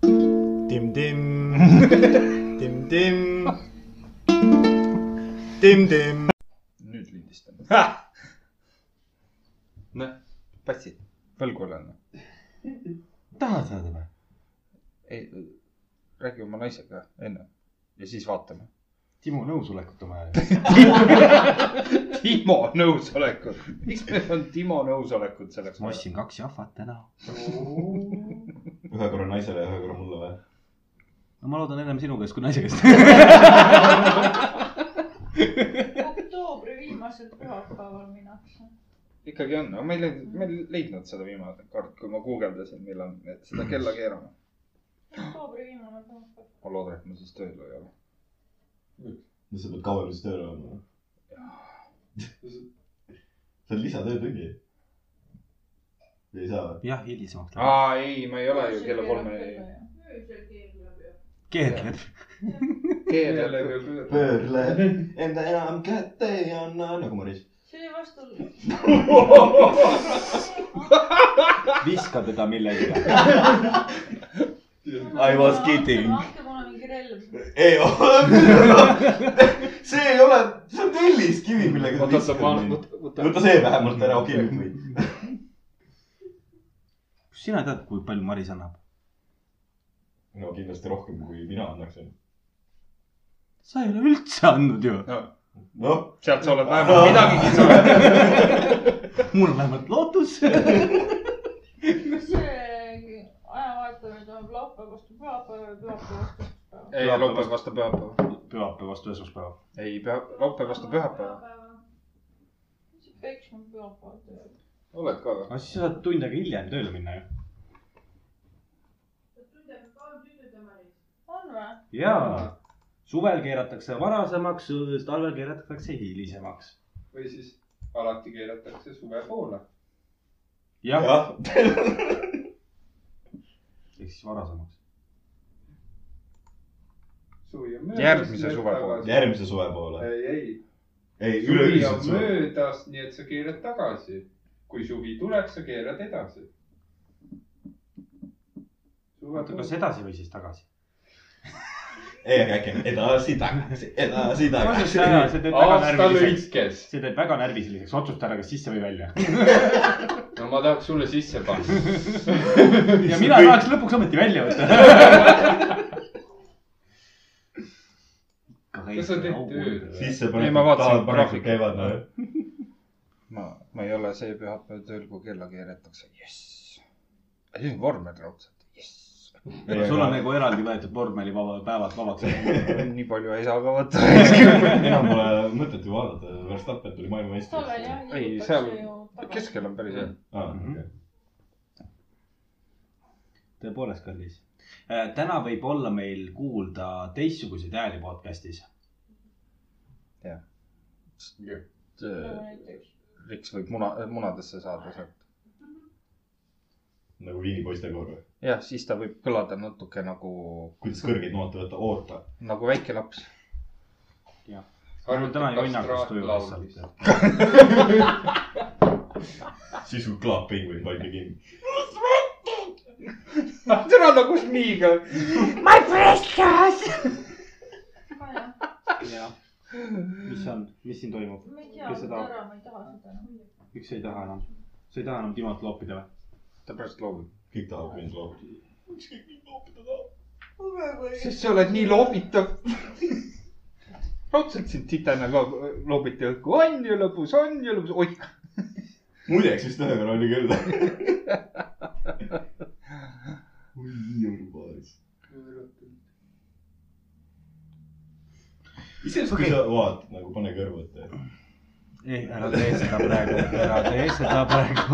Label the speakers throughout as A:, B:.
A: Dim-dim. Dim-dim. Dim-dim.
B: nüüd lindistame .
C: noh ,
B: passi , võlgu olen .
C: tahad saada või ?
B: ei , räägi oma naisega enne ja siis vaatame .
C: Timo nõusolekut on vaja .
B: Timo nõusolekut , miks meil on Timo nõusolekut selleks
C: ma ? ostsin kaks jahvat täna .
A: ühe korra naisele ja ühe korra mulle või ?
C: no ma loodan ennem sinu käest kui naise käest .
D: oktoobri viimasel pühapäeval minnakse .
B: ikkagi on , aga ma ei leidnud , ma ei leidnud seda viimane kord , kui ma guugeldasin , millal me seda kella keerame .
D: oktoobri viimane pühapäev .
B: ma loodan , et ma siis tööl ei ole .
A: no sa pead kauem siis tööl olema . see on lisatöötunni . ei saa või ?
C: jah , hilisemaks läheb .
B: aa , ei , ma ei ole ju kella kolme .
D: öösel keelab ju .
C: keerled .
A: pöörle enda enam kätte ei anna , nagu Maris .
D: see oli vastu .
C: viska teda millegile .
A: I was kidding.
D: andke mulle mingi relv .
A: ei ole . see ei ole , see on telliskivi , millega .
C: Oota, oota, ma-
A: võta see vähemalt ära , okei okay, , või ?
C: kas sina tead , kui palju Maris annab ?
A: no kindlasti rohkem , kui mina annaksin .
C: sa ei ole üldse andnud ju .
A: noh ,
B: sealt sa oled vähemalt midagigi saanud .
C: mul on vähemalt lootus .
D: kas see ajavahetamine toimub laupäeva vastu pühapäeva või pühapäeva vastu
B: ei ,
D: esmaspäeva ?
B: laupäev vastu pühapäeva .
C: pühapäev vastu esmaspäev .
B: ei , püha , laupäev vastu pühapäeva .
D: peaks mul pühapäeval tööl .
B: oled ka või ?
C: aga siis sa saad tund aega hiljem tööle minna ju .
D: on või ?
C: jaa . suvel keeratakse varasemaks , talvel keeratakse hilisemaks .
E: või siis alati keeratakse suve poole .
C: jah ,
A: jah .
C: ehk siis varasemaks .
E: suvi on
B: Järgmise suve poole. .
A: järgmise suve poole .
E: ei , ei ,
A: ei ,
E: suvi on
A: üleüldiselt suve .
E: möödas , nii et sa keerad tagasi . kui suvi tuleb , sa keerad edasi . suve
C: oota , kas
E: poole .
C: edasi või siis tagasi ?
A: ei , aga äkki on edasi-tagasi , edasi-tagasi .
C: see teeb väga
E: aasta
C: närviliseks ,
E: lõikes .
C: see teeb väga närviliseks , otsusta ära , kas sisse või välja .
E: no ma tahaks sulle sisse panna .
C: ja mina tahaks lõpuks ometi välja võtta .
E: Kas sa teed tööd? ?
A: sisse
B: Ei, ma
A: paned ,
B: vaatasin
A: tahad paremini
B: graafikut.
A: käivad , noh .
B: ma , ma ei ole see pühapäev tööl , kui kella keeratakse . jess . siis on vormel raudselt . jess .
C: sul on nagu eraldi võetud vormelivaba päevad vabaks .
B: nii palju ei saa ka võtta .
C: nagu-
A: enam pole mõtet ju vaadata , Verstappen tuli
D: talvel
A: maailmameistriks .
D: jah .
B: ei , seal keskel on päris hea .
A: aa ,
C: Mhm.
A: okei .
C: tõepoolest , kallis . täna võib olla meil kuulda teistsuguseid hääli podcast'is .
B: äh, riks võib muna , munadesse saada sealt .
A: nagu viinipoiste koor või ?
B: jah , siis ta võib kõlada natuke nagu ,
A: kuidas kõrgeid noote võtta , oota .
B: nagu väike laps .
C: mul täna jonnakas tuju lihtsalt .
A: siis kui klaap penguin pandi kinni .
B: täna nagu smiiga .
C: jah , mis see on , mis siin toimub ?
D: ma ei tea ,
C: Kes
D: võta
C: seda-
D: ära , ma ei taha seda enam .
C: üks ei taha enam , sa ei taha enam Timot loopida või ?
B: ta pärast loobib .
A: kõik
C: Äh.
A: tahavad mind loopida .
B: sest sa oled nii loobitav . raudselt sind titana ka loobiti õhku , on ju lõbus , on ju lõbus , oih .
A: muideks vist ühe korra oli küll . oi , jõulupoes . iseenesest , kui sa vaatad nagu , pane kõrvu ette .
C: ei , ära tee seda praegu , ära tee seda praegu .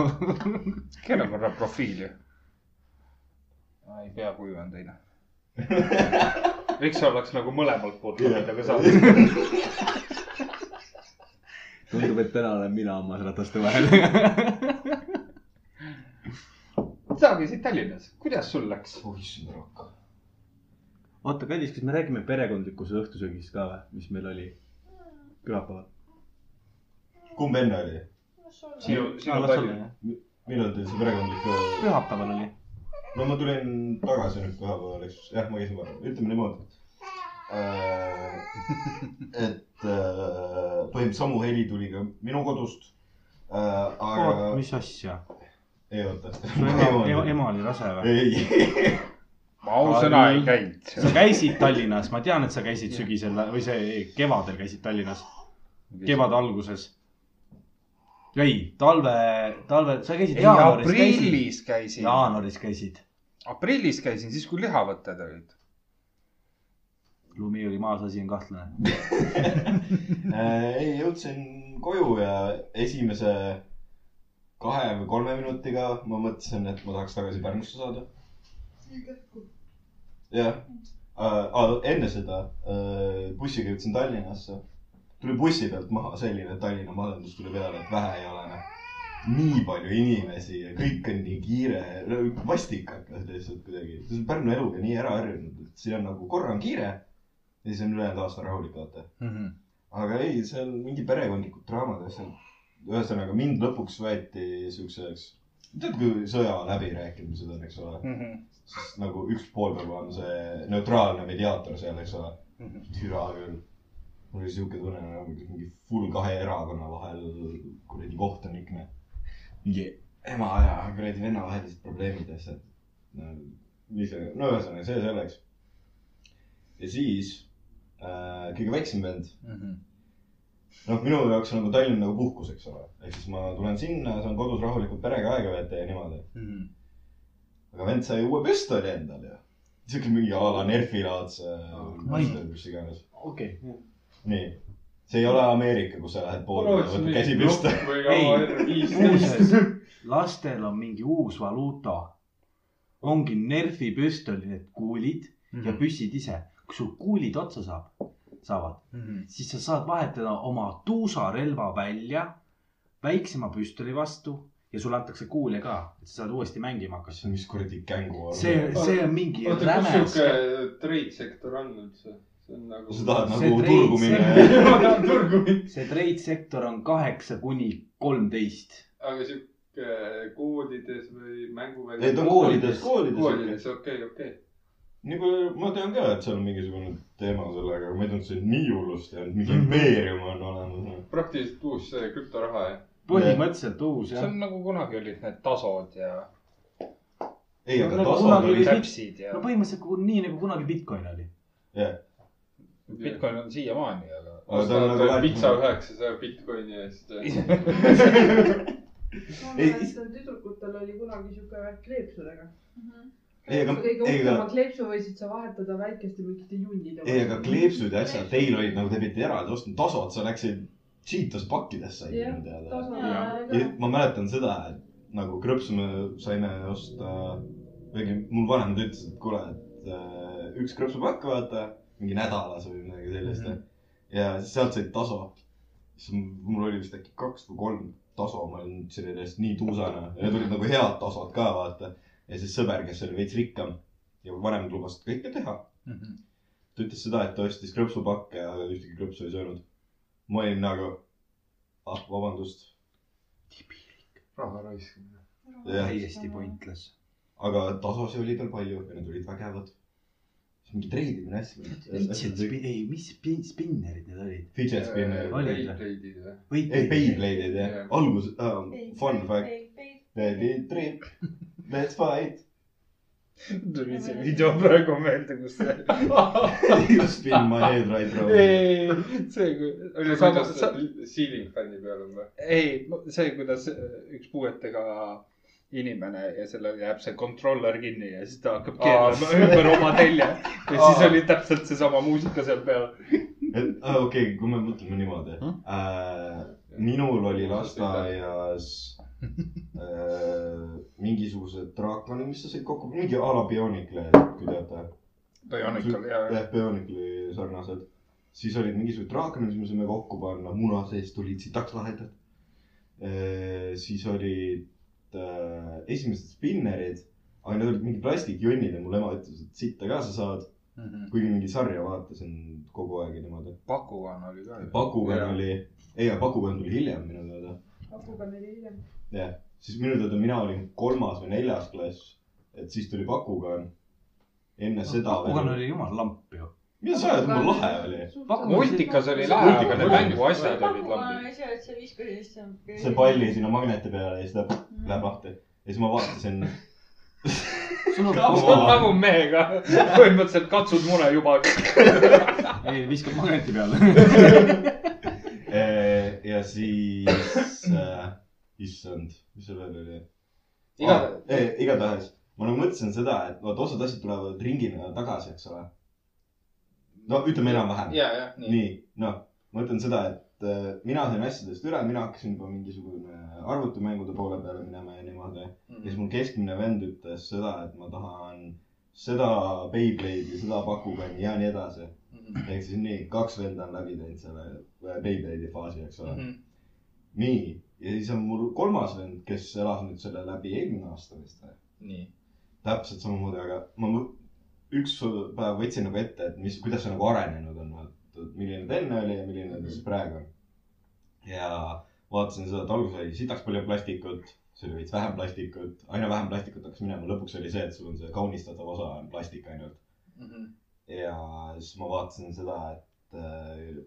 B: keera korra profiili . ei pea , kuju on teine . võiks oleks nagu mõlemalt poolt loobida ka saada .
C: tundub , et täna olen mina hammas rataste vahel .
B: sa käisid Tallinnas , kuidas sul läks ?
C: Oh,
A: issand rakk .
C: oota , kallis , kas me räägime perekondlikust õhtusöögist ka või , mis meil oli pühapäeval ?
A: kumb enne oli ?
D: las olla .
B: sinu , sinu Tallinna .
A: millal teil see perekondlik ?
C: pühapäeval oli .
A: no ma tulin tagasi nüüd koha peale , eks , jah , ma käisin vahepeal , ütleme niimoodi . et äh, põhimõtteliselt samu heli tuli ka minu kodust .
C: oot ,
A: aga ,
C: mis asja ?
A: ei oota .
C: su ema , ema, ema oli rase või ?
A: ei ,
B: ma ausõna ei käinud
C: sa . käisid Tallinnas , ma tean , et sa käisid sügisel või see kevadel käisid Tallinnas , kevade alguses . ei , talve , talve , sa käisid
B: ei ,
C: jaanuaris käisid .
B: aprillis käisin .
C: jaanuaris käisid ,
B: aprillis käisin , siis kui lihavõtted olid .
C: lumi oli maas , asi on kahtlane .
A: Äh, ei jõudsin koju ja esimese kahe või kolme minutiga ma mõtlesin , et ma tahaks tagasi Pärnusse saada . jah , enne seda äh, bussiga jõudsin Tallinnasse . tuli bussi pealt maha selline Tallinna masendus tuli peale , et vähe ei ole noh . nii palju inimesi ja kõik on nii kiire , vastikakas lihtsalt kuidagi . see on Pärnu eluga nii ära harjunud , et siin on nagu korra on kiire ja siis on ülejäänud aasta rahulik , vaata .
B: Mhm.
A: aga ei , seal mingi perekondlikud draamad ja asjad . ühesõnaga mind lõpuks võeti siukseks , tead kui sõja läbirääkimised on , eks ole ,
B: Mhm.
A: siis nagu üks pool peab olema see neutraalne mediaator seal , eks ole . türa küll . mul oli siuke tunne nagu mingi full kahe erakonna vahel kuradi kohtunik , noh . mingi ema ja kuradi venna vahelised probleemid ja asjad . no mis see , no ühesõnaga see selleks . ja siis äh, kõige väiksem vend noh , minu jaoks on nagu Tallinn nagu puhkus , eks ole , ehk siis ma tulen sinna , saan kodus rahulikult perega aega veeta ja niimoodi . aga vend sai uue püstoli endale ju . siuke mingi a la Nerfi laadse
C: Ah,
A: püstol , mis iganes .
C: okei .
A: nii , see ei ole Ameerika , kus sa lähed poodi ja võtad käsipüstoli .
E: käsipüstol .
C: muuseas , lastel on mingi uus valuuta . ongi Nerfi püstolid , need kuulid
B: Mhm.
C: ja püssid ise . kui sul kuulid otsa saab , saavad ,
B: Mhm.
C: siis sa saad vahetada oma tuusarelva välja väiksema püstoli vastu ja sulle antakse kuulja ka , et sa saad uuesti mängima hakata .
A: issand , mis kuradi kängu on .
C: see , see on mingi
E: oota , kus
C: räme .
E: sihuke trade sektor on üldse ? see on nagu .
A: sa tahad
C: see
A: nagu
C: treit-
A: turgu minna
C: see- ?
E: ma tahan turgu minna .
C: see trade sektor on kaheksa kuni kolmteist .
E: aga sihuke koolides või mänguväljas ?
A: ei , ta on koolides , koolides .
E: koolides , okei , okei .
A: nagu ma tean ka , et seal on mingisugune teema sellega , aga ma ei teadnud , see on nii hullusti olnud , mingi
C: Mhm.
A: impeerium on olemas .
E: praktiliselt uus see krüptoraha ja .
C: põhimõtteliselt uus
B: see
C: jah .
B: on nagu kunagi olid need tasod ja
A: ei , aga
C: No
A: tasa
C: kunagi
A: oli
C: oli-
B: täpsid ja
C: no põhimõtteliselt kui- nii nagu kunagi Bitcoin oli .
B: Bitcoin on siiamaani , aga .
A: Aga ta on nagu
E: ostad
A: väärt-
E: pitsa üheksasaja Bitcoini eest .
F: ma
A: Ei,
F: mäletan , tüdrukutel oli kunagi siuke värk kleepsudega .
A: Ei, aga-
F: kõige
A: ei, aga-
F: uhkema kleepsu võisid sa vahetada väikeste mingite junnidega .
A: ei , aga kleepsud ja asjad teil olid nagu te pidite eraldi ostma , tasod , sa läksid Cheetos pakkidest said
F: Jah,
A: minu teada .
F: tasandil .
A: ma mäletan seda , et nagu krõpsu me saime osta , või mul vanemad ütlesid , et kuule , et äh, üks krõpsupakk , vaata , mingi nädalas või midagi sellist mm . -hmm. ja siis sealt said taso . siis mul oli vist äkki kaks või kolm taso , ma olin selle eest nii tuusane ja need olid nagu head tasod ka , vaata . ja siis sõber , kes oli veits rikkam ja vanemad lubasid kõike teha . ta ütles seda , et ta ostis krõpsupakke ja ühtegi krõpsu ei söönud . ma olin nagu , ah vabandust ,
E: raha raiskamine .
A: Jah.
C: täiesti pointless .
A: aga tasosi oli tal palju ja need olid vägevad . siis mingi treidimine
C: Fidget
A: asju .
C: spin- , ei , mis spin- , spinnerid need olid ?
A: Fidget spinner ,
C: Oli ta?
E: Playplate'id või ?
A: ei Beyblade'id jah
E: Jah. ,
A: alguses uh, , fun fact ,. baby trip , let's fight .
B: tuli see video praegu meelde , kus see .
A: You spin my head right round .
B: ei , see , kui .
E: oli kuidas ta ceiling fänni peal on või ?
B: ei , see , kuidas üks puuetega inimene ja sellel jääb see controller kinni ja siis ta hakkab keerama
E: Aa.
B: ümber oma telje . ja siis
E: Aa.
B: oli täpselt seesama muusika seal peal .
A: okei , kui me mõtleme niimoodi
B: Hmm?
A: uh, . minul oli lasteaias uh, mingisugused draakonid , mis sa said kokku , mingi a la Bionicle , kui teate .
B: Bionicul ja , ja .
A: jah , Bionicle'i sarnased . siis olid mingisugused draakonid , mis me saime kokku panna , muna sees tulid sitaks lahedad . siis olid äh, esimesed spinnerid , aga need olid mingid plastikjonnid ja mul ema ütles , et sitta ka sa saad .
B: Mhm.
A: kuigi mingi sarja vaatasin kogu aeg ja niimoodi .
B: Bakugan oli ka .
A: Bakugan . oli , ei , aga Bakugan tuli hiljem minu teada .
F: hapuga neil hiljem .
A: siis minu teada mina olin kolmas või neljas klass et siis tuli Bakugan . enne seda
C: Kugan . oli jumala lamp ju .
A: mida sa ajad , mul lahe oli .
B: multikas oli lahe , aga need mänguasjad olid lambid .
D: asi , et sa viskasid lihtsalt .
A: see palli . sinna magneti peale ja siis läheb ,
D: Mhm.
A: läheb lahti . ja siis ma vaatasin .
C: sul on
A: Come
B: sa
A: on.
C: kogu aeg ,
B: nagu mehega , põhimõtteliselt katsud mune juba .
C: ei viskab magneti peale .
A: eh, ja siis äh, , issand , mis seal veel oli ?
B: Iga-
A: igatahes ma nagu mõtlesin seda , et vot osad asjad tulevad ringina tagasi , eks ole . no ütleme enam-vähem .
B: ja , jah , nii .
A: nii , noh , ma ütlen seda , et äh, mina sain asjadest üle , mina hakkasin juba mingisugune arvutimängude poole peale minema ja niimoodi .
B: Mhm.
A: ja siis mul keskmine vend ütles seda , et ma tahan seda Beyblade'i , seda Bakugani ja nii edasi .
B: Mhm.
A: ehk siis nii , kaks venda on läbi teinud selle äh, Beyblade'i faasi , eks
B: Mhm.
A: ole . nii , ja siis on mul kolmas vend , kes elas nüüd selle läbi eelmine aasta vist või ?
B: nii .
A: täpselt samamoodi , aga ma mõ- üks päev võtsin nagu ette , et mis , kuidas see nagu arenenud on , et milline ta enne oli ja milline ta siis praegu on . ja vaatasin seda , et alguses oli sitaks palju plastikut , siis oli veits vähem plastikut , aina vähem plastikut hakkas minema , lõpuks oli see , et sul on see kaunistatav osa on plastik ainult . ja siis ma vaatasin seda , et äh,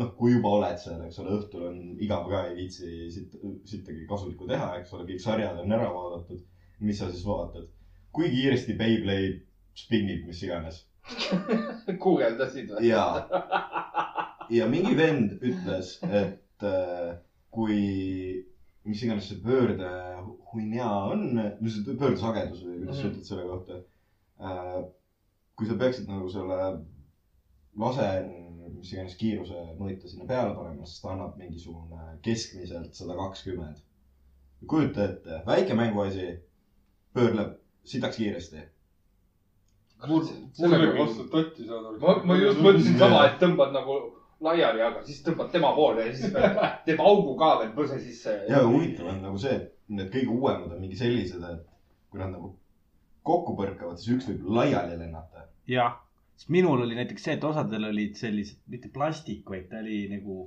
A: noh , kui juba oled seal , eks ole , õhtul on igav ka , ei viitsi siit , sittagi kasulikku teha , eks ole , kõik sarjad on ära vaadatud . mis sa siis vaatad , kui kiiresti Beyblade spinnib , mis iganes
B: guugeldasid või ?
A: ja , ja mingi vend ütles , et äh, kui , mis iganes see pöörde hunnia on , mis see pöördesagedus või kuidas sa
B: Mhm.
A: ütled selle kohta äh, . kui sa peaksid nagu selle lase , mis iganes kiiruse mõõta sinna peale panema , siis ta annab mingisugune keskmiselt sada kakskümmend . kujuta ette , väike mänguasi pöörleb sitaks kiiresti .
E: sellega nagu vastu totti nagu saad aru .
B: ma , ma just mõtlesin sama , et tõmbad nagu laiali , aga siis tõmbad tema poole ja siis pead- teeb augu ka veel põse sisse .
A: ja aga huvitav on nagu see , et need kõige uuemad on mingi sellised , et kui nad nagu kokku põrkavad , siis üks võib laiali lennata .
C: jah , sest minul oli näiteks see , et osadel olid sellised , mitte plastik , vaid ta oli nagu ,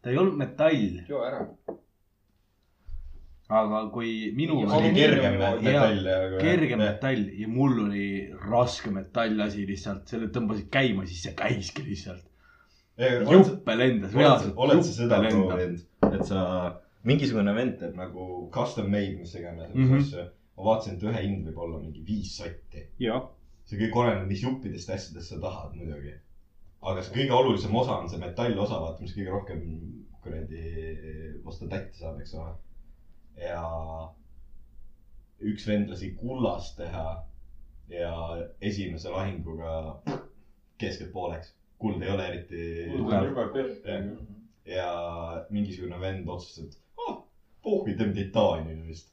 C: ta ei olnud metall ,
B: joo ära .
C: aga kui minul
B: Mingi
C: oli
B: alumiinium.
A: kergem
C: nagu,
B: Alumiinium-
A: metall ja .
C: kerge . metall ja mul oli raske metallasi lihtsalt , selle tõmbasid käima , siis see käiski lihtsalt .
A: oled
C: juppe lendas ,
A: sa-
C: reaalselt .
A: oled sa seda ? proovinud , et sa , mingisugune vend teeb nagu custom made , mis iganes mm
C: Mhm.
A: -hmm. asju . ma vaatasin , et ühe hind võib olla mingi viis sotti .
C: jah ,
A: see kõik oleneb , mis juppidest ja asjadest sa tahad muidugi . aga see kõige olulisem osa on see metallosa , vaata , mis kõige rohkem kuradi vastu tätti saab , eks ole . ja üks vend lasi kullast teha ja esimese lahinguga keskelt pooleks . kuld ei ole eriti
E: tugev . jube pehme .
A: ja mingisugune vend otsustas , et oh, pohvi teeme titaaniumi vist .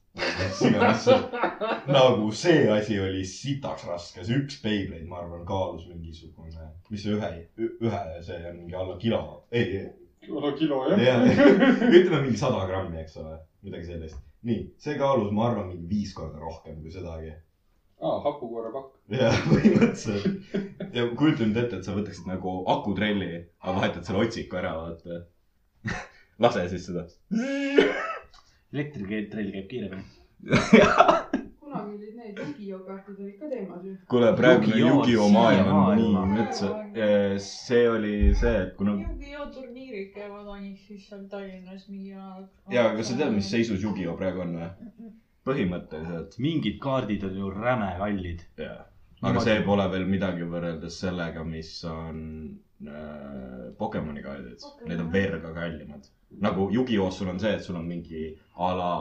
A: nagu see asi oli sitaks raske , see üks Beyblade , ma arvan , kaalus mingisugune , mis see ühe , ühe , see on mingi alla kilo , ei ,
E: kilo , kilo
A: ei ,
E: jah .
A: ütleme mingi sada grammi , eks ole , midagi sellist . nii , see kaalus , ma arvan , mingi viis korda rohkem kui sedagi .
E: aa , hapukoore pakk .
A: ja põhimõtteliselt ja kujuta nüüd ette , et sa võtaksid nagu akutrelli , aga vahetad selle otsiku ära , vaata . lase siis seda .
C: elektrikeeltrell käib kiiremini .
F: kunagi olid need Yugi-Oh kaartid olid ka teemas ju .
A: kuule , praegune
C: Yu-Gi-Oh!
A: Yu-Gi-Oh maailm on
C: siiamaani.
A: nii mets . see oli see , et kuna .
D: Yu-Gi-Oh turniirid käivad ainult siis seal Tallinnas mingi ajal .
A: ja , aga kas sa tead , mis ? seisus Yu-Gi-Oh praegu on või ? põhimõtteliselt
C: mingid kaardid on ju räme kallid .
A: jah . aga see pole veel midagi võrreldes sellega , mis on äh, Pokemoni kaardid . Need on verga kallimad . nagu Yu-Gi-Oh-s sul on see , et sul on mingi a la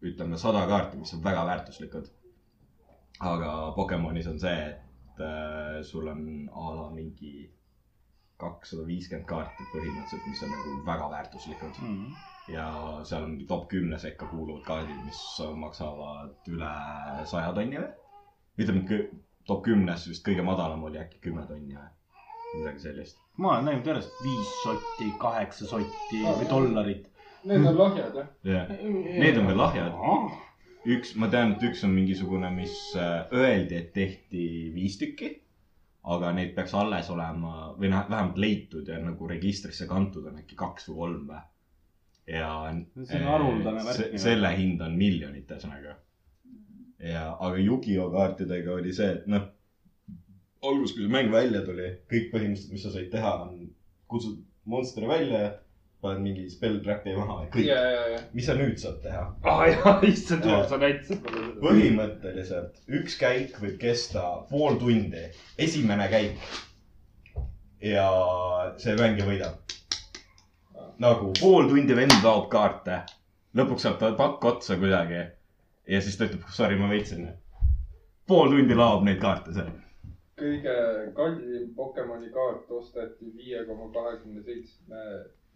A: ütleme sada kaarti , mis on väga väärtuslikud . aga Pokemonis on see , et äh, sul on a la mingi kakssada viiskümmend kaarti põhimõtteliselt , mis on nagu väga väärtuslikud . ja seal on mingi top kümne sekka kuuluvad kaardid , mis maksavad üle saja tonni või ? ütleme , et kõ- top kümnes vist kõige madalam oli äkki kümme tonni või ? midagi sellist .
C: ma olen näinud järjest viis sotti , kaheksa sotti või dollarit .
E: Need on lahjad jah .
A: jah , need on veel lahjad . üks , ma tean , et üks on mingisugune , mis äh, öeldi , et tehti viis tükki , aga neid peaks alles olema või noh , vähemalt leitud ja nagu registrisse kantud on äkki kaks või kolm või . ja äh,
C: See on haruldane värk
A: se-
C: ju.
A: selle hind on miljonites , ühesõnaga . ja , aga Yukio kaartidega oli see , et noh , alguses , kui see mäng välja tuli , kõik põhimõtteliselt , mis sa said teha , on kutsud monstri välja , paned mingi spell trap'i maha ja kõik
E: ja , ja , ja .
A: mis sa nüüd saad teha ?
B: Ah,
E: aa jaa , issand
A: jumal,
E: sa näitasid mulle
A: põhimõtteliselt üks käik võib kesta pool tundi , esimene käik . ja see mängija võidab . nagu pool tundi vend laob kaarte , lõpuks saab ta pakk otsa kuidagi ja siis ta ütleb , sorry , ma võitsin . pool tundi laob neid kaarte seal .
E: kõige kallim Pokemoni kaart osteti viie koma kahekümne seitsme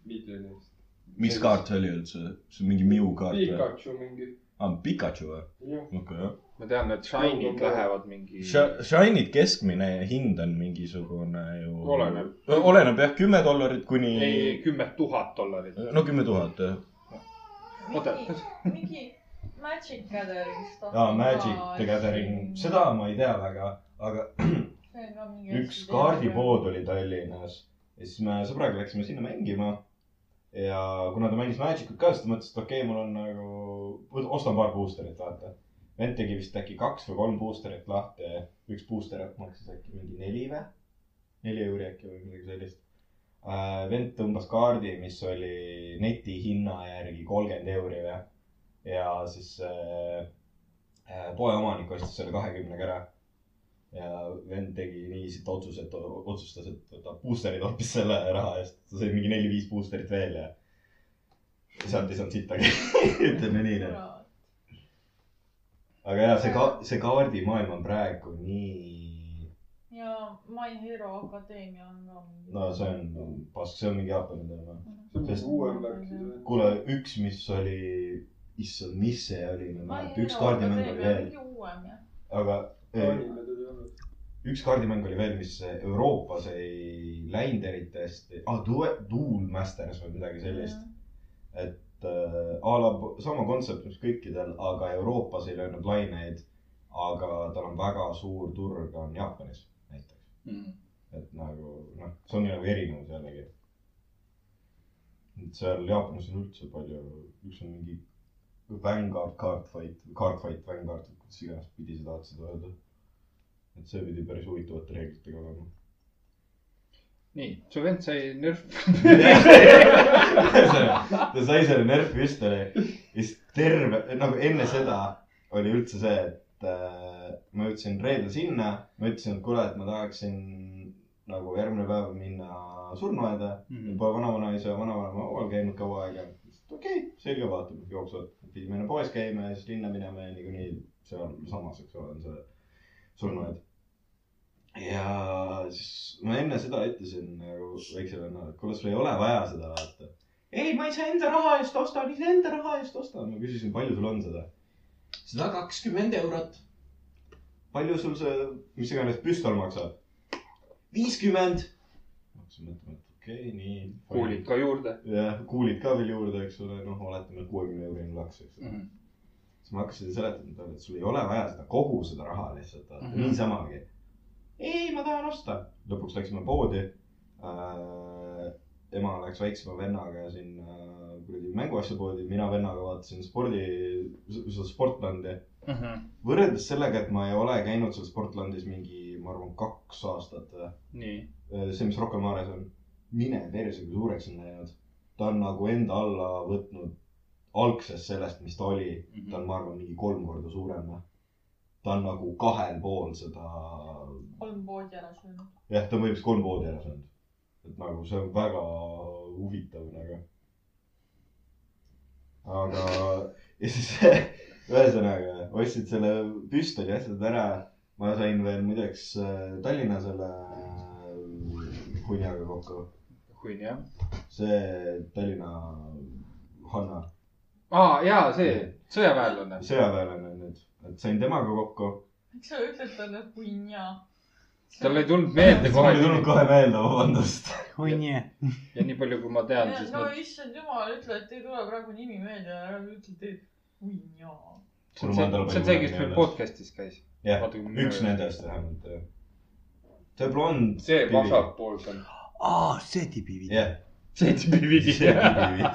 E: miljoni eest .
A: mis kaart see oli üldse ? see on mingi Miu kaart või ?
E: Pikachu mingi .
A: aa , Pikachu või ?
E: jah ,
A: okei okay, , jah .
B: ma tean , et Shine'id lähevad mingi .
A: Shine'i keskmine hind on mingisugune ju .
E: Oleneb. .
A: oleneb jah , kümme dollarit kuni .
B: ei , kümme tuhat dollarit .
A: no kümme tuhat jah .
B: Oota.
D: mingi , mingi Magic Gathering'ist .
A: aa , Magic the Gathering , seda ma ei tea väga , aga üks kaardipood oli Tallinnas ja siis me sõbraga läksime sinna mängima . ja kuna ta mängis Magicut ka , siis ta mõtles , et okei okay, , mul on nagu , ostan paar buusterit , vaata . vend tegi vist äkki kaks või kolm buusterit lahti , üks buuster maksis äkki mingi neli või , neli euri äkki või midagi sellist . Äh, vend tõmbas kaardi , mis oli netihinna järgi kolmkümmend euri või ja siis äh, äh, poe omanik ostis selle kahekümnega ära . ja vend tegi niiviisi , et otsus , et o- otsustas , et võtab booster'id hoopis selle raha eest , ta sai mingi neli-viis booster'it veel ja sealt ei saanud sittagi , ütleme nii . aga ja see ka- , see kaardimaailm on praegu nii ,
D: ja My Hero Akadeemia on ka mingi . Mhm.
A: no see on , pask , see on mingi Jaapani teema .
E: see on
A: Sest-
E: mingi uuem värk siis või ?
A: kuule , üks , mis oli , issand , mis see oli , ma ei mäleta , üks kaardimäng oli veel ,
D: mingi uuem jah .
A: aga eh,
E: animed ei olnud .
A: üks kaardimäng oli veel , mis Euroopas ei läinud eriti hästi ah, , Duel Masters või midagi sellist ,
D: Mhm.
A: et äh, a la p- sama kontsept , mis kõikidel , aga Euroopas ei löönud laineid . aga tal on väga suur turg on Jaapanis näiteks ,
B: Mm.
A: et nagu noh , see on nagu erinevus jällegi . et seal Jaapanis on üldse palju , üks on mingi Vanguard Cardfight , Cardfight Vanguard , kuidas iganes pidi sa tahad seda öelda . et see pidi päris huvitavate reeglitega olema .
B: nii , su vend sai nörf .
A: ta sai selle Nerfi püstoli ja siis terve , nagu enne seda oli üldse see , et äh, ma jõudsin reedel sinna , ma ütlesin , et kuule , et ma tahaksin nagu järgmine päev minna surnuaeda mm. . juba vanavanaisa ja vanavanema haual käinud kaua aega . okei okay, , selge , vaatame , jooksuvad . pidime enne poes käima ja siis linna minema ja niikuinii sealsamas , eks ole , on see surnuaed . ja siis ma enne seda ütlesin nagu väiksele vennale , et kuule , sul ei ole vaja seda vaata . ei , ma iseenda raha eest ostan , iseenda raha eest ostan . ma küsisin , palju sul on seda ? sada kakskümmend eurot . palju sul see , mis iganes püstol maksab ? viiskümmend . ma hakkasin mõtlema , et okei okay, , nii .
E: kuulid ka juurde .
A: jah , kuulid ka veel juurde , eks ole , noh , oletame , et kuuekümne eurine laks , eks ole mm .
B: Mhm.
A: -hmm. siis ma hakkasin seletama talle , et sul ei ole vaja seda kogu seda raha lihtsalt vaata mm
B: Mhm.
A: -hmm. niisamagi . ei , ma tahan osta . lõpuks läksime poodi äh, . ema läks väiksema vennaga sinna äh, kuradi mänguasjapoodi , mina vennaga vaatasin spordi , seda Sportlandi .
B: Mhm.
A: võrreldes sellega , et ma ei ole käinud seal Sportlandis mingi , ma arvan , kaks aastat või
B: nii .
A: Äh, see , mis Rocca al Mares on , mine perse , kui suureks on läinud . ta on nagu enda alla võtnud algsest sellest , mis ta oli . ta on , ma arvan , mingi kolm korda suurem . ta on nagu kahel pool seda ,
D: kolm poodi ära söönud .
A: jah , ta on võib-olla kolm poodi ära saanud . et nagu see on väga huvitav nagu . aga , ja siis ühesõnaga ostsid selle püstoli asjad ära . ma sain veel muideks äh, Tallinna selle äh, hunniaga kokku
B: kui nii jah .
A: see Tallinna Hanna ,
B: aa , Ah, jaa , see sõjaväelane .
A: sõjaväelane on nüüd , et sain temaga kokku .
D: miks sa ütled talle punja ?
B: tal ei tulnud meelde
A: mul ei tulnud
B: kohe .
A: kohe meelde , vabandust .
C: oi nii .
B: ja nii palju , kui ma tean , siis
D: no
B: nad
D: issand jumal , ütle , et ei tule praegu nimi meelde , ära ütle teid punja .
B: see on see , see on see , kes meil . podcast'is käis .
A: Jah, üks . nendest vähemalt . see blond .
E: see vasakpoolt on .
C: aa , see tibiviidi .
A: jah ,
B: see tüüpi vidi .
A: see oli .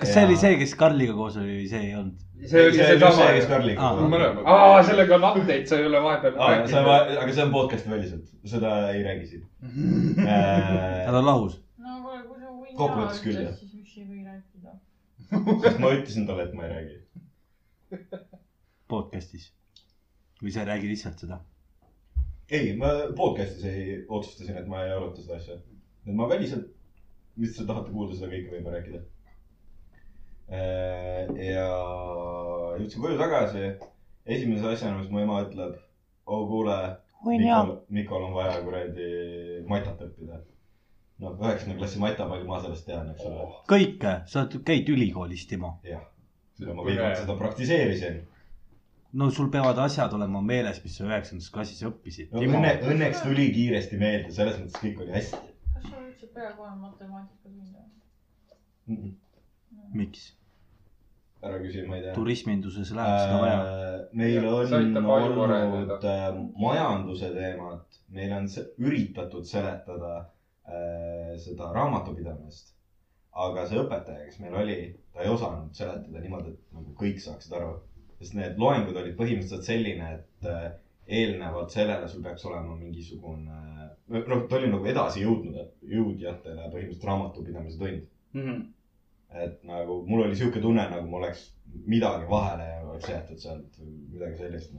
C: kas see oli see , kes Karliga koos oli või see ei olnud ?
A: see oli seesama .
G: kes
E: Ah,
G: Karliga
C: Aa.
G: oli .
E: mõlemad . aa , sellega on update , sa ei ole vahepeal
G: aga see on , aga see on podcast'i väliselt , seda ei räägi siin . Äh,
C: Nad on lahus .
D: no kuule , kui sa võid .
G: Kokkuvõttes küll, jah.
D: siis miks ei või rääkida ?
G: sest ma ütlesin talle , et ma ei räägi .
C: podcast'is . või sa ei räägi lihtsalt seda ?
G: ei , ma podcast'is ei , otsustasin , et ma ei aruta seda asja . et ma väliselt , mis te tahate kuulda , seda kõike võime rääkida . ja jõudsin koju tagasi . esimese asjana , mis mu ema ütleb , oo kuule , Mikol , Mikol on vaja kuradi matat õppida . no üheksanda klassi mata , palju ma sellest tean , eks ole .
C: Oh. kõike , sa käid ülikoolis , Timo .
G: jah , seda ma viimati seda praktiseerisin .
C: no sul peavad asjad olema meeles , mis sa üheksandas klassis õppisid .
G: no õnne , õnneks tuli kiiresti meelde , selles mõttes kõik oli hästi
D: kas sul üldse peaaegu on matemaatikas mingi ?
G: mm . -mm.
C: miks ?
G: ära küsi , ma ei tea .
C: turisminduses läheb seda vaja .
G: Äh, meil
E: Jah, see
G: on
E: aitab aju
G: olnud
E: areneda.
G: äh, majanduse teemad , meil on se- üritatud seletada äh, seda raamatupidamist . aga see õpetaja , kes meil oli , ta ei osanud seletada niimoodi , et nagu kõik saaksid aru . sest need loengud olid põhimõtteliselt selline , et äh, eelnevalt sellele sul peaks olema mingisugune , noh , ta oli nagu edasijõudnud , jõudjatele põhimõtteliselt raamatupidamise tund .
B: Mhm.
G: et nagu mul oli sihuke tunne , nagu ma oleks midagi vahele ja oleks jäetud sealt või midagi sellist .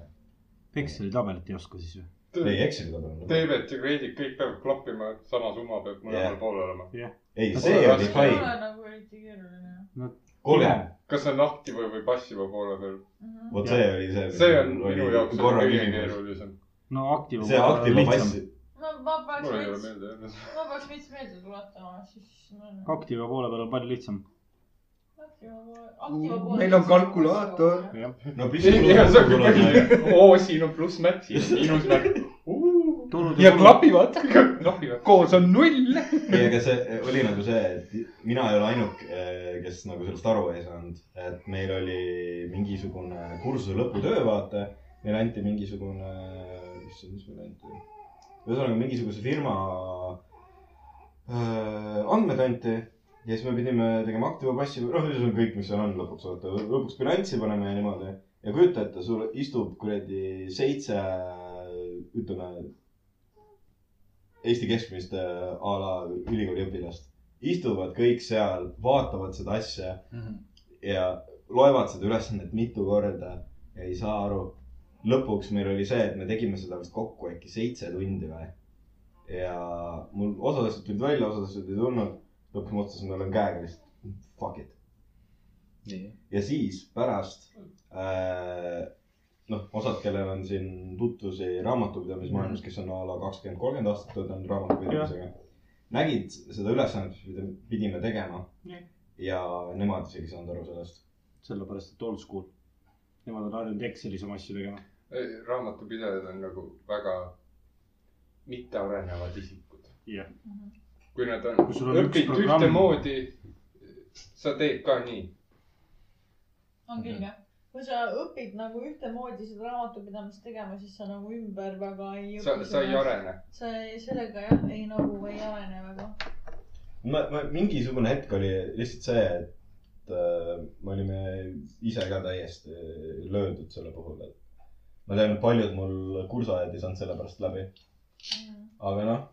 C: Exceli tabelit ei oska siis ju .
G: ei , Exceli tabel .
E: David ja Kreedit , kõik peavad klappima , sama summa peab mõlemal
G: Jah.
E: pool olema .
G: ei , see oli
D: ei
G: haige .
D: ole nagu eriti keeruline .
G: kole ,
E: kas see on nahkhiva või passiva poole peal ?
D: Mhm.
G: vot see oli see .
E: see on minu jaoks
G: korra
E: kõige
G: küsimus .
E: keerulisem .
C: no aktiiv .
G: see aktiiva . pass ,
D: ma , ma peaks
E: mul ei ole
D: veits ,
E: meelde jäänud .
D: ma peaks veits meelde tuletama , siis .
C: aktiiva poole peal on palju lihtsam .
E: Mm.
B: Meil on kalkulaator. .
G: no nagu-
E: ja see on
G: pisut .
E: kõik , oo , siin on plussmärk , siin on miinusmärk .
C: tulud
B: ja
C: ja kulud .
B: klapivad ,
E: nahkhivad .
B: koos on null .
G: ei , aga see oli nagu see , et mina ei ole ainuke , kes nagu sellest aru ei saanud , et meil oli mingisugune kursuse lõputöö , vaata . meile anti mingisugune , issand , mis meile anti ? ühesõnaga mingisuguse firma äh, andmed anti ja siis me pidime tegema aktiiva passi , noh , ühesõnaga kõik , mis seal on lõpuks , vaata , lõpuks bilanssi paneme ja niimoodi . ja kujuta ette , sul istub kuradi seitse , ütleme Eesti keskmist äh, a la ülikooli õpilast , istuvad kõik seal , vaatavad seda asja ja loevad seda ülesannet mitu korda ja ei saa aru . lõpuks meil oli see , et me tegime seda vist kokku äkki seitse tundi või . ja mul osad asjad tulid välja , osad asjad ei tulnud . lõpuks ma otsustasin , et ma löön käega lihtsalt , fuck it . ja siis pärast äh, noh , osad , kellel on siin tutvusi raamatupidamismaailmas , kes on a la kakskümmend , kolmkümmend aastat töötanud raamatupidamisega , nägid seda ülesannet , mida me pidime tegema
C: Jah.
G: ja nemad isegi ei saanud aru sellest .
C: sellepärast , et old school . Nemad on harjunud Excelis oma asju tegema .
E: Ei, raamatupidajad on nagu väga mittearenevad isikud .
C: Jah.
D: Mm-hmm.
E: kui nad
C: Kui
E: on
C: sul , on üks
E: õpid
C: programm-
E: ühtemoodi , sa teed ka nii .
D: on küll jah . kui sa õpid nagu ühtemoodi seda raamatupidamist tegema , siis sa nagu ümber väga ei
E: sa , sa ei . arene .
D: sa ei , sellega jah , ei nagu ei arene väga .
G: ma , ma mingisugune hetk oli lihtsalt see , et äh, me olime ise ka täiesti löödud selle puhul , et ma tean , et paljud mul kursaajad ei saanud selle pärast läbi , aga noh ,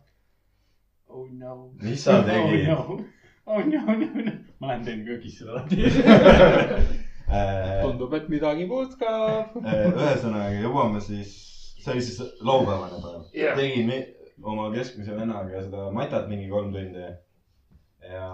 C: oh no .
G: mis sa tegid ?
C: oh no , oh no , no , no . ma lähen teen köögis seda lahti .
G: Äh,
B: tundub , et midagi putkab .
G: Eh, ühesõnaga jõuame siis , see oli siis laupäevane päev yeah. . tegime oma keskmise vennaga seda matat mingi kolm tundi . ja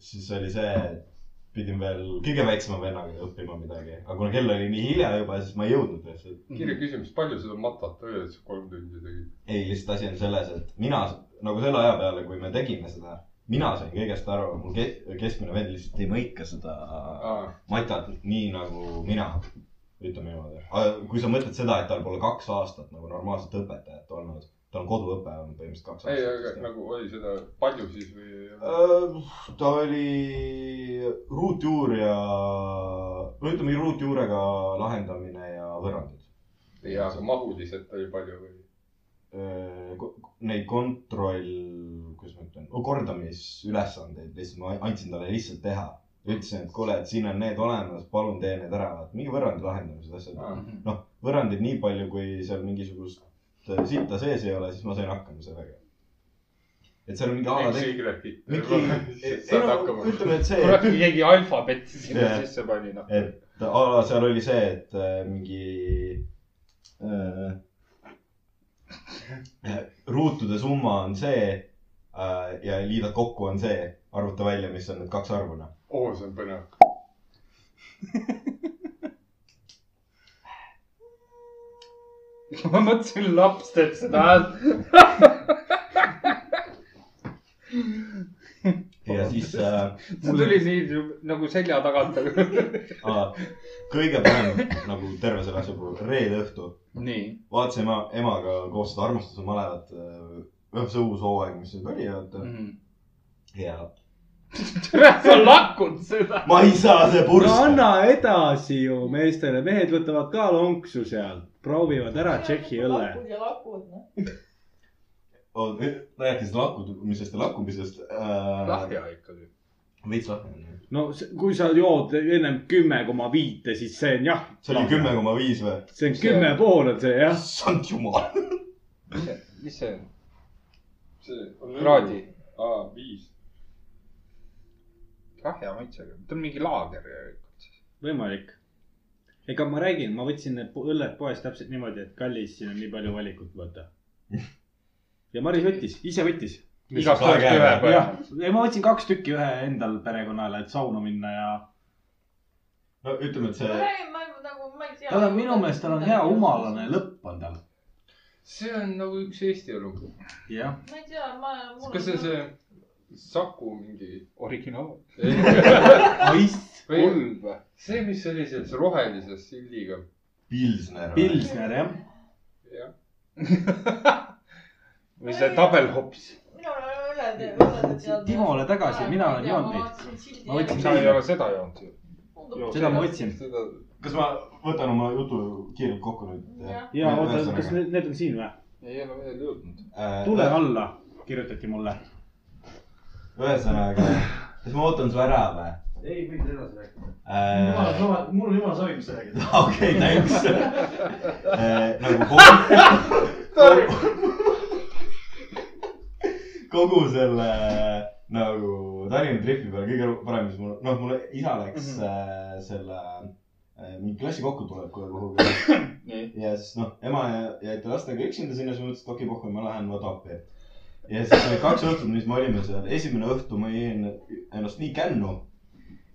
G: siis oli see , et pidin veel kõige väiksema vennaga õppima midagi , aga kuna kell oli nii hilja juba , siis ma ei jõudnud lihtsalt .
E: kiire küsimus , palju seda matat öös kolm tundi tegid ?
G: ei , lihtsalt asi on selles , et mina nagu selle aja peale , kui me tegime seda , mina sain kõigest aru , mul ke- keskmine vend lihtsalt ei mõika seda matad nii nagu mina , ütleme niimoodi . kui sa mõtled seda , et tal pole kaks aastat nagu normaalset õpetajat olnud , tal on koduõpe olnud põhimõtteliselt kaks
E: ei , aga
G: aastat .
E: nagu oli seda palju siis või ?
G: Äh, ta oli ruutjuur ja , no ütleme ruutjuurega lahendamine ja võrrandid .
E: ja mahuliselt oli palju või ?
G: Äh, Neid kontroll , kuidas ma ütlen , kordamisülesandeid lihtsalt ma andsin talle lihtsalt teha ütlesin , et kuule , et siin on need olemas , palun tee need ära , vaat mingi võrrandi lahendamised , asjad .
E: aa , mhm.
G: noh , võrrandid nii palju , kui seal mingisugust äh, sitta sees ei ole , siis ma sain hakkama sellega . et seal on mingi a la
E: eks
G: tegi-
E: Y-t .
G: mingi , ei
E: saad
G: no
E: hakkama .
G: ütleme , et see ,
B: kurat , keegi alfabeti sinna
G: Jah.
B: sisse pani , noh .
G: et a la seal oli see , et äh, mingi äh, ruutude summa on see äh, ja liida kokku on see , arvuta välja , mis on need kaks noh. arvuna .
E: oo , Oh, see on põnev .
B: ma mõtlesin , laps teeb seda häält .
G: ja siis äh,
B: see tuli nii nagu selja tagant .
G: a- kõige parem nagu terve selle asja puhul , reede õhtu
B: nii .
G: vaatasin ema , emaga koos seda armastuse malevat , noh , see uus hooaeg , mis nüüd oli , vaata . ja
B: Mhm. sa lakkud seda .
G: ma ei saa see
C: no
G: purss .
C: anna edasi ju meestele , mehed võtavad ka lonksu sealt , proovivad ära Tšehhi õlle .
D: nagu lakud ja lakud , noh .
G: rääkisid lakkumisest ja lakkumisest äh, .
E: lahja ikkagi .
G: veits lahja on ju .
C: no s- kui sa jood ennem kümme koma viite , siis see on jah ,
G: see oli kümme koma viis või ?
C: see on kümme pool on see jah .
G: issand jumal .
B: mis see on ?
E: see on ..
B: kraadi .
E: aa , viis .
B: lahja maitsega . ta on mingi laager järelikult siis .
C: võimalik . ega ma räägin , ma võtsin need po- õlled poest täpselt niimoodi , et kallis , siin on nii palju valikut , vaata . ja Maris võttis , ise võttis .
B: igast ühest ühe
C: jah
B: põhimõtteliselt .,
C: ja ma võtsin kaks tükki ühe endal perekonnale , et sauna minna ja .
G: no ütleme , et
D: ma
G: see ,
D: räägin , ma nagu , ma ei tea .
C: tal on minu meelest , tal on hea umalane . lõpp on tal .
E: see on nagu üks Eesti elu .
C: jah ,
D: ma ei tea , ma .
E: kas see on see Saku mingi ?
B: originaal .
C: oiss ,
E: hull või ? see , mis oli selles rohelises sildiga .
G: Pilsner .
C: pilsner jah .
E: jah .
B: või see tabelhops .
D: minul on õled , õled .
C: Äh, Timole tagasi , mina olen joonud neid .
D: neid
C: Ma võtsin-
B: sa ei ole seda joonud ju .
C: seda ma võtsin .
E: seda ,
G: kas ma võtan oma jutu kiirelt kokku nüüd ?
C: ja oota , kas need , need on siin või ?
E: ei ole veel jõudnud .
G: Äh,
C: tule . alla , kirjutati mulle .
G: ühesõnaga , kas ma ootan su ära või ?
H: ei , võid edasi rääkida .
G: Äh,
H: jumala soov , mul on jumala soov , mis sa räägid .
G: okei , thanks . nagu kogu kogu selle nagu Tallinna tripi peale kõige parem , mis mul , noh , mul isa
H: Mhm.
G: läks mm -hmm. selle äh, mingi klassi kokkutulekule kuhugi .
B: Nii.
G: ja siis noh , ema jä- jäeti lastega üksinda sinna , siis ma mõtlesin , et okei , pohhu , ma lähen Vatapi . ja siis oli kaks õhtut , mis me olime seal , esimene õhtu ma jõin ennast nii kännu ,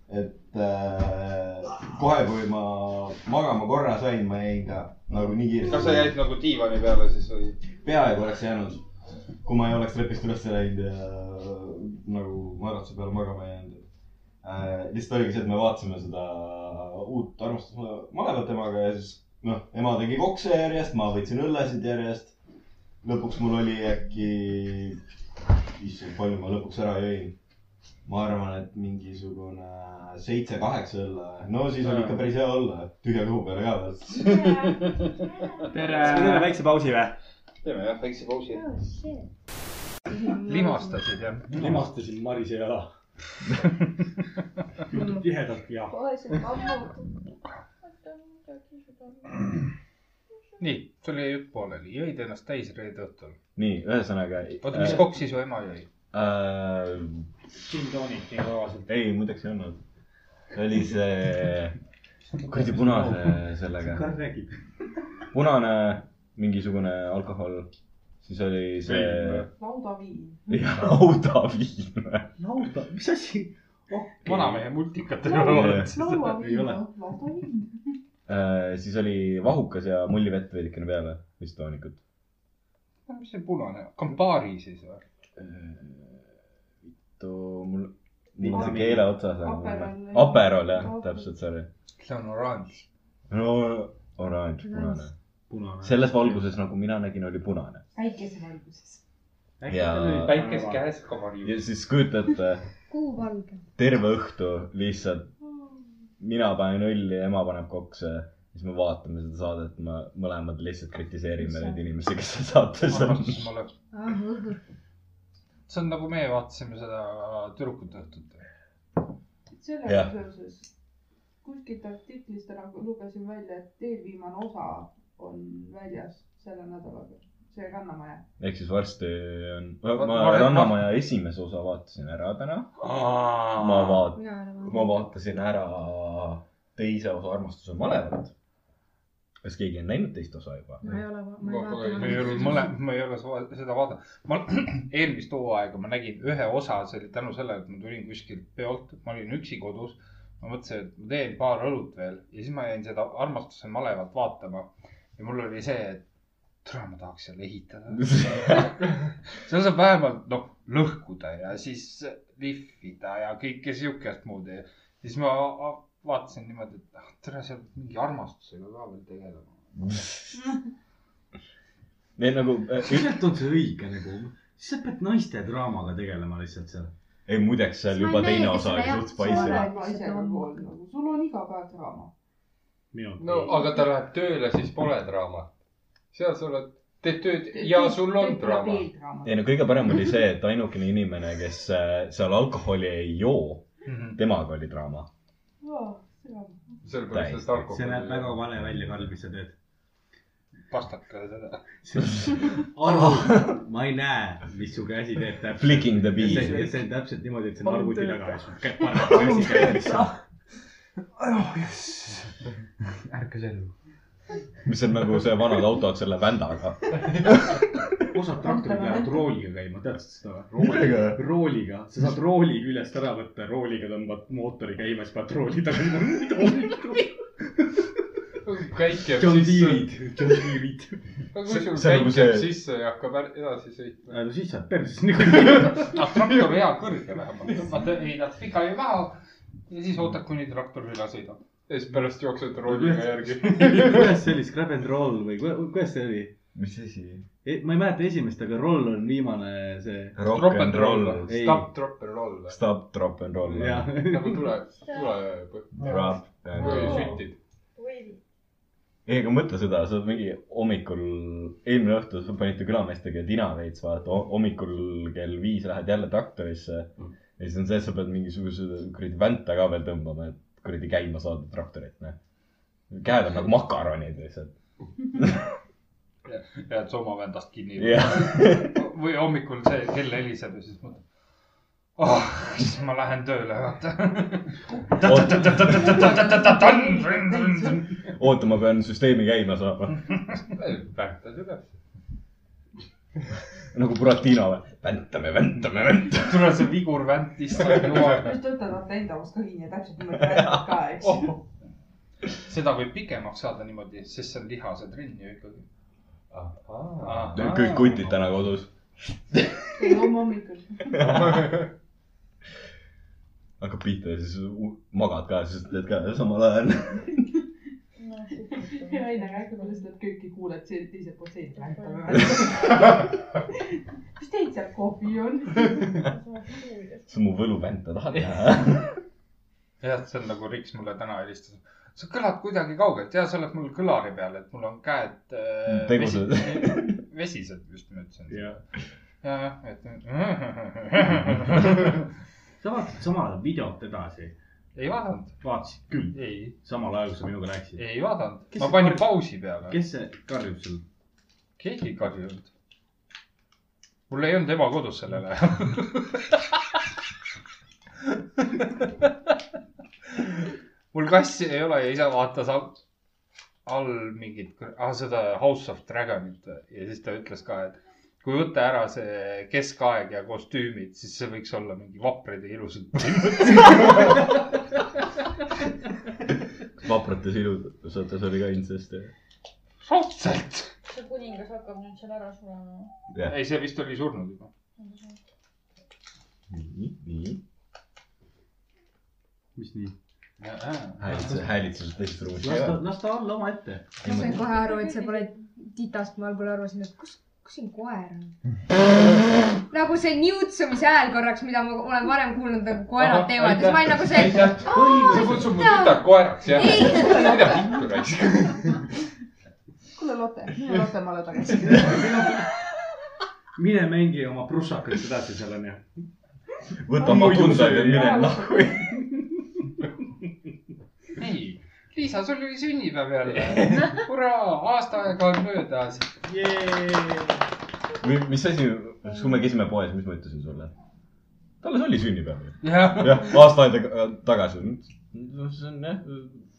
G: et äh, kohe , kui ma magama korra sain , ma jäin ka nagu nii kiiresti .
E: kas sa jäid nagu diivani peale siis või ?
G: peaaegu oleks jäänud , kui ma ei oleks trepist üles läinud ja nagu madratuse peal magama jäänud äh, . lihtsalt oligi see , et me vaatasime seda uut armastusmalevat emaga ja siis noh , ema tegi kokse järjest , ma võtsin õllesid järjest . lõpuks mul oli äkki , issand , palju ma lõpuks ära jõin ma arvan , et mingisugune seitse-kaheksa õlle , no siis oli ikka päris hea olla , tühja kõhu peale ka veel .
C: kas me teeme väikse pausi või ?
E: teeme jah , väikse pausi .
B: limastasid jah ?
C: limastasin Marise jala juhtub tihedalt ja .
B: nii , sul jäi jutt pooleli , jõid ennast täis reede õhtul .
G: nii , ühesõnaga .
B: oota , mis koksi su ema jõi ?
G: äh,
C: gin tonic nii kauaselt .
G: ei , muideks ei olnud . see oli see kuradi punase sellega ,
C: Karl räägib .
G: punane mingisugune alkohol , siis oli see
F: laudaviin .
G: jah, laudaviin .
C: lauda , mis asi ?
B: vanamehe multikat ei ole
G: Jah.
B: olnud .
C: Ei
F: laudaviin ,
C: ole.
F: laudaviin .
G: Äh, siis oli vahukas ja mullivett veidikene peale , vist toonikut .
B: no mis see punane , Campari siis või ?
G: too Äh, mul , mul on
F: Vitamiin.
G: see keele otsas on
F: Aperol. .
G: Aperol jah , täpselt , sorry .
B: see on oranž .
G: no oranž , punane .
C: punane .
G: selles valguses , nagu mina nägin , oli punane .
F: päikesevalguses .
G: ja ,
E: päikest käes ka
G: ja
E: varjus .
G: siis
A: äh,
G: kujutate
I: kuu valge .
G: terve õhtu lihtsalt mina panen õlli , ema paneb kokse , siis me vaatame seda saadet , me mõlemad lihtsalt kritiseerime neid inimesi , kes seal saates on .
J: Oh.
B: see on nagu meie vaatasime seda tüdrukute õhtut .
F: sellega
A: Jah.
F: seoses kuskilt artiklist ära lugesin välja , et eelviimane osa on väljas selle nädalaga , see Rannamaja .
A: ehk siis varsti on ,
B: Ma-
A: ma
B: ma-
A: Rannamaja esimese osa vaatasin ära täna . ma vaat- ,
J: mina
A: ma
J: arvan .
A: vaatasin ära teise osa Armastus on malevat . kas keegi on näinud teist osa juba ?
J: ma ei ole , ma
E: Ma
J: ei
E: pole-
J: vaata
B: ma ei . ole , ma olen , ma ei ole sava- seda vaadanud . ma eelmist hooaega ma nägin ühe osa , see oli tänu sellele , et ma tulin kuskilt peolt , ma olin üksi kodus . ma mõtlesin , et ma teen paar õlut veel ja siis ma jäin seda armastuse malevat vaatama ja mul oli see , et tule , ma tahaks seal ehitada . seal saab vähemalt noh , lõhkuda ja siis lihvida ja kõike siukest moodi . siis ma a- vaatasin niimoodi , et ah, tere , seal peab mingi armastusega ka veel tegelema .
A: Need nagu ,
C: tegelikult on see õige nagu , sa pead naiste draamaga tegelema lihtsalt seal .
A: ei muideks seal
J: Ma
A: juba
J: ei
A: teine osa
J: meeldi
A: oli
J: seda,
A: suht
J: jah.
F: sa
J: Paistab.
A: spicy .
F: oled naisega koos nagu , sul on iga päev draama .
C: minu
E: no aga ta läheb tööle , siis pole draamat . seal sa oled , teed tööd ja sul on draama .
A: ei no kõige parem oli see , et ainukene inimene , kes äh, seal alkoholi ei joo , temaga oli draama .
E: sellepärast , et alkohol .
C: see näeb väga vale välja , Karl , mis sa teed .
B: pastakale seda .
C: Arvo , ma ei näe , mis su käsi teeb täpselt .
A: Flicking the
C: Ja see-
A: bees.
C: ja see on täpselt niimoodi , et see on
J: Palun
C: arvuti
J: tööta.
C: taga ja sul käib parem käsi käib lihtsalt .
B: ärka sellu .
A: mis on nagu see vanad autod selle vändaga .
C: osad traktorid lähevad rooliga käima , tead sa seda või ? rooliga , sa saad rooli küljest ära võtta , rooliga tõmbad mootori käima , siis paned rooli tagasi .
E: käik jääb
C: John
E: sisse .
C: Deere'id , John Deere'id .
E: aga kui sul
A: See- see on
E: käik
A: nagu
E: jääb
A: see-
E: sisse ja hakkab är- edasi sõitma .
C: Äh, no siis saad perses niikuinii .
B: ah , traktor hea kõrge vähemalt , tõmbad heidad pikali maha ja siis ootad , kuni traktor üle sõidab .
E: ja siis pärast jooksed rolliga järgi .
C: kuidas see oli , scrap and roll või ku- kuidas see oli ?
A: mis asi ?
C: E, ma ei mäleta esimest , aga roll on viimane see .
A: Rock n roll .
C: Ei.
E: Stop , drop and roll .
A: Stop , drop n roll .
C: jah ,
E: nagu tule , tule
A: Drop n
E: või
A: roll .
E: sütid .
D: või
A: ei , aga mõtle seda , sa oled mingi hommikul , eelmine õhtu sa panite külameestega tina veits , vaata hommikul kell viis lähed jälle traktorisse . ja siis on see , et sa pead mingisuguse kuradi vänta ka veel tõmbama , et kuradi käima saada traktorit , noh . käed on nagu makaronid lihtsalt .
B: jääd soma vendast kinni
A: jah ,
B: või hommikul see kell heliseb ja siis mõtled . oh , siis ma lähen tööle , vaata .
A: oota , ma pean süsteemi käima saama .
E: väntad üles .
A: nagu Buratino või ? väntame , väntame , väntame .
B: tule see vigur väntist ,
F: just tõttan vaata enda omast ka kinni ja täpselt niimoodi räägid ka , eks ju .
B: seda võib pikemaks saada niimoodi , sest see on lihase trenn ju ikkagi .
A: kõik kutid täna kodus .
F: ei , homme hommikul .
A: hakkab pihta ja siis u- magad ka , siis teed ka samal ajal .
D: noh ,
F: Rainer räägib sellest , et kööki kuuled see- teiselt poolt seina lähedal . mis teil seal kohvi on ?
A: see on mu võluvänt , ta tahab näha .
B: jah , see on nagu Riks mulle täna helistas . sa kõlad kuidagi kaugelt ja sa oled mul kõlari peal , et mul on käed äh,
A: Tegusad.
B: vesi- vesised just ma ütlesin .
C: Mm, jah .
B: jah , et .
C: sa vaatasid samal ajal videot edasi .
B: ei vaadanud ,
C: vaatasid küll ,
B: ei ,
C: samal ajal kui sa minuga rääkisid .
B: ei vaadanud .
C: Kes
B: ma
C: see
B: panin
C: karjub?
B: pausi peale .
C: kes see karjub sul ?
B: keegi ei karjunud . mul ei olnud ema kodus sellel ajal . mul kassi ei ole ja isa vaatas all, all mingit ah, , seda House of Dragonit ja siis ta ütles ka , et kui võtta ära see keskaeg ja kostüümid , siis see võiks olla mingi vaprad ja ilusad
A: vaprates ilusates oli ka intsest ja .
B: raudselt .
D: see kuningas hakkab nüüd seal ära surema .
B: ei , see vist oli surnud juba .
A: nii , nii .
C: mis nii ?
A: häälitsus , häälitsus teisest ruumist
C: las
A: ei
C: ta
A: ole .,
C: las ta olla omaette .
J: ma sain kohe aru , et see pole titast , ma algul arvasin , et kus , kus siin koer on . nagu see niutsumise hääl korraks , mida ma olen varem kuulnud , nagu koerad
E: Ahah,
J: teevad ja siis ma olin nagu see ,
E: aitäh , sa kutsud mu tütar koeraks , jah ? mida pikku raisk .
F: kuule , Lotte , mine Lotte maale tagasi .
C: mine mängi oma prussakat edasi seal onju .
A: võta oma tunded ja mine lahku .
B: Liisa , sul oli sünnipäev jälle . hurraa , aasta aega on möödas .
A: mis asi , kui me käisime poes , mis ma ütlesin sulle ? tal oli sünnipäev ju .
B: jah ,
A: jah , aasta aega tagasi . see on jah ,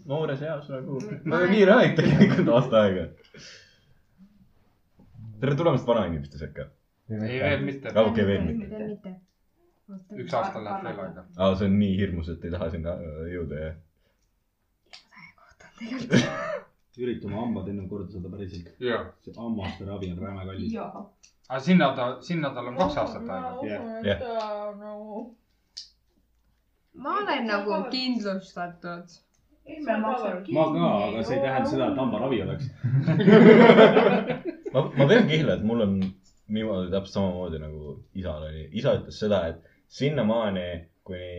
A: noores eas nagu , väga kiire aeg tegelikult , aasta aega . tere tulemast vanainimeste sekka .
B: ei veel mitte .
A: Okei, veel mitte.
J: veel mitte .
B: üks aasta läheb veel aega .
A: aa , see on nii hirmus , et ei taha sinna äh, jõuda , jah .
G: ürita oma hambad enne korda saada päriselt .
B: jah ,
G: see hammaste ravi on räme kallis .
F: jaa .
B: aga sinna ta , sinna tal on kaks aastat aega .
D: ma usun , et ta nagu .
J: ma olen nagu kindlustatud .
F: ei , me maksame .
G: ma ka , aga see ei tähenda seda , et hambaravi oleks .
A: ma , ma pean kihla , et mul on niimoodi täpselt samamoodi nagu isal oli . isa ütles seda , et sinnamaani , kuni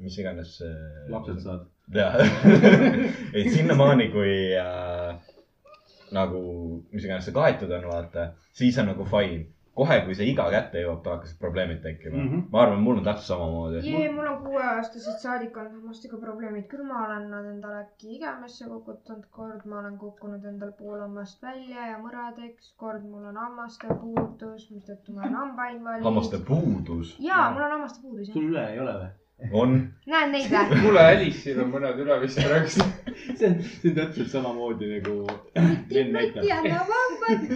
A: mis iganes see
G: lapsed saad .
A: jah , et sinnamaani , kui äh, nagu mis iganes see kaetud on , vaata , siis on nagu fine . kohe , kui see iga kätte jõuab , hakkasid probleemid tekkima mm .
G: Mhm.
A: -hmm. ma arvan , mul on täpselt samamoodi .
J: jee , mul on kuueaastased saadik olnud hammastega probleemid , küll ma olen nad endale äkki igemesse kukutanud , kord ma olen kukkunud endal pool hammast välja ja mõradeks , kord mul on hammaste puudus , mistõttu ma olen hambainvaliid .
A: hammaste puudus
J: jaa , mul on hammaste puudus jah .
G: sul üle ei ole või ?
A: on ,
J: näed neid või ?
E: kuule , Alice'il on mõned üle vist praegu .
G: see on , see on täpselt samamoodi nagu Glen näitab .
J: jälle vambad ,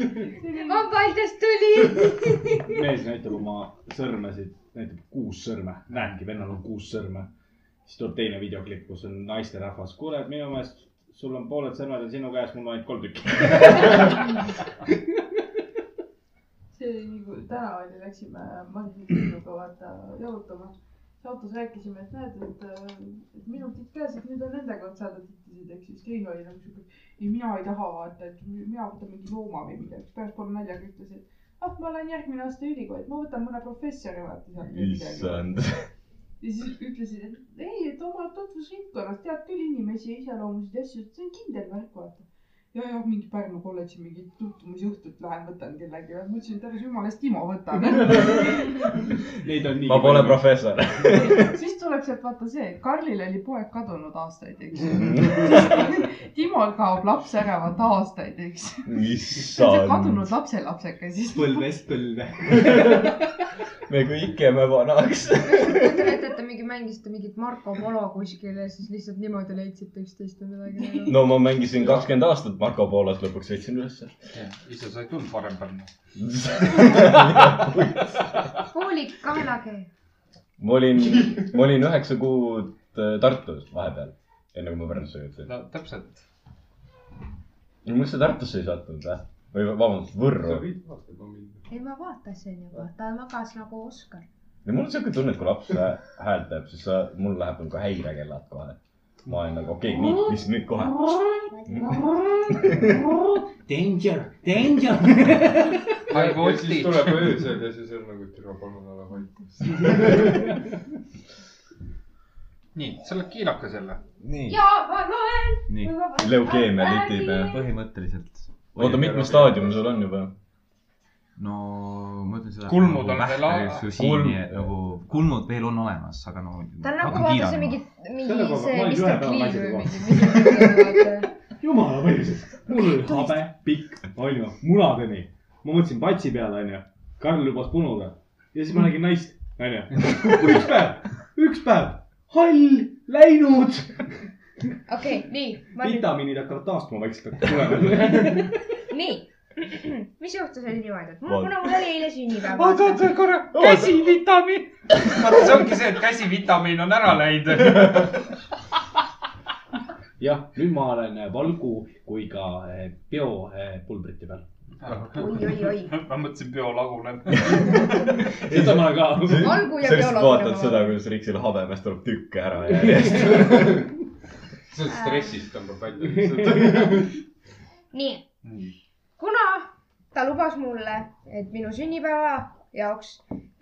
J: vambaidest tuli .
G: mees näitab oma sõrmesid , näitab kuus sõrme , näebki , vennal on kuus sõrme . siis tuleb teine videoklipp , kus on naisterahvas , kuule , minu meelest sul on pooled sõrmed on sinu käes , mul on ainult kolm tükki .
F: see oli nii , kui täna oli , läksime Mardi Tiinuga vaata jalutama . siis autos rääkisime , et näed , et , äh, et minu titt käes , et nüüd on nendega otsaga tittisid , ehk siis Kein oli nagu siuke , ei mina ei taha vaata , et mi- mina võtan mingi looma või midagi . päevaspool naljaga ütles , et ah , ma lähen järgmine aasta ülikooli , et ma võtan mõne professori vaata sealt või midagi .
A: issand .
F: ja siis ütlesid , et ei , et oma tutvusringkonnas tead küll inimesi ja iseloomusid ja asju , et see on kindel värk , vaata . ja , ja mingi Pärnu kolledži mingi tutvumisjuhtut lähen võtan kellegi , ma ütlesin , et ära jumala eest Timo võtan .
G: Neid on nii .
A: ma pole . professor .
F: siis tuleb sealt vaata see , Karlil oli poeg kadunud aastaid , eks . Timol kaob laps ära vaata aastaid , eks . see on see
A: issand ,
F: kadunud lapselapsega siis .
G: põlvest põlve .
A: me kõik jääme vanaks .
J: kujutan ette , et te mingi mängisite mingit Marco Polo kuskil ja siis lihtsalt niimoodi leidsite üksteist või midagi .
A: no ma mängisin kakskümmend aastat Marko Poolat , lõpuks võtsin ülesse .
B: ise sai tund varem panna .
J: poolik kaelakeel .
A: ma olin , ma olin üheksa kuud äh, Tartus vahepeal , enne kui ma Pärnusse jõudsin .
B: no täpselt .
A: miks sa Tartusse ei sattunud või ? või vabandust , Võrru .
J: ei , ma vaatasin juba , ta magas nagu Oskar .
A: mul on siuke tunne , et kui laps hä- häält teeb , siis sa , mul läheb nagu häirekellad kohe . ma olen nagu okei okay, , nii , mis nüüd kohe .
G: Danger , danger .
B: I
E: siis
B: voltage .
E: tuleb öösel ja siis on nagu , et tere , palun ole vaikus .
B: nii , sa oled kiilakas jälle .
C: nii ,
J: ja ma loen .
C: nii ,
A: leukeemia litib ja .
C: põhimõtteliselt .
A: oota , mitme staadium sul on juba ?
C: no ma ütlen seda .
B: Kulmud on veel a-
C: kulm
A: Kulm- ,
C: nagu kulmud veel on olemas , aga no .
J: ta on nagu vaata see mingi ,
G: Selle
J: mingi
G: koha-
J: see
G: ma olin ühe
J: Mr
G: päeva
J: Clean
G: naisega
J: või
G: koos.
J: mingi .
G: jumala võimsus . mul oli habe , pikk , onju , munadeni . ma mõtlesin patsi peale , onju . Karl lubas punuga ja siis ma nägin naist , onju . üks päev , üks päev , hall , läinud .
J: okei , nii , ma nüüd ,
G: vitamiinid hakkavad taastuma vaikselt , hakkab tulema .
J: nii . mis juhtus oli niimoodi , et mul ,
A: Vaat-
J: kuna mul oli eile sünnipäev .
B: oot , oot , oot , korra , käsivitamiin . vaata , see ongi see , et käsivitamiin on ära läinud .
G: jah , nüüd ma olen valgu kui ka eh, biopulbrite peal .
J: oi , oi , oi .
B: ma mõtlesin , peo laguneb .
G: seda ma olen ka .
J: Valgu ja
A: sa lihtsalt
J: bioloogiline
A: vaatad
J: vahe.
A: seda , kuidas Riksil habemest tuleb tükke ära järjest .
E: see on stressist tõmbab välja lihtsalt .
J: nii , kuna ta lubas mulle , et minu sünnipäeva jaoks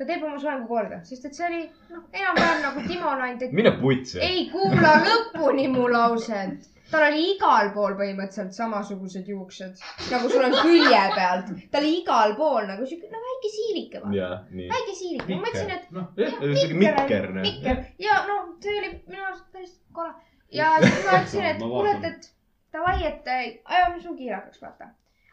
J: ta teeb oma soengu korda , sest et see oli noh , enam-vähem nagu Timon ainult , et
A: mine putsi .
J: ei kuula lõpuni mu lauset . tal oli igal pool põhimõtteliselt samasugused juuksed , nagu sul on külje pealt . ta oli igal pool nagu siuke , no väike siilike vaata ,
A: ja , nii .
J: väike siilike . ma mõtlesin , et
A: noh , jah , siuke mikker , noh .
J: mikker ja no see oli minu arust päris kole . ja siis ma ütlesin , et
A: Ma
J: kuule ,
A: vaatan.
J: et , et davai , et äh, ajame su kiilakaks , vaata .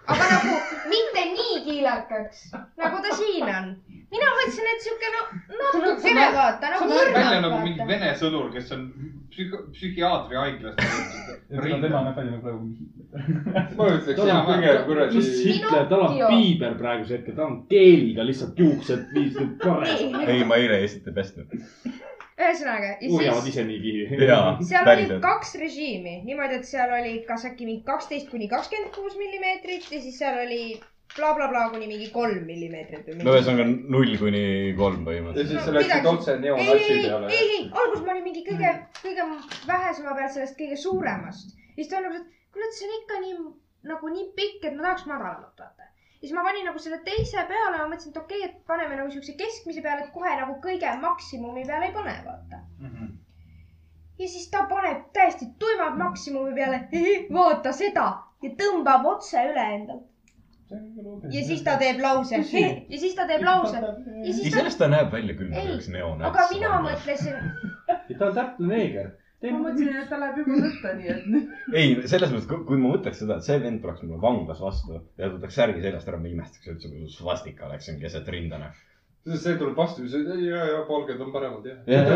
J: aga nagu mitte nii kiilakaks , nagu ta siin on . mina mõtlesin , et sihuke no natukene vaata nagu
B: välja nagu mingi
J: mõrnak .
B: vene sõdur , kes on psühho- , psühhiaatri haiglas .
C: tema näeb välja praegu mingi .
B: ma ütleks
C: tal on pigem kuradi . mis Hitler , tal on piiber praegusel hetkel , tal on keeliga lihtsalt juuksed viisid korras .
A: ei , ma eile esitan pestud .
J: ühesõnaga ja
C: hoiavad
J: siis
C: ise nii kivi .
A: jaa ,
J: seal oli
A: päriselt .
J: kaks režiimi , niimoodi , et seal oli kas äkki mingi kaksteist kuni kakskümmend kuus millimeetrit ja siis seal oli blablabla kuni mingi kolm millimeetrit või
A: no
J: midagi .
A: ühesõnaga null kuni kolm põhimõtteliselt .
J: Ja siis sa läksid otse ei ,
A: neonatsi
J: ei , ei , ei , ei , alguses ma olin mingi kõige , kõige vähesema peal sellest kõige suuremast . ja siis ta on nagu , et kuule , et see on ikka nii nagu nii pikk , et ma tahaks madalamat , vaata . ja siis ma panin nagu selle teise peale , ma mõtlesin , et okei okay, , et paneme nagu siukse keskmise peale , et kohe nagu kõige maksimumi peale ei pane , vaata . ja siis ta paneb täiesti tuimad maksimumi peale , vaata seda ja tõmbab otse üle endalt . ja siis ta teeb lause ja nagu siis ta teeb lause ja siis ta
A: iseenesest ta näeb välja küll
J: Ei,
A: nagu üks neonats .
J: aga mina . mõtlesin ,
C: ta on täpne neeger .
F: ma mõtlesin , et ta läheb juba sõtta , nii et
A: ei , selles mõttes , kui ma mõtleks seda , et see vend tuleks mulle vanglas vastu ja võtaks särgi seljast ära , ma imestaks üldse , kui svastika oleks siin keset rinda , noh .
E: see tuleb vastu , siis ei , ja , ja palged on paremad jah .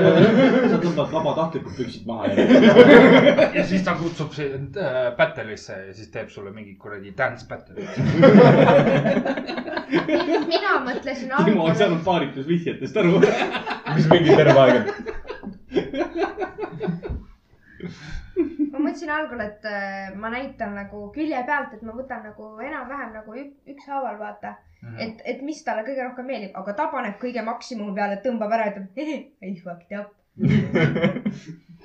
C: sa tõmbad vabatahtlikult püksid maha
B: ja siis ta kutsub sind äh, battle'isse ja siis teeb sulle mingi kuradi dance battle'i .
J: mina mõtlesin
C: Timo ei
J: alguses
C: saanud paaritusvihjetest aru .
A: mis mingi terve aeg .
J: ma mõtlesin algul , et äh, ma näitan nagu külje pealt , et ma võtan nagu enam-vähem nagu ük- ükshaaval , vaata . et , et mis talle kõige rohkem meeldib , aga ta paneb kõige maksimumi peale , tõmbab ära , ütleb ei fucked up .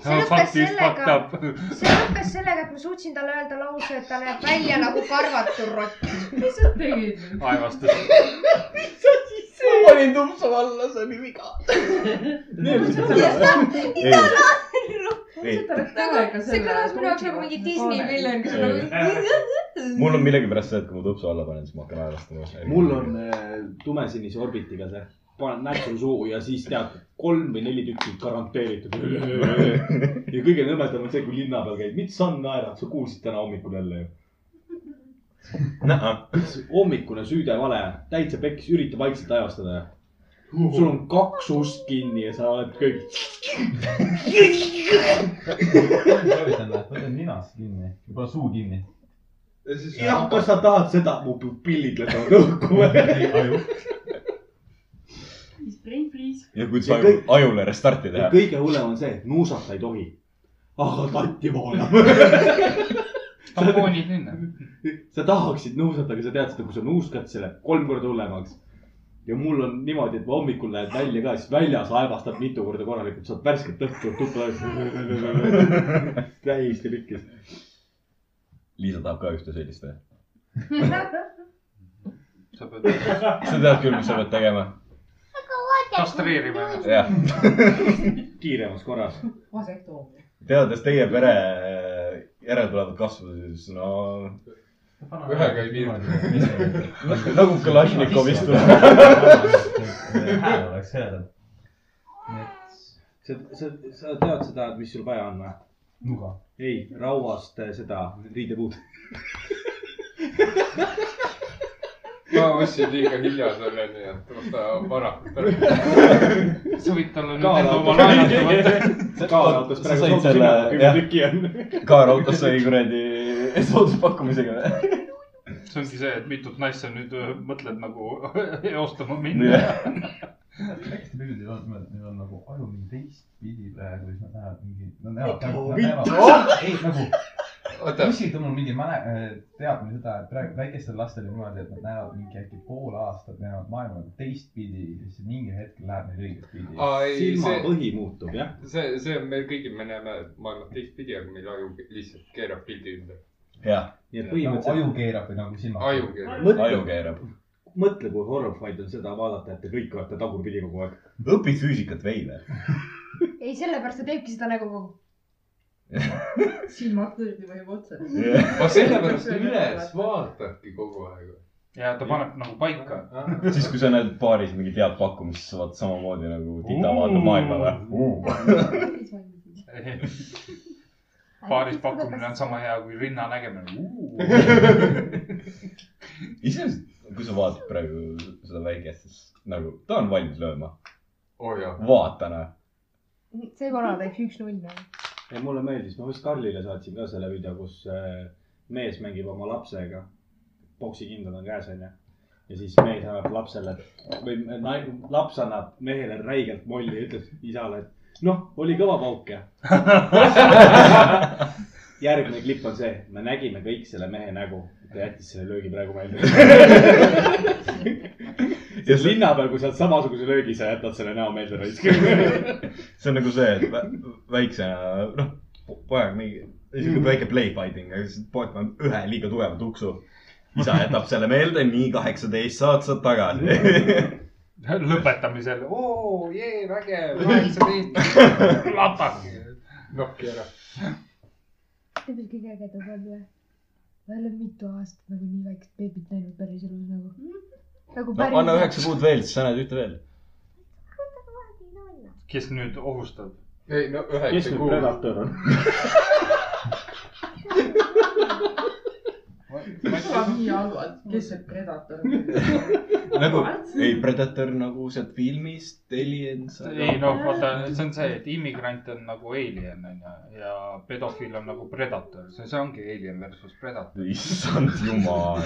J: see lõppes sellega , see lõppes sellega , et ma suutsin talle öelda lause , et ta näeb välja nagu karvatu rott . mis sa tegid ?
B: aevastus .
J: ma
K: panin tupsu alla , see oli viga .
A: ei ,
J: see kõlas minu jaoks nagu mingi Disney film , kus on nagu .
A: mul on millegipärast see , et kui ma tupsu alla panen , siis ma hakkan aevastama .
C: mul on äh, tumesinise orbitiga see , paned näksu suhu ja siis tead , kolm või neli tükki garanteeritud . ja kõige nõmedam on see , kui linna peal käid , miks sa naerad , sa kuulsid täna hommikul jälle ju . hommikune süüdevale , täitsa pekkis , ürita vaikselt ajastada . sul on kaks ust kinni ja sa oled kõik . soovitan
G: või ? võtan ninast kinni , võib-olla suu kinni .
C: jah , kas sa tahad seda , mu pillid lähevad õhku või ?
F: siis brain freeze .
A: ja kuidas
C: Ja
A: aju
C: kõik- ,
A: ajule restarti teha .
C: kõige hullem on see , et nuusata ei tohi . aga tatti voolab .
B: tampoonid linna .
C: sa tahaksid nuusata , aga sa tead seda , kui sa nuuskad selle kolm korda hullemaks . ja mul on niimoodi , et ma hommikul lähen välja ka , siis väljas aevastad mitu korda korralikult , saad värsket õhku tuppa täis . täiesti pikkis .
A: Liisa tahab ka ühte sellist või ?
B: sa pead
A: sa tead küll , mis sa pead tegema .
B: kastreerima ennast .
A: jah .
C: kiiremas korras .
K: vasektoomia .
A: teades teie pere järeltulevat kasvu , siis no .
E: ühega ei piirdu .
A: nagu Kalašnikovist tuleb .
C: hääl oleks hea . sa , sa , sa tead seda , mis sul vaja on või ? nuga . ei , rauast äh, seda riidepuud .
E: ma ostsin liiga hilja selle , nii et osta varakult .
B: sa võid talle nüüd
E: Kaal
B: enda oma
E: autos.
B: laenata võtta .
A: kaarautos
C: Sa said selle- jah.
A: kaarautos sai kuradi sooduspakkumisega või ?
B: see ongi see , et mitut naist sa nüüd öö, mõtled nagu eostama
A: Jah.
B: minna .
C: hästi
G: pildid on , neil on nagu aju mingi teistpidi praegu , siis nad näevad mingi , nad
C: Mitu-
G: näevad
C: mitu- .
G: ei nagu , kuskilt on mul mingi mäle , teadmine seda , et praegu väikestel lastel on niimoodi , et nad näevad mingi äkki pool aastat näevad maailma teistpidi ja siis mingi hetkel läheb neil õiget
E: Aa, ei,
G: pidi .
E: Silmapõhi
C: muutub jah .
E: see , see on meil kõigil , me näeme maailma teistpidi , aga meil aju lihtsalt keerab pildi ümber .
A: jah .
C: nii et
G: nagu
C: põhimõtteliselt
G: aju keerab või nagu silmad .
E: Aju keerab.
C: Aju
A: keerab .
C: mõtle , kui horrified on seda vaadata , et te kõik olete tagurpidi kogu aeg .
A: õpi füüsikat veidi .
J: ei , sellepärast ta teebki seda nägu kogu .
F: silmad tõesti vajub otsa .
E: ma sellepärast üles vaatadki kogu aeg .
B: ja ta paneb nagu paika .
A: siis , kui sa näed baaris mingit head pakkumist , siis sa vaatad samamoodi nagu Tita vaatab maailma või ?
B: baaris pakkumine on sama hea kui rinna nägemine .
A: iseenesest , kui sa vaatad praegu seda väikest , siis nagu ta on valmis lööma
E: oh, .
A: vaata noh .
J: see vana teeks üks-null või ?
C: ja mulle meeldis , ma vist Karlile saatsin ka selle video , kus äh, mees mängib oma lapsega . poksikindad on käes , onju . ja siis mees annab lapsele või nai- laps annab mehele räigelt molli ja ütleb isale , et noh , oli kõva pauk ja . järgmine klipp on see , me nägime kõik selle mehe nägu , ta jättis selle löögi praegu välja . ja linna peal , kui sa oled samasuguse löögi , sa jätad selle näo meelde raiskama .
A: see on nagu see , et vä- väiksena , noh , poeg mingi , sihuke väike play fighting , aga siis poeg paneb ühe liiga tugeva tuksu . isa jätab selle meelde , nii kaheksateist saad sa tagasi .
B: lõpetamisel , oo , jee , vägev , kaheksateist , lapake , nokki ära .
J: tead , mis kõige ägedam on või ? ma ei ole mitu aastat nagu nii väikest beebit näinud päriselus nagu . nagu
A: no anna üheksa kuud veel , siis sa näed ühte veel .
B: kes nüüd ohustab ?
E: ei no üheksa kuu .
C: on ?
L: kõlab nii halvalt , kes see predator
A: nagu , ei , Predator nagu sealt filmist , Aliens .
B: ei noh , vaata , see on see , et immigrant on nagu alien onju ja pedofiil on nagu predator , see , see ongi alien versus predator .
A: issand jumal .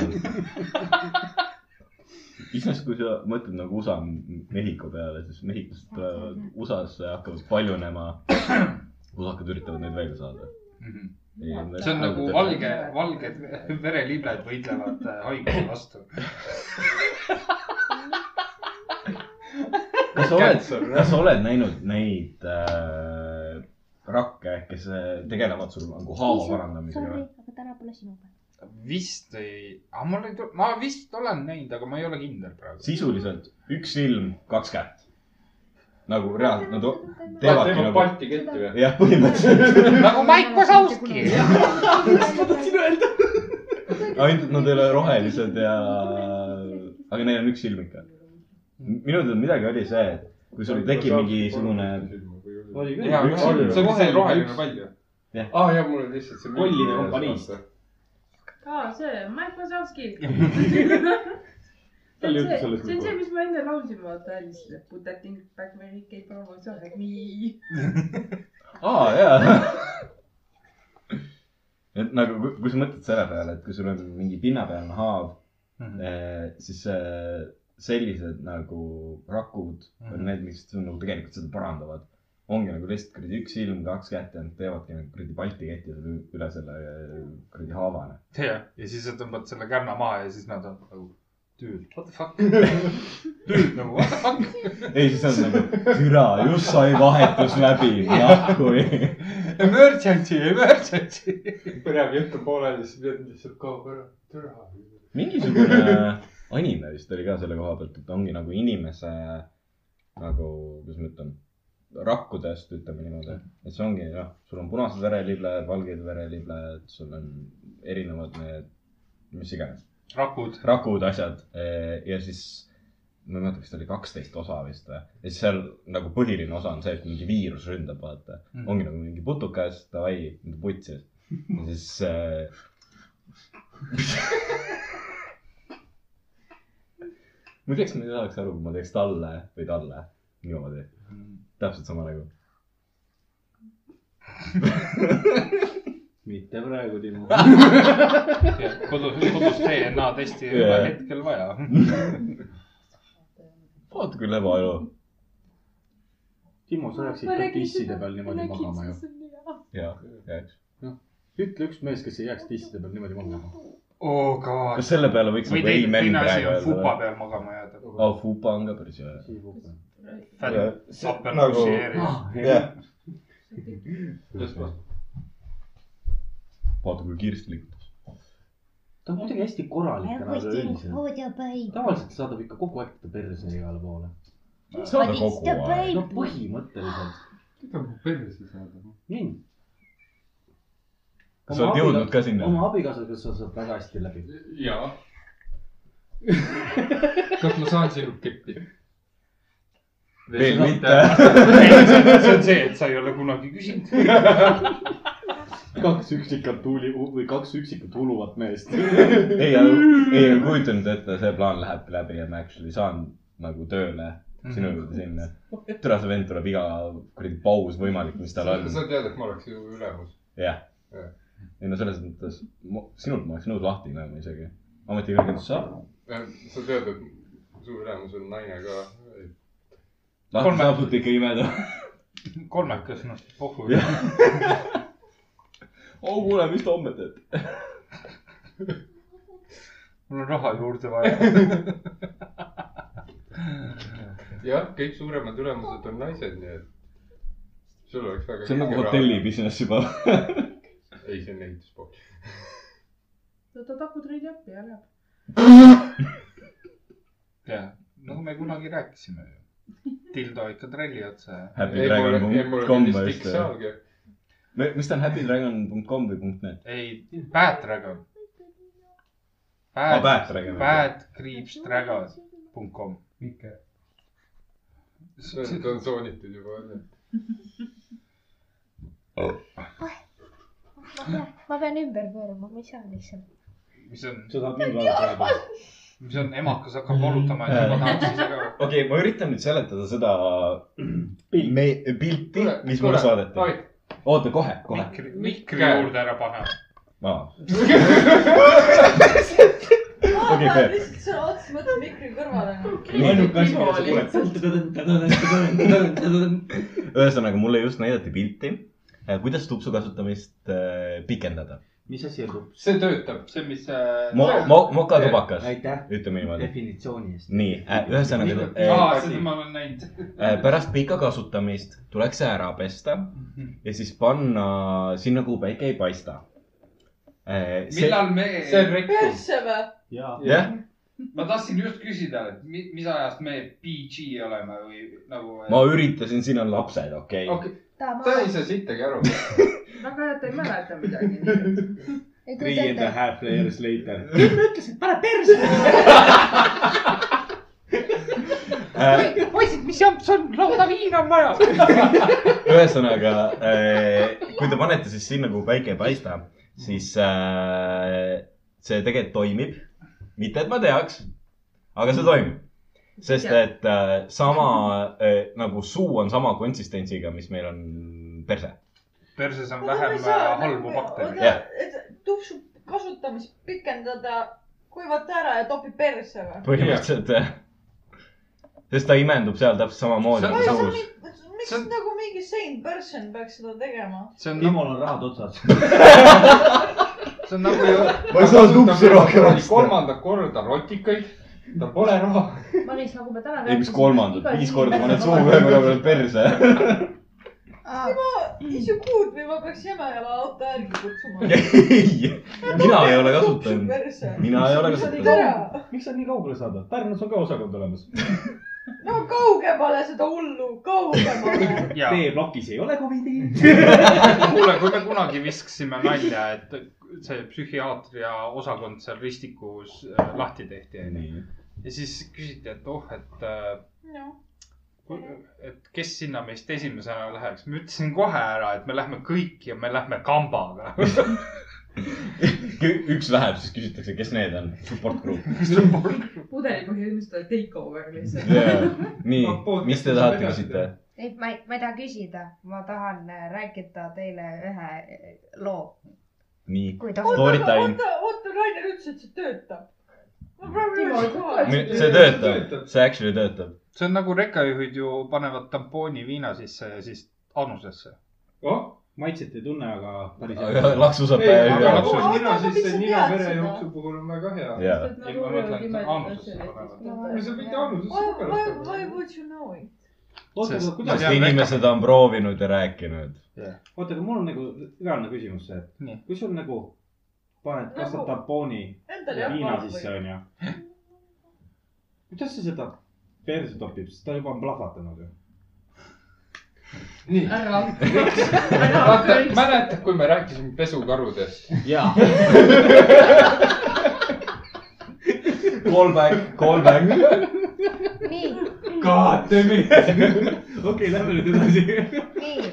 A: iseenesest , kui sa mõtled nagu USA , Mehhiko peale , siis mehhiklased tulevad USA-sse ja hakkavad paljunema . usakad üritavad neid välja saada .
B: Mhm. see on nagu valge , valged verelibled võitlevad äh, haiguse vastu .
A: kas sa oled , kas sa oled näinud neid äh, rakke , kes äh, tegelevad sul nagu haava parandamisega või ??
J: aga täna pole sinu päev .
B: vist ei , aga mul ei tule , ma vist olen näinud , aga ma ei ole kindel praegu .
A: sisuliselt üks silm , kaks kätt . nagu reaalselt nad o-
E: teevad
A: teevadki nagu .
E: palti ketti või ?
A: jah , põhimõtteliselt .
B: nagu Mait Kosovski .
J: ma
C: tahtsin öelda .
A: ainult nad ei ole rohelised ja , aga neil on üks silm ikka . minu teada midagi oli see , et kui sul tekib mingisugune .
C: oli
B: Jaa,
A: üks
B: see on- see on
A: silm .
B: see roheline nagu pall ju .
E: aa ah, jah , mul on lihtsalt see .
C: Kolline kompaniist. .
F: aa , see Mike Wazowski . see
C: Ta
F: on
C: lööb
F: see ,
C: selles
F: see on
C: nagu-
F: see , mis ma enne laulsin , vaata Alice'ile . Put that thing back where it came from , it's like me .
A: aa , jaa . et nagu , kui sa mõtled selle peale , et kui sul on mingi pinnapealne haav mm , -hmm. siis eh, sellised nagu rakud mm -hmm.
B: Mhm.
A: on need , mis sul nagu tegelikult seda parandavad . ongi nagu lihtsalt kuradi üks silm , kaks kätt ja nad teevadki nagu kuradi balti ketti sulle üle selle eh, kuradi haavane .
B: jah , ja siis sa tõmbad selle kärna maha ja siis nad on nagu dude , what the fuck . Dude nagu what the fuck .
A: ei , siis on nagu , türa , just sai vahetus läbi , nahku .
B: Emergency , emergency .
E: põnev jutt on pooleli , siis pead lihtsalt kaob ära . türa .
A: mingisugune anime vist oli ka selle koha pealt , et ongi nagu inimese nagu , kuidas ma ütlen , rakkudest , ütleme niimoodi . et see ongi noh , sul on punased verelibled , valged verelibled , sul on erinevad need , mis iganes .
B: rakud .
A: rakud , asjad Eh, ja siis ma ei mäleta , kas ta oli kaksteist osa vist või , ja siis seal nagu põhiline osa on see , et mingi viirus ründab , vaata mm. .
B: Mhm.
A: ongi nagu mingi putukas , davai , putsis . ja siis äh, ma ei teaks , ma ei saaks aru , kui ma teeks talle või talle niimoodi . täpselt sama nagu .
C: mitte praegu , Timo .
B: kodus , kodus DNA testi ei ole
A: Jaa.
B: hetkel vaja .
A: vaata kui lebaelu .
C: Timo , sa jääks ikka tisside peal niimoodi magama ju .
A: ja , ja .
C: noh , ütle üks mees , kes ei jääks tisside peal niimoodi magama .
B: oh god .
A: kas selle peale võiks
B: või
A: nagu
B: teine ,
A: amen
B: teine asi on
A: praegu öelda
B: fupa
A: või?
B: peal magama jääda .
A: aa , fupa on ka Oh, päris hea .
B: Fat
A: Jaa, see-
B: upper
A: nagu-
B: pussy
C: Ah,
B: area .
A: jah . vaata kui kiiresti liigutab .
C: ta on muidugi hästi korralik täna üleüldiselt . tavaliselt saadab ikka kogu aeg ta perse igale poole .
A: saada kogu aeg .
C: no põhimõtteliselt .
E: mida mu perse saadab ?
C: nii .
A: Kas sa oled jõudnud ka sinna?
C: oma abikaasaga sa saad väga hästi läbi .
E: jaa . kas ma saan sinu keppi ?
A: Veel mitte.
B: see on see , et sa ei ole kunagi küsinud .
C: kaks üksikut huuli või kaks üksikut huluvat meest .
A: ei , ei , ei kujutanud ette , see plaan läheb läbi ja ma actually saan nagu tööle sinu
B: Mhm.
A: juurde sinna . türa , see vend tuleb iga kuradi paus võimalik , mis tal on .
E: sa tead , et ma oleks ju ülemus .
A: jah . ei no selles mõttes , sinult ma oleks nõus lahti minema isegi . ometi kõrgendus saab .
E: Äh, sa tead , et su ülemus on naine ka .
A: lahti
B: Kolme-
A: saab suht ikka imeda .
B: kolmekas , noh , pohhu .
A: Jah. oo , kuule , mis te homme teete ?
B: mul on raha juurde vaja .
E: jah , kõik suuremad ülemused on naised , nii et sul oleks väga .
A: see on nagu hotelli . business juba .
E: ei , see on ehituspood .
F: ta ta takub treidi appi ja läheb .
B: jah , nagu me kunagi rääkisime ju . Tildo ikka trelli otsa ja .
A: Happy
E: Ei,
A: Dragon
E: mulle- ei, mulle
A: punkt com
E: meeldis
A: või
E: Dick Saag, jah.
A: just . mis ta on , Happy Dragon punkt com või punkt net ?
B: ei , Bad Dragon .
A: Aa, Ah, Bad Dragon.
B: Bad Creeps Dragon punkt kom .
M: Mikke .
E: ta on soonitud juba , on ju .
J: ma pean , ma pean ümber pöörama , ma ei saa lihtsalt .
B: mis on ,
C: sa tahad mind vaadata juba ?
B: mis on emakas hakkab valutama , et juba tahaks ise ka .
A: okei , ma üritan nüüd seletada seda me- pilti , mis mulle
B: kuule,
A: saadeti
B: Ait. .
A: oota , kohe , kohe .
B: mikri juurde ära pane .
A: Okei, fair.
D: lihtsalt sõna otseses mõttes mikri kõrvale .
C: ainuke asi , mida sa kuuled .
A: ühesõnaga , mulle just näidati pilti , kuidas tupsu kasutamist äh, pikendada .
N: mis asi on tups ?
B: see töötab , see , mis äh,
A: Mo- , mo- , mokatubakas
N: Aitäh. ,
A: ütleme niimoodi .
N: definitsiooni eest .
A: nii äh, , ühesõnaga
B: aa ,
A: äh,
B: seda ma olen näinud .
A: äh, pärast pika kasutamist tuleks see ära pesta ja siis panna sinna , kuhu päike ei paista äh, .
B: millal me ,
E: see on rektus .
D: persse või ?
A: jah ,
B: ma tahtsin just küsida , et mi- mis ajast me PG oleme või nagu .
A: ma üritasin , siin on lapsed , okei okay. .
B: okei ,
E: ta ei saa sittagi aru .
F: väga hea , et ta ei mäleta midagi .
C: Three and a half years later .
F: ütlesid , pane perse .
A: Äh,
B: poisid , mis jamps on , lauda viina on vaja .
A: ühesõnaga , kui te panete siis sinna , kuhu päike ei paista , siis äh, see tegelikult toimib . mitte , et ma teaks , aga see toimib . sest et äh, sama äh, nagu suu on sama konsistentsiga , mis meil on Mm, perse .
B: perses on vähem äh, halbu baktereid .
A: Jah.
D: tupsu kasutamist pikendada , kuivata ära ja topi persse või ?
A: põhimõtteliselt äh, . sest ta imendub seal täpselt samamoodi
B: See-
A: nagu suus .
D: miks nagu mingi sane person peaks seda tegema ?
B: see on ,
C: Timol on rahad otsas .
B: see on nagu ju .
A: Ma ei saa tupsu rohkem osta.
E: kolmanda korda rotikaid , tal pole raha .
F: Maris , nagu me täna
A: ei , mis kolmandat , viis korda paned suu ühe korra peale perse .
D: siis ju kuud või ma peaks Jämejala auto järgi kutsuma .
A: ei , mina ei ole kasutanud . mina ei ole kasutanud .
C: miks sa nii kaugele saadad ? Pärnus on ka osakond olemas .
D: no kaugemale seda hullu , kaugemale .
C: teeplokis ei ole Covidi .
B: kuule , kui me kunagi viskasime nalja , et see psühhiaatria osakond seal Ristikus äh, lahti tehti , onju . ja siis küsiti , et oh , et äh, ku- et kes sinna meist esimesena läheks . ma ütlesin kohe ära , et me lähme kõik ja me lähme kambaga .
A: üks läheb , siis küsitakse , kes need on , support group .
F: pudelipõhi ilmselt take over
A: Jaa.
F: lihtsalt .
A: nii
E: Ma , pood-
A: mis te tahate küsida ?
J: ei , ma ei , ma ei taha küsida , ma tahan äh, rääkida teile ühe äh, loo .
A: nii ,
J: Kui tohib.
A: story time .
D: oota , oota , Rainer ütles , et see töötab . ma praegu ei
F: Timo,
D: saa
F: oota,
D: aru .
A: see töötab , see actually töötab .
B: see on nagu rekkajuhid ju panevad tampooni viina sisse ja siis anusesse .
C: maitset ei tunne , aga päris
A: aga laksu saab
E: Oh, ei ,
A: pähe
E: aga
A: hüve .
E: lapsus
D: Oota,
E: nina
D: aga mis
E: sisse
D: sa
E: nina
D: tead
E: verejooksu
D: seda?
E: puhul on väga hea .
F: nagu
A: jaa ,
B: ei ,
D: nagu
B: ma mõtlen , et anusesse panevad .
E: me saame mitte
D: Why,
E: algusesse
D: why ,
E: pärast .
D: why would you know it ?
C: oota , aga kuidas
A: sest , inimesed on proovinud ja rääkinud .
C: oota , aga mul on nagu reaalne küsimus see ,
B: Nii.
C: et kui sul nagu paned , kasvad
D: Nagu-
C: tampooni
D: Endal jah .
C: viina sisse , onju . kuidas sa seda perse topib , sest ta juba on plahvatanud ju .
E: nii ,
F: ära .
E: vaata , mäletad , kui me rääkisime pesukarudest ?
C: jaa .
A: Call back , call back .
J: nii ,
C: God damn it . okei , lähme nüüd edasi .
J: nii ,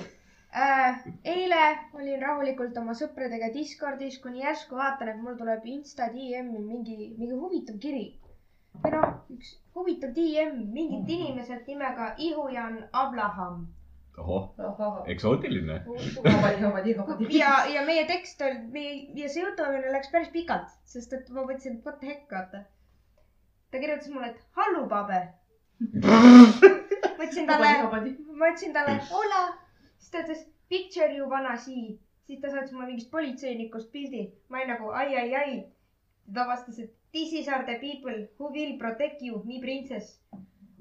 J: Äh, eile olin rahulikult oma sõpradega Discordis , kuni järsku vaatan , et mul tuleb Insta DM-i mingi , mingi huvitav kiri . või noh , üks huvitav DM mingilt inimeselt nimega Ihujan Ablaham .
G: ohoh , eksootiline .
J: ja , ja meie tekst oli , meie ja see jutuajamine läks päris pikalt , sest et ma mõtlesin , et what the heck , vaata . ta kirjutas mulle , et hallo , Pabe . ma ütlesin talle , ma ütlesin talle hola , siis ta ütles picture you vana sii , siis ta saatis mulle mingist politseinikust pildi , ma olin nagu ai , ai , ai . ta vastas , et this is are the people who will protect you , me princess .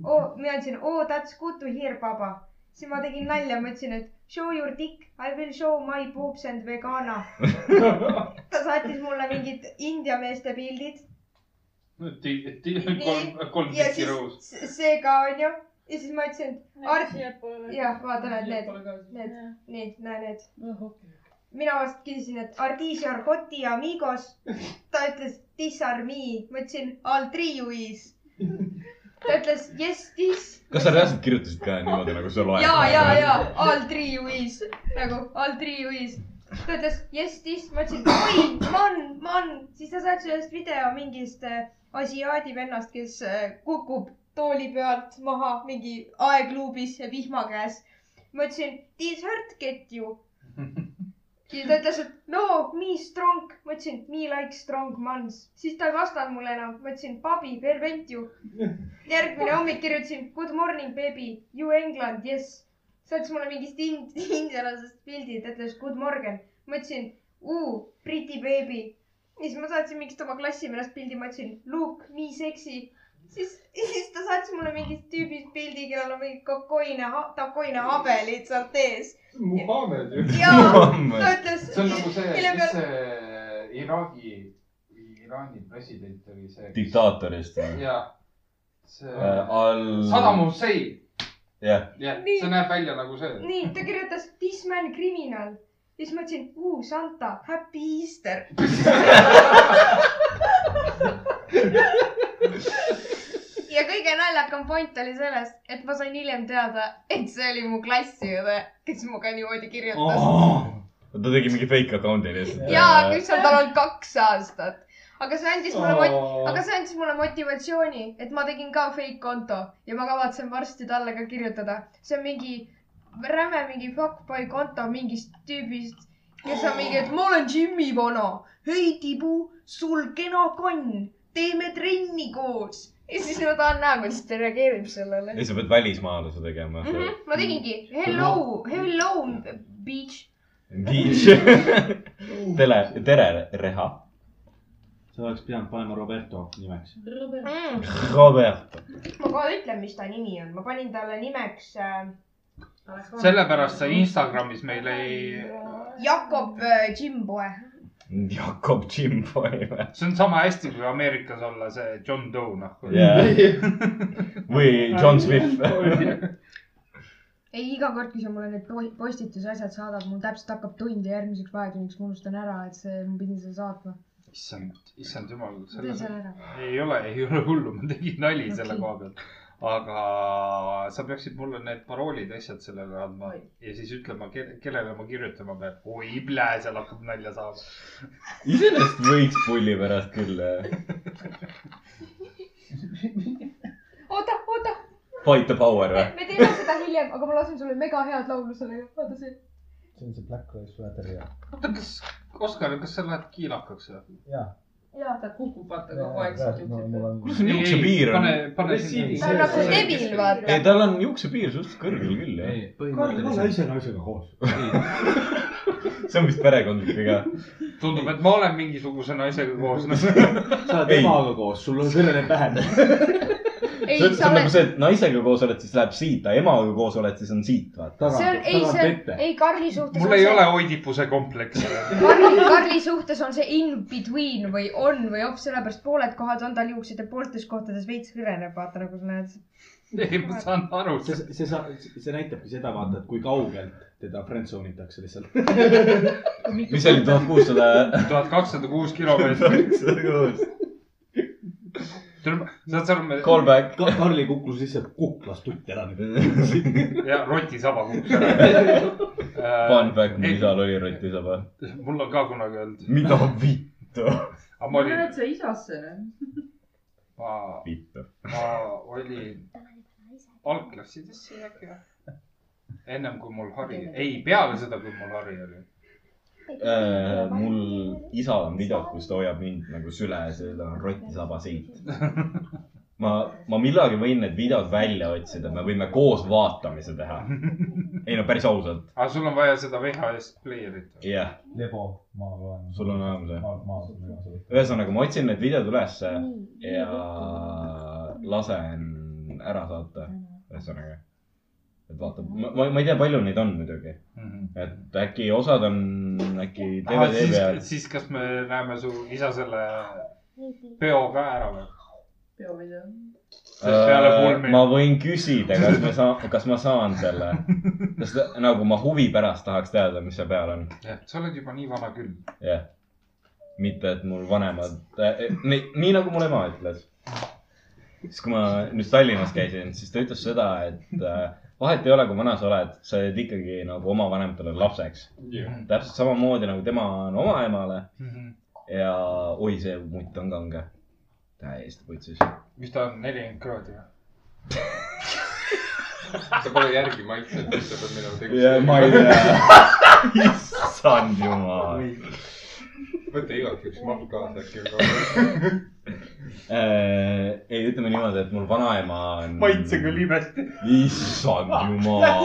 J: oo , mina ütlesin oo oh, that's good to hear , Baba . siis ma tegin nalja , ma ütlesin , et show your dick , I will show my boobs and vegana . ta saatis mulle mingid India meeste pildid
B: kolm , kolm
J: ja
B: tükki rõus .
J: siis see ka onju . ja siis ma ütlesin , et Art- , jah , vaata need , need , need , need , näe need . mina vast küsisin , et Ardis ja Argoti ja Amigos . ta ütles this are me , ma ütlesin all three you is . ta ütles yes this
G: kas sa reaalselt kirjutasid ka niimoodi , nagu sa loed ?
J: ja , ja , ja all three you is nagu all three you is . ta ütles yes this , ma ütlesin oi , man , man , siis ta saatis ühest video mingist äh, asiaadi vennast , kes äh, kukub tooli pealt maha mingi aegluubis ja vihma käes . ma ütlesin this hurt get you . ja ta ütles , et no me strong , ma ütlesin me like strong mans , siis ta ei vastanud mulle enam , ma ütlesin papi prevent you . järgmine hommik kirjutasin good morning baby , you England , yes . saatis mulle mingist ind- , indialasest pildid , ütles good morgen . ma ütlesin uu , pretty baby . ja siis ma saatsin mingist oma klassimehest pildi , ma ütlesin look me sexy . siis , siis ta saatis mulle mingist tüübist pildi , kellel on mingi kokoine , takoine habe lihtsalt ees .
E: Muhamed ju .
J: jaa , ta ütles .
B: see on nagu see ,
J: mille
B: mis
J: peale ,
B: see Iraagi , Iraani president oli see .
G: diktaatorist .
B: jah , see
A: Äh,
G: all .
B: Saddam Hussein ,
G: jah ,
B: jah ,
J: Nii.
B: see näeb välja nagu see .
J: nii , ta kirjutas this man criminal . ja siis ma ütlesin uu , Santa , happy Easter . ja kõige naljakam point oli selles , et ma sain hiljem teada , et see oli mu klassiõde , kes muga niimoodi kirjutas oh. .
G: ta tegi mingi fake account'i lihtsalt .
J: ja , kus on tal olnud kaks aastat . aga see andis mulle mot- , aga see andis mulle motivatsiooni , et ma tegin ka fake konto ja ma kavatsen varsti talle ka kirjutada . see on mingi räme mingi fuckboy konto mingist tüübist , kes on mingi , et ma olen Jimmy vana . hei Tibu , sul kena konn , teeme trenni koos . ja siis ma tahan näha , kuidas ta reageerib sellele
G: ja . sa pead välismaalase tegema
J: Mm . -hmm. ma tegingi hello , hello bitch .
G: Viis . tele , tere , Reha .
C: sa oleks pidanud panema Roberto nimeks .
J: Mm.
G: Robert .
J: ma kohe ütlen , mis ta nimi on , ma panin talle nimeks äh,
B: sellepärast sa Instagramis meil ei ,
J: Jakob äh, Jimboe .
G: Jakob Jimboi või ?
B: see on sama hästi kui Ameerikas olla see John Doe noh
G: Jah. või John Smith .
J: ei , iga kord , kui sa mulle need po- postituse asjad saadad , mul täpselt hakkab tund ja järgmiseks vahetunniks ma unustan ära , et see , ma pidin selle saatma .
B: issand , issand jumal ,
J: tee
B: selles
J: selle ära .
B: ei ole , ei ole hullu , ma tegin nali okay. selle
J: Okei.
B: koha pealt . aga sa peaksid mulle need paroolid , asjad sellele andma ja siis ütlema , kellele ma kirjutama pean . oi , plee , seal hakkab nalja saama .
G: iseenesest võiks pulli pärast küll .
J: oota , oota ,
G: Fight the power või ?
J: me teeme seda hiljem , aga ma lasen sulle mega head laulu sellega , vaata see .
O: see on see Black Lives Matter ja .
B: oota , kas , Oskar , kas sa lähed kiilakaks või ?
O: jaa .
J: jaa ,
P: ta kukub vaata kogu aeg sealt juhtub .
B: Mhm.
G: kus see juuksepiir on ?
B: pane , pane sinna .
J: ta on nagu debil , vaata
G: ei ,. tal on juuksepiir suhteliselt kõrgel küll , jah .
Q: Karl , ole ise naisega koos .
G: see on vist perekondlik viga .
B: tundub , et ma olen mingisuguse naisega koos .
Q: sa oled
G: Ei.
Q: emaga koos , sul on selline pähe .
J: ei
G: see on , see
J: sa
G: on nagu
J: oled ,
G: see , et naisega koos oled , siis läheb siit , aga emaga koos oled , siis on siit , vaata .
J: see on , ei see on , ei Karli suhtes .
B: mul ei ole oidipuse kompleksi .
J: Karli , Karli suhtes on see in between või on või off , sellepärast pooled kohad on tal juuksed ja pooltes kohtades veits hõreneb , vaata nagu sa näed .
B: ei , ma saan aru .
C: see , see , see , see näitabki seda , vaata , et kui kaugelt teda friendzone itakse lihtsalt .
G: mis see oli , tuhat kuussada ?
B: tuhat kakssada kuus kilomeetrit .
G: kakssada kuus .
B: saad sa aru , me .
A: Callback.
C: Ka- , Karli kukkus lihtsalt kuklas tutt ära nüüd .
B: ja rotisaba kukkus ära .
A: Fun fact , mu isal oli rotisaba .
B: mul on ka kunagi olnud .
A: mida vittu ?
B: aga ma
F: ma
B: olin ,
F: näen , et sa isasse näed .
B: ma ,
A: vittu .
B: ma olin algklassides siis äkki või ? ennem kui mul hari , ei peale seda , kui mul hari oli .
G: Äh,
A: mul isal on video , kus ta hoiab mind nagu süles ja tal on rotisaba siit . ma , ma millalgi võin need videod välja otsida , me võime koos vaatamise teha . ei no päris ausalt ,
B: aga sul on vaja seda VHS pleierit .
A: jah .
G: lebo , ma loen .
A: sul on olemas või ?
G: ma , ma olen igasugu .
A: ühesõnaga , ma otsin need videod ülesse ja lasen ära saata , ühesõnaga . et vaatab , ma , ma ma ei tea , palju neid on muidugi . et äkki osad on äkki DVD
B: siis
A: peal ,.
B: siis kas me näeme su isa selle peo ka ära või ?
F: peovideo .
B: peale pulmi .
A: Äh, ma võin küsida , kas me saa- , kas ma saan selle , kas ta- nagu ma huvi pärast tahaks teada , mis seal peal on ,
B: jah , sa oled juba nii vana küll .
A: jah . mitte , et mul vanemad äh, , nii, nii nagu mul ema ütles . siis , kui ma nüüd Tallinnas käisin , siis ta ütles seda , et äh, vahet ei ole , kui vana sa oled , sa oled ikkagi nagu oma vanematele lapseks . täpselt samamoodi nagu tema on oma emale
E: Mm-hmm.
A: ja oi , see mutt on kange . täiesti putsis .
B: mis ta on , nelikümmend kraadi või ?
E: sa pole järgi maitsenud , mis sa pead minema
A: ja ma ei tea . issand jumal .
E: võta igaks juhuks mahv kaasa äkki ka .
A: Äh, ei , ütleme niimoodi , et mul vanaema on .
B: maitse küll imesti .
A: issand jumal .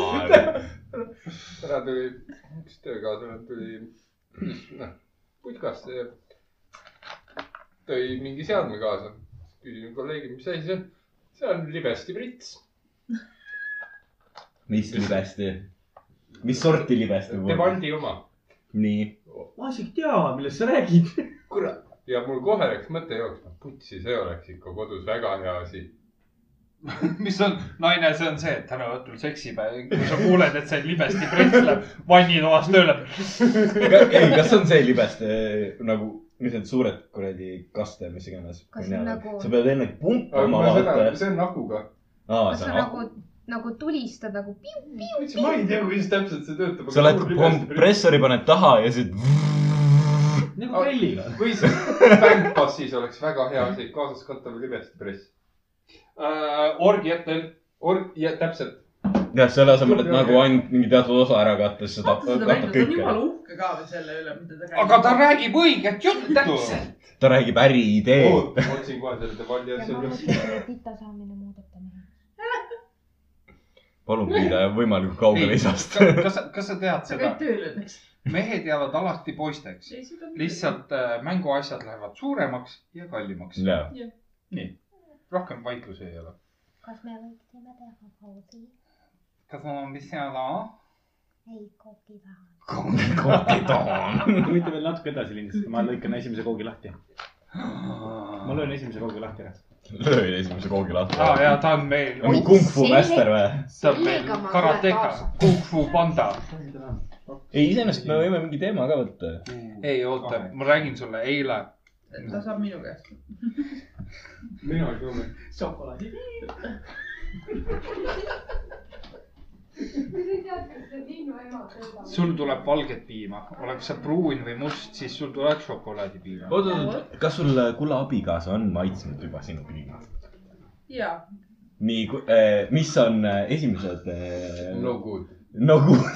E: täna tuli üks töökaaslane tuli , noh , putkast ja tõi mingi seadme kaasa . küsisin kolleegilt , mis asi see on . see on libesti prits .
A: mis libesti ? mis sorti libesti ?
E: Devaldi oma .
A: nii .
E: ma isegi ei tea , millest sa räägid . kurat , ja mul kohe läks mõte jooksma , putsi , see oleks ikka kodus väga hea asi .
B: mis on , naine , see on see , et täna õhtul seksipäev , kui sa kuuled , et see libesti prits läheb vannitoas tööle .
A: ei , kas on see libesti nagu , mis need suured kuradi kaste , mis iganes .
J: Kas nagu-
A: sa pead enne pumpama .
E: see on akuga .
A: aa ,
J: kas
A: see
J: sa
A: on aku .
J: nagu , nagu tulistad nagu piu-piu-piu ?
E: ma ei tea , kuidas täpselt see töötab .
A: sa lähed kompressori paned taha ja siis .
E: nagu pelliga . või siis Bankbassis oleks väga hea asi , kaasas kantav libesti press .
B: orgiatel .
E: Org- , jah , täpselt .
A: jah , selle asemel , et nagu ainult mingi teatud osa ära katta , siis sa tap-
F: vaata seda
A: katad
F: välja , ta on
A: kõik ära
F: jumala . uhke ka veel selle üle , mida ta
B: aga ta räägib õiget juttu . täpselt .
A: ta räägib äriidee .
E: ma otsin kohe selle Devaldi asja üles .
J: tita saamine muudab ta mehi .
A: palun püüda võimalikult kaugele isast .
B: kas , kas sa tead
F: sa
B: seda
F: käid ? tööl õnneks .
B: mehed jäävad alati poisteks , lihtsalt äh, mänguasjad lähevad suuremaks ja kallimaks .
A: Jah.
F: Jah.
B: nii , rohkem vaidlusi ei ole .
J: kas me võiksime teha pausi ?
B: kas mul on mis seal ?
J: ei , kooki taha .
C: võite veel natuke edasi lindistada , ma lõikan esimese koogi lahti . ma löön esimese koogi lahti ära .
A: löö esimese koogi lahti .
B: aa jaa , ta on meil .
A: Nagu kung-fu meister või?
B: ta on meil
J: Sellega ma olen
B: karateka
J: kaasa. ,
B: kung-fu panda .
A: ei , iseenesest me võime mingi teema ka võtta .
B: ei oota , ma räägin sulle , eile .
F: ta saab minu käest .
E: mina ei tundnud .
F: šokolaadi .
B: sul tuleb valget piima , oleks see pruun või must , siis sul tuleb šokolaadipiima .
A: oot , oot , kas sul äh, kulla abikaasa on maitsnud juba sinu piima ?
F: ja ,
A: nii , mis on eh, esimesed ?
E: No good. .
A: no good .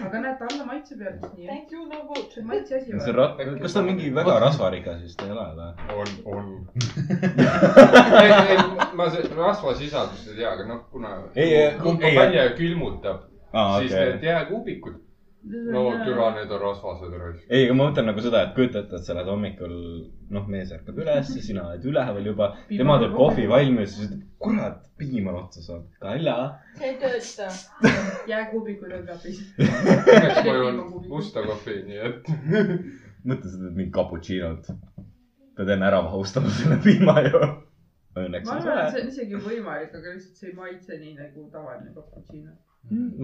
F: aga näed , ta alla maitse peal , siis nii .
D: Thank you nagu no good .
F: see on maitse asi
A: kas see ra- , kas ta on mingi väga rasvarikas vist ei ole või ?
E: on , on ei , ei , ma see rasvasisaldust ei tea , aga noh , kuna .
A: Ei, ei,
E: kui
A: ei,
E: ta välja külmutab ,
A: Aa,
E: siis
A: okei.
E: need jääkuubikud . no türa , need on rasvased raisk .
A: ei , aga ma mõtlen nagu seda , et kujuta ette , et sa oled hommikul , noh , mees ärkab üles , sina oled üleval juba , tema teeb kohvi valmis , siis ütleb , kurat , piim on otsa saanud , Kalja .
D: see ei tööta .
F: jääkuubikul on ka piis .
E: õnneks ma joon musta kohvi , nii et .
A: mõtle , sa teed mingit cappuccino't . pead enne ära mahustama selle piima ju . Õnneks
F: ma
A: on
F: arvan ,
A: soe
F: et see . on isegi võimalik , aga lihtsalt see ei maitse nii nagu tavaline cappuccino .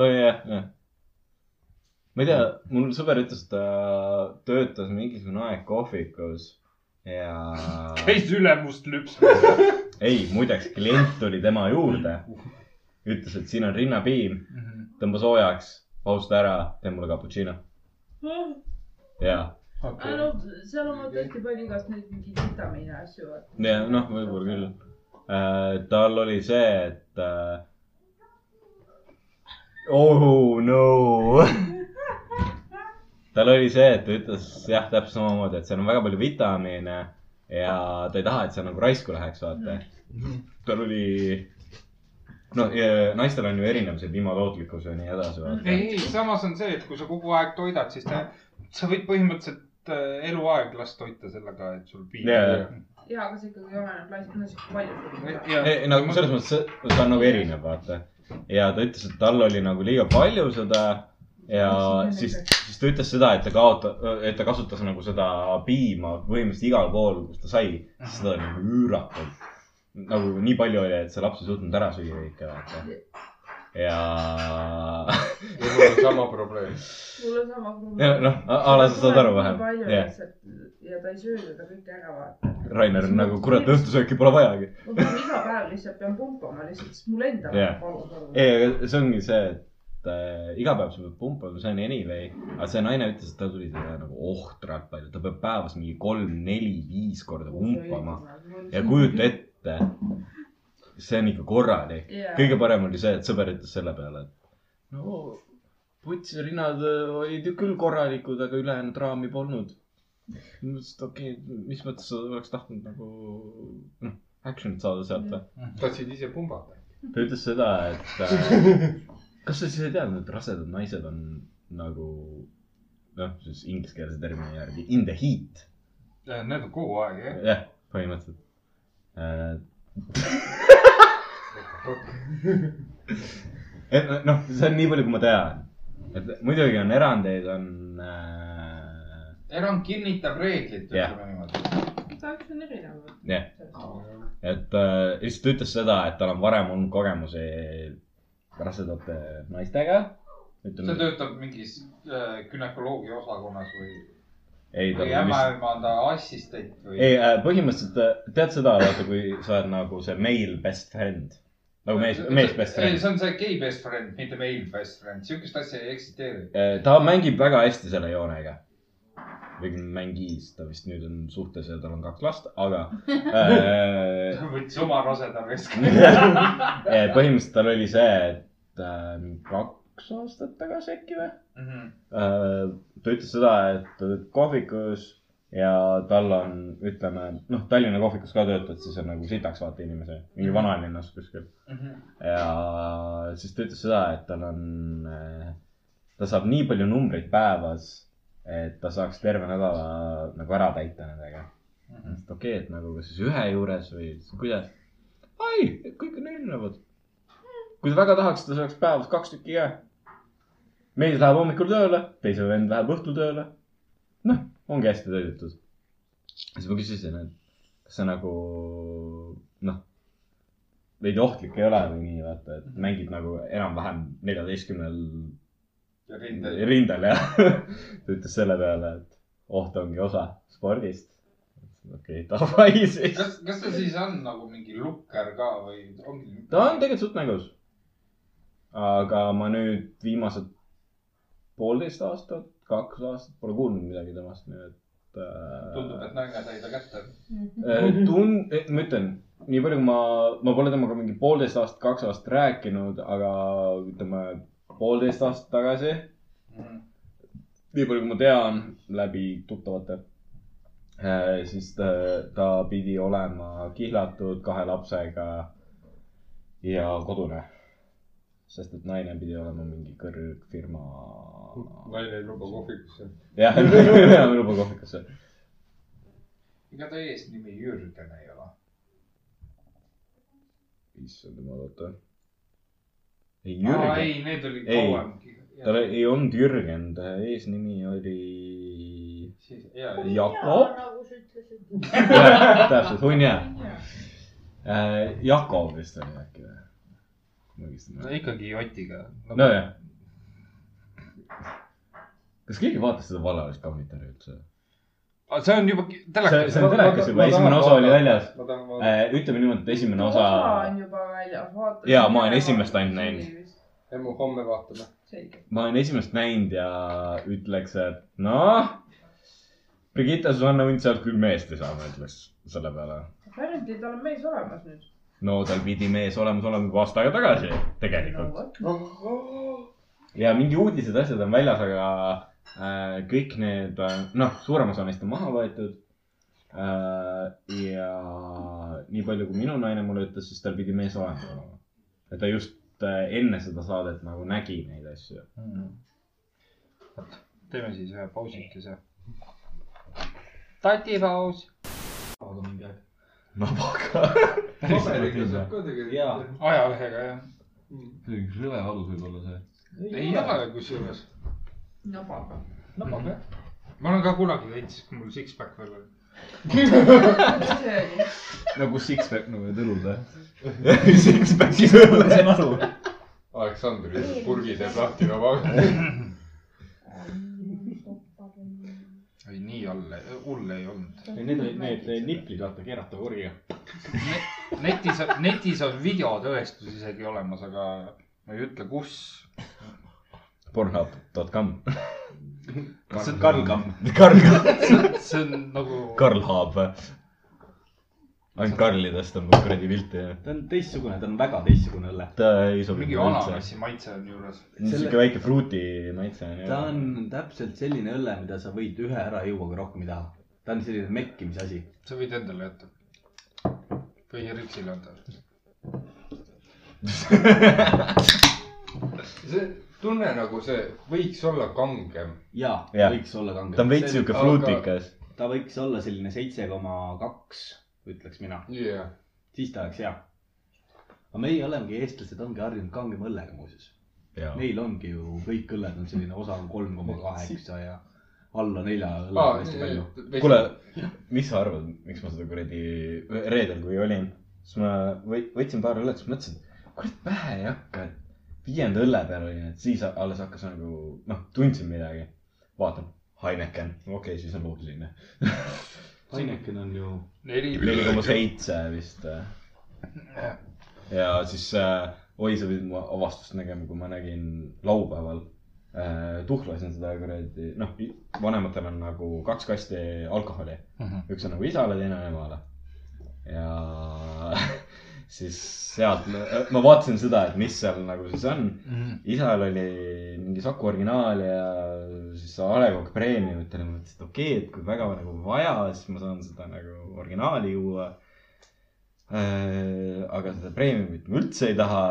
A: nojah , jah . ma ei tea , mul sõber ütles , ta töötas mingisugune aeg kohvikus
G: ja .
B: käis ülemust lüpsmas .
G: ei , muideks klient tuli tema juurde , ütles , et siin on rinnapiim , tõmba soojaks , pausta ära , tee mulle cappuccino
F: Ah,
G: ja ,
P: aga no seal on tõesti palju igast neid mingeid vitamiine ja asju .
G: ja noh , võib-olla küll äh, . tal oli see , et äh, . oh no tal oli see , et ta ütles jah , täpselt samamoodi , et seal on väga palju vitamiine ja ta ei taha , et see nagu raisku läheks , vaata . tal oli , noh , naistel on ju erinev see pimatootlikkus ja nii edasi , vaata .
B: ei , samas on see , et kui sa kogu aeg toidad , siis ta , sa võid põhimõtteliselt äh, eluaeg last toita sellega , et sul piim
G: Jaa, jaa.
P: ja , aga see ikkagi oleneb naisest
B: Eh, Jaa.
P: palju .
G: ei , nagu selles mõttes , see on nagu erinev , vaata . ja ta ütles , et tal oli nagu liiga palju seda ja siis , siis ta ütles seda , et ta kaotab , et ta kasutas nagu seda piima põhimõtteliselt igal pool , kus ta sai , seda oli nagu üüratult . nagu nii palju oli , et see laps ei suutnud ära süüa kõike , vaata . ja .
R: mul on sama probleem .
P: mul on sama
G: Ja noh, a- a la sa saad aru vähem.
P: palju
G: Jah.
P: lihtsalt ja ta ei söö seda kõike ära , vaata .
G: Rainer on nagu , kurat , õhtusööki pole vajagi .
P: ma pean iga päev lihtsalt pean pumpama lihtsalt , sest mul endal
G: jah
P: on valus olla .
G: ei , aga see ongi see , et äh, iga päev sa pead pumpama , see on anyway , aga see naine ütles , et tal tuli seda nagu ohtralt palju , ta peab päevas mingi kolm , neli , viis korda pumpama ja kujuta ette , see on ikka korralik
R: Jaa.
G: yeah. . kõige parem oli see , et sõber ütles selle peale , et no putsi rinnad äh, olid ju küll korralikud , aga ülejäänud raami polnud . ma ütlesin , et okei okay, , mis mõttes sa oleks tahtnud nagu noh , action'it saada sealt või .
R: tahtsid ise pumbata ?
G: ta ütles seda , et äh, kas sa siis ei teadnud , et rasedad naised on nagu noh , siis ingliskeelse termini järgi in the heat .
B: Need on kogu aeg , jah .
G: jah , põhimõtteliselt äh, . et no- noh , see on nii palju , kui ma tean . et muidugi on erandeid , on äh,
B: erand kinnitab reeglit ,
G: Jah.
B: ütleme niimoodi .
P: igaüks on erinev .
G: jah , et äh, lihtsalt ta ütles seda , et tal on varem olnud kogemusi rasedate naistega .
B: see töötab mingis äh, günekoloogia osakonnas või ,
G: ei ,
B: või
G: tal on vist ,
B: ämmaemanda assistent või
G: ei äh, põhimõtteliselt äh, tead seda , vaata , kui sa oled nagu see male best friend . nagu mees , mees best
B: ei ,
G: friend .
B: see on see gay best friend , mitte male best friend , sihukest asja ei eksisteeri .
G: Äh, ta mängib väga hästi selle joonega . või mängis , ta vist nüüd on suhtes ja tal on kaks last , aga äh,
B: võttis oma raseda veske .
G: Eh, põhimõtteliselt tal oli see , et äh, mingi kaks aastat tagasi äkki või
B: Mhm.
G: äh, . ta ütles seda , et ta töötab kohvikus ja tal on , ütleme , noh , Tallinna kohvikus ka töötad , siis on nagu sitaks vaata inimese , mingi vanalinnas kuskil . ja siis ta ütles seda , et tal on , ta saab nii palju numbreid päevas , et ta saaks terve nädala nagu ära täita nendega . et okei , et nagu kas siis ühe juures või kuidas . ai , kõik on erinevad . kui ta väga tahaks , ta saaks päevas kaks tükki ka . mees läheb hommikul tööle , teise vend läheb õhtul tööle . noh , ongi hästi täidetud . siis ma küsisin , et kas see nagu noh , veidi ohtlik ei ole või nii , vaata , et mängid nagu enam-vähem neljateistkümnel
B: Ja rindel.
G: rindel jah . ta ütles selle peale , et oht ongi osa spordist . okei , davai siis .
B: kas , kas ta siis on nagu mingi lukker ka või ongi ?
G: ta on tegelikult suht mängus . aga ma nüüd viimased poolteist aastat , kaks aastat pole kuulnud midagi temast , nii et äh, .
B: tundub , et naine sai ta kätte .
Q: Mhm.
G: äh, . tun- , ma ütlen , nii palju , kui ma , ma pole temaga mingi poolteist aastat , kaks aastat rääkinud , aga ütleme poolteist aastat tagasi . nii palju , kui ma tean läbi tuttavate , siis ta, ta pidi olema kihlatud kahe lapsega ja kodune . sest et naine pidi olema mingi kõrgfirma .
R: naine ei luba kohvikusse .
G: jah , enam ei luba kohvikusse .
B: ega ta eesnimi Jürgen ei ole .
G: issand jumal , oota . ei ,
B: Aa,
G: Jürgen .
B: ei, need olid kauem.
G: tal ei olnud Jürgen , ta eesnimi oli . Jakob ,
D: nagu sa ütlesid .
G: täpselt , Hunja . Jakob vist oli äkki või ? ma õigesti
B: no ikkagi jotiga .
G: nojah . kas keegi vaatas seda valelist kommentaari üldse ?
B: Ah, see on juba
G: see,
B: telekas .
G: see on telekas juba , esimene osa oli väljas . Äh, ütleme niimoodi , et esimene
F: No,
G: osa .
F: osa on juba väljas , vaata .
G: jaa , ma olen esimest ainult näinud .
E: emu , homme vaatame .
F: selge .
G: ma olen esimest näinud ja ütleks , et noh . Brigitta Susanne Hunt sealt küll meest ei saa , ma ütleks selle peale .
F: Apparently tal on mees olemas nüüd .
G: no tal pidi mees olemas olema juba aasta aega tagasi tegelikult . ja mingi uudised , asjad on väljas , aga äh, kõik need , noh , suurem osa neist on maha võetud äh, . ja nii palju , kui minu naine mulle ütles , siis tal pidi mees olemas olema . ja ta just äh, enne seda saadet nagu nägi neid asju .
B: Mm. teeme siis ühe pausikese . tatipaus .
A: aga mingi aeg .
G: no pagan .
B: jaa , ajalehega jah .
R: see on üks Mm. rõve alus võib-olla see .
B: ei ole kusjuures .
F: nabaga .
B: nabaga jah . ma olen ka kunagi teinud , siis kui mul six-pack veel oli .
G: nagu six-pack nagu tõlud või ? Six-pack'i tõlud , see on aru .
R: Aleksandri purgid ja plahtinova .
B: ei , nii all , hull ei olnud .
Q: Need olid need eh, niplid , vaata , keerata korja .
B: netis , netis on videotõestus isegi olemas , aga ma ei ütle , kus .
G: Pornhub.com .
Q: Karlkamm.
G: Karlkamm .
B: see on nagu .
G: Karlhub või ? ainult Karlidest on kuradi pilti jah .
Q: ta on teistsugune , ta on väga teistsugune õlle .
G: ta ei sobi
B: mingi
G: mulle
B: ananassi
G: üldse .
B: maitse on juures .
G: sihuke väike fruuti maitse on
Q: ta
G: ju .
Q: on täpselt selline õlle , mida sa võid ühe ära juua , aga rohkem ei taha . ta on selline mekkimise asi .
B: sa võid endale jätta . või Riksile anda .
E: see tunne nagu see võiks olla kangem .
Q: jaa
G: Jah.
Q: ja. , võiks olla kange .
G: ta on veits sihuke fruutikas .
Q: ta võiks olla selline seitse koma kaks , ütleks mina .
E: jah .
Q: siis ta oleks hea . aga meie olemegi , eestlased ongi harjunud kangema õllega muuseas . Neil ongi ju kõik õlled on selline , osa on kolm koma kaheksa ja alla nelja õlle on hästi palju .
G: kuule , mis sa arvad , miks ma seda kuradi reedel , kui olin , siis ma või- võtsin paar õllet , siis mõtlesin , et kurat pähe ei hakka , et viienda õlle peal olin , et siis alles hakkas nagu noh , tundsin midagi . vaatan , Heineken , okei okay, , siis on loogiline .
Q: Heineken on ju .
B: neli .
G: neli koma seitse vist . ja siis äh, , oi , sa pidid mu avastust nägema , kui ma nägin laupäeval äh, . tuhlasin seda kuradi , noh , vanematel on nagu kaks kasti alkoholi mm .
B: Mhm.
G: -hmm. üks on nagu isale , teine on emale . ja siis sealt ma, ma vaatasin seda , et mis seal nagu siis on
B: Mhm.
G: isal oli mingi Saku originaal ja siis see A Le Coq Premiumit ja ma mõtlesin , et okei okay, , et kui väga nagu vaja , siis ma saan seda nagu originaali juua . aga seda Premiumit ma üldse ei taha .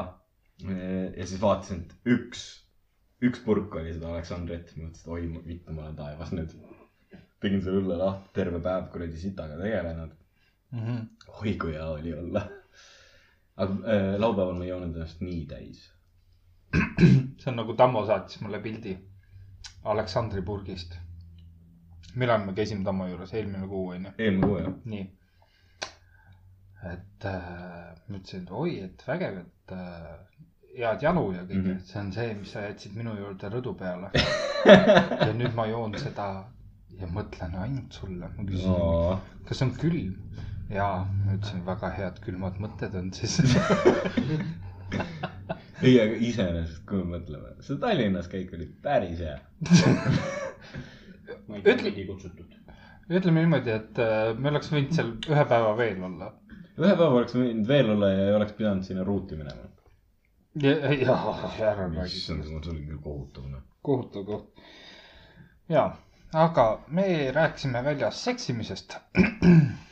G: ja siis vaatasin , et üks , üks purk oli seda Aleksandrit , mõtlesin , et oi ma- vittu , ma olen taevas nüüd . tegin selle õlle lahti , terve päev kuradi sitaga tegelenud . oi kui hea oli olla . aga äh, laupäeval ma ei joonud ennast nii täis
B: see on nagu Tammo saatis mulle pildi Aleksandri purgist . millal me käisime Tammo juures , eelmine kuu onju .
G: eelmine kuu, jah.
B: nii . et äh, ma ütlesin , et oi , et vägev , et äh, head janu ja
Q: Mhm.
B: kõik mm , -hmm. see on see , mis sa jätsid minu juurde rõdu peale . ja nüüd ma joon seda ja mõtlen ainult sulle . ma
G: Aa.
B: küsisin , kas on külm ? jaa , ma ütlesin , väga head külmad mõtted on siis
G: ei , aga iseenesest , kui me mõtleme , see Tallinnas käik oli päris hea .
Q: ma ei tea , keegi ei kutsutud .
B: ütleme niimoodi , et äh, me oleks võinud seal ühe päeva veel olla .
G: ühe päeva oleks võinud veel olla ja ei oleks pidanud sinna ruuti minema .
B: ära räägi .
G: issand , mul tuli küll kohutav .
B: kohutav koht . ja , aga me rääkisime väljas seksimisest .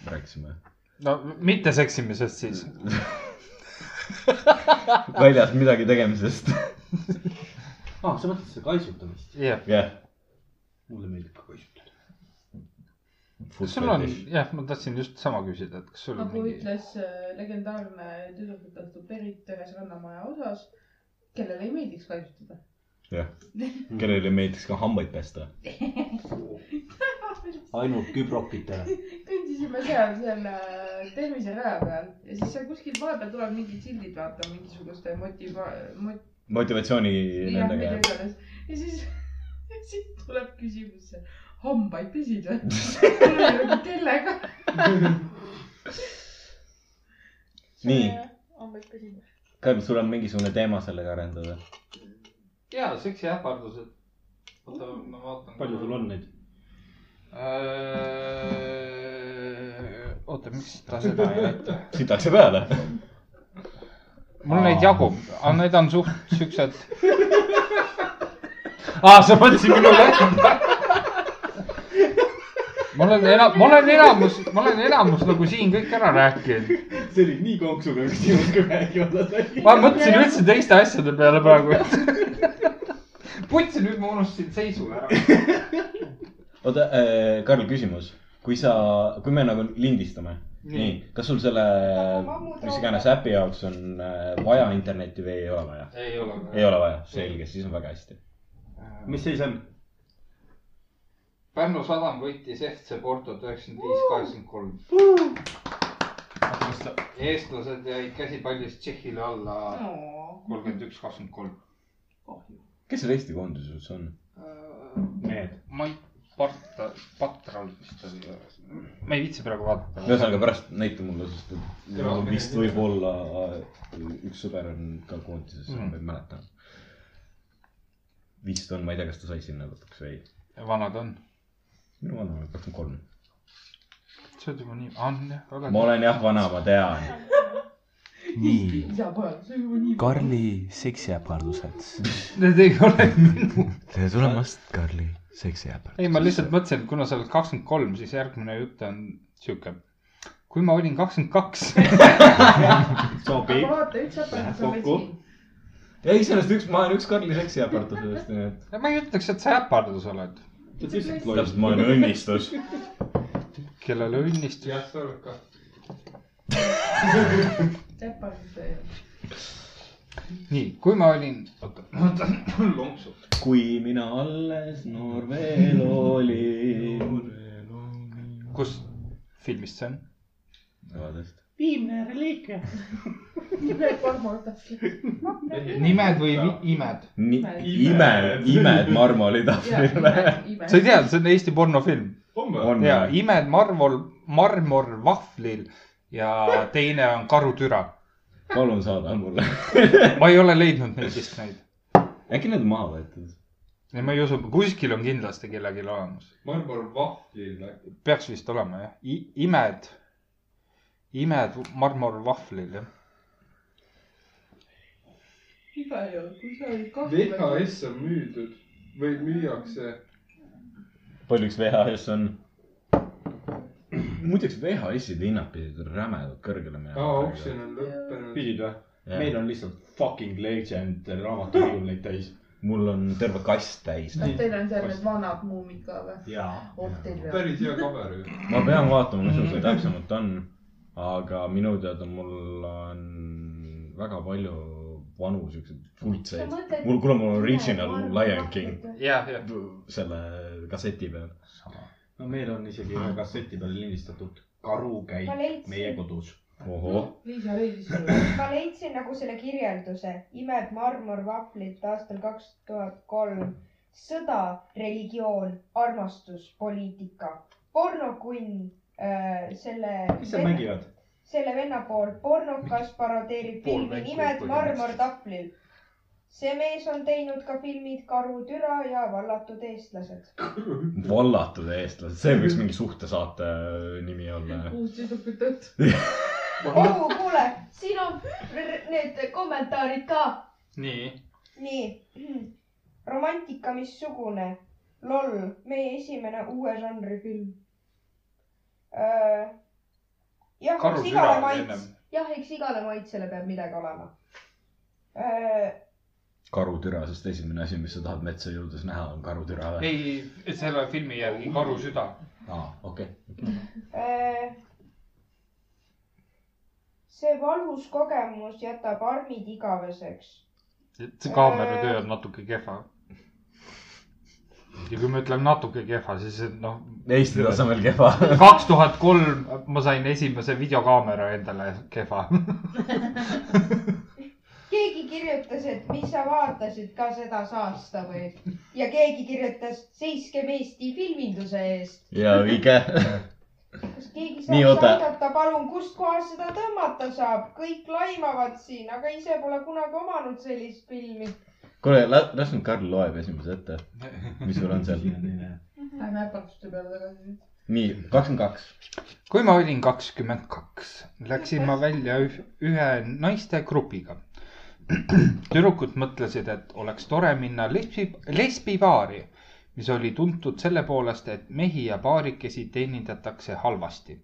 G: rääkisime .
B: no mitte seksimisest siis .
Q: Mm.
G: väljas midagi tegemisest .
Q: aa , Ah, sa mõtled seda kaisutamist ?
B: jah ,
G: jah .
Q: mulle meeldib ka kaisutada .
B: kas sul on , jah , ma tahtsin just sama küsida , et kas sul on
F: nagu
B: mingi .
F: ütles äh, legendaarne tüdrukutatud Berit ühes Rannamaja osas , kellele ei meeldiks kaitsutada .
G: jah , kellele meeldiks ka hambaid pesta .
F: Ah,
Q: ainult kübrokitele .
F: kõndisime seal selle terviseraja peal ja siis seal kuskil vahepeal tuleb mingid sildid , vaata mingisuguste motiva- , mot- ,
G: motivatsiooni
F: jah , mida
G: nendega .
F: iganes . ja siis , siis tuleb küsimus , hambaid pesid või ? kellega ?
G: nii ,
D: hambaid pesin .
G: Karl , sul on mingisugune teema sellega arendada ?
B: ja seksi ähvardused . oota , ma vaatan . Äh,
Q: palju sul on neid ?
B: oota , miks ta seda ei näita ?
G: sitakse peale .
B: mul neid jagub , aga need on suht siuksed . aa , sa mõtlesid minule ? ma olen enam , ma olen enamus , ma olen enamus nagu siin kõik ära rääkinud .
Q: see oli nii konksuga küsimus , kui rääkima sai .
B: ma mõtlesin üldse teiste asjade peale praegu . putsi , nüüd ma unustasin seisu ära .
G: oota , Karl , küsimus . kui sa , kui me nagu lindistame ,
B: Nii.
G: nii , kas sul selle ,
A: Äh,
G: mis iganes äpi jaoks on äh, vaja internetti või ei ole vaja ?
B: Ei ole Äh, vaja.
G: ei ole vaja , selge , siis on väga hästi .
Q: mis seis on ?
B: Pärnu sadam võitis FC Portot üheksakümmend viis , kaheksakümmend kolm . eestlased jäid käsipallis Tšehhile alla kolmkümmend üks , kakskümmend kolm .
G: kes seal Eesti koondises üldse on ? Need .
B: Mait Parta , Patral vist oli . ma ei viitsi praegu vaadata .
G: ühesõnaga pärast näita mulle , sest et
B: Jaa,
G: mul vist
B: mine-
G: võib-olla äh, üks sõber on ka koondises
B: Mhm.
G: mm. , ma ei mäleta . vist on , ma ei tea , kas ta sai sinna lõpuks või ei .
B: vanad on ?
G: minu vana on kakskümmend kolm .
B: sa oled juba nii , on jah .
G: ma olen jah vana , ma tean .
S: nii ,
F: isa poeg , see on juba nii .
S: Karli seksiäpardused .
B: Need ei ole minu .
S: tere tulemast , Karli seksiäpardused .
B: ei , ma lihtsalt mõtlesin , et kuna sa oled kakskümmend kolm , siis järgmine jutt on sihuke . kui ma olin kakskümmend kaks .
F: aga vaata , üks õpetus on meil siin .
G: ja iseenesest üks , ma olen üks Karli seksiäpardusest , nii et .
B: ma ei ütleks , et sa äpardus oled .
G: täpselt , ma olen õnnistus .
B: kellele õnnistus .
E: jah , sa oled ka .
F: täpselt .
B: nii , kui ma olin , oota , ma võtan lonksu .
G: kui mina alles noor veel olin .
B: kus filmist see on ?
G: vabandust .
F: viimne reliikia . imed marmortahvlid .
B: nimed või vi- imed ?
G: ime , imed marmoli tahvlile .
B: sa ei tea , see on Eesti pornofilm .
G: On
B: ja
G: või?
B: imed marmor , marmorvahvlil ja teine on karutüra .
G: palun saada mulle .
B: ma ei ole leidnud neid vist neid .
G: äkki need on maha võetud ?
B: ei , ma ei usu , kuskil on kindlasti kellelgi olemas .
E: Marmor vahvlil äkki .
B: peaks vist olema jah , imed , imed marmorvahvlil jah .
F: igal juhul , kui sa olid kakskümmend .
E: VHS on müüdud või müüakse .
G: palju üks VHS on ? muideks VHS-id hinnad pidid rämedalt kõrgele minema .
E: aa , oksjon on lõppenud .
Q: pidid või ?
G: Jah.
Q: meil on lihtsalt fucking legend raamatukoguneid täis .
G: mul on terve kast täis .
F: kas teil on seal need vanad muumid ka või ?
Q: jaa .
F: oh teil on .
E: päris hea cover ju .
G: ma pean vaatama , mis mul seal täpsemalt on . aga minu teada mul on väga palju vanu siukseid
B: Sa
G: fulltseid
B: mõtled- .
G: mul , kuule , mul on original Lion King
B: jah , jah .
G: selle kasseti peal .
Q: no meil on isegi ühe kasseti peale lindistatud Karu
J: Ma
Q: käib
J: leidsin.
Q: meie kodus .
G: ohoh ,
F: Liisa leidis
J: ma leidsin nagu selle kirjelduse , imed marmorvahvlit aastal kaks tuhat kolm , sõda , religioon , armastus , poliitika , pornokunn äh, , selle .
Q: mis seal mängivad ?
J: selle venna pool , pornokas parodeerib
Q: Pool
J: filmi
Q: mängu
J: nimed
Q: põhimõtteliselt.
J: marmortahvlil . see mees on teinud ka filmid Karutüra ja Vallatud eestlased .
G: vallatud eestlased , see võiks mingi suhtesaate nimi olla .
F: uus tüdrukut õhtu .
J: oh , kuule , siin on r- need kommentaarid ka
B: nii .
J: nii , romantika missugune ? loll , meie esimene uue žanri film . jah , eks
B: Karusüra
J: igale
B: oli
J: maits
B: ennem. ,
J: jah , eks igale maitsele peab midagi olema .
G: karutüra , sest esimene asi , mis sa tahad metsa jõudes näha , on karutüra või ?
B: ei , selle filmi järgi
E: Oh.
B: Karu süda .
G: aa , okei .
J: see valus kogemus jätab armid igaveseks .
B: et see kaameratöö on natuke kehva . ja kui ma ütlen natuke kehva , siis et noh .
G: Eesti tasemel kehva.
B: kaks tuhat kolm ma sain esimese videokaamera endale kehva .
J: keegi
T: kirjutas , et mis sa vaatasid ka seda saasta või ja keegi kirjutas seiskem Eesti filminduse eest .
G: ja õige .
T: kas keegi
G: Nii,
T: saaks
G: oota.
T: aidata , palun , kustkohast seda tõmmata saab , kõik laimavad siin , aga ise pole kunagi omanud sellist filmi .
G: kuule , las nüüd Karl loeb esimese ette . mis sul on seal ?
F: Lähme äparduste peale tagasi .
G: nii , kakskümmend kaks .
B: kui ma olin kakskümmend kaks , läksin ma välja üh- ühe naistegrupiga . tüdrukud mõtlesid , et oleks tore minna lesbi , lesbipaari , mis oli tuntud selle poolest , et mehi ja paarikesi teenindatakse halvasti .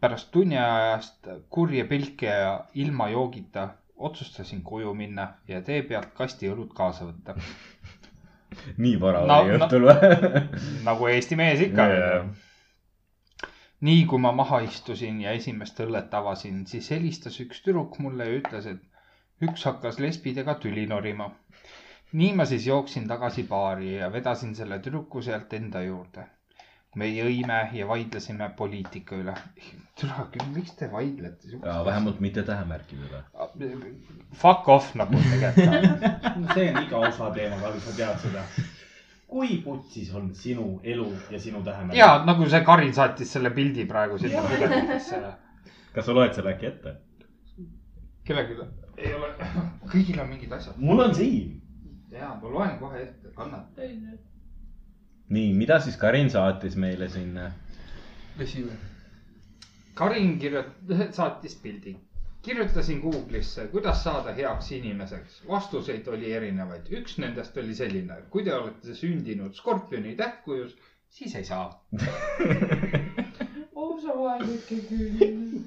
B: pärast tunniajast kurje pilke ja ilma joogita otsustasin koju minna ja tee pealt kasti õlut kaasa võtta .
G: nii vara oli õhtul või ?
B: nagu Eesti mees ikka yeah. . nii kui ma maha istusin ja esimest õllet avasin , siis helistas üks tüdruk mulle ja ütles , et üks hakkas lesbidega tüli norima . nii ma siis jooksin tagasi baari ja vedasin selle tüdruku sealt enda juurde . me jõime ja vaidlesime poliitika üle . türa küll , miks te vaidlete ?
G: vähemalt mitte tähemärkidega .
B: Fuck off nagu tegelikult .
C: see on iga osa teema , Karl , sa tead seda . kui putsis on sinu elu ja sinu tähemärk ?
B: ja nagu see Karin saatis selle pildi praegu sinna
C: Jah.
B: pidevitesse .
G: kas sa loed selle äkki ette ?
B: kellelgi ei ole , kõigil on mingid asjad .
G: mul on siin .
B: ja ma loen kohe ette , kannata .
G: nii , mida siis Karin saatis meile sinna ?
B: tõsi või ? Karin kirjut- , saatis pildi . kirjutasin Google'isse , kuidas saada heaks inimeseks . vastuseid oli erinevaid , üks nendest oli selline , kui te olete sündinud skorpioni tähtkujus , siis ei saa .
F: oh sa vaesuke küll .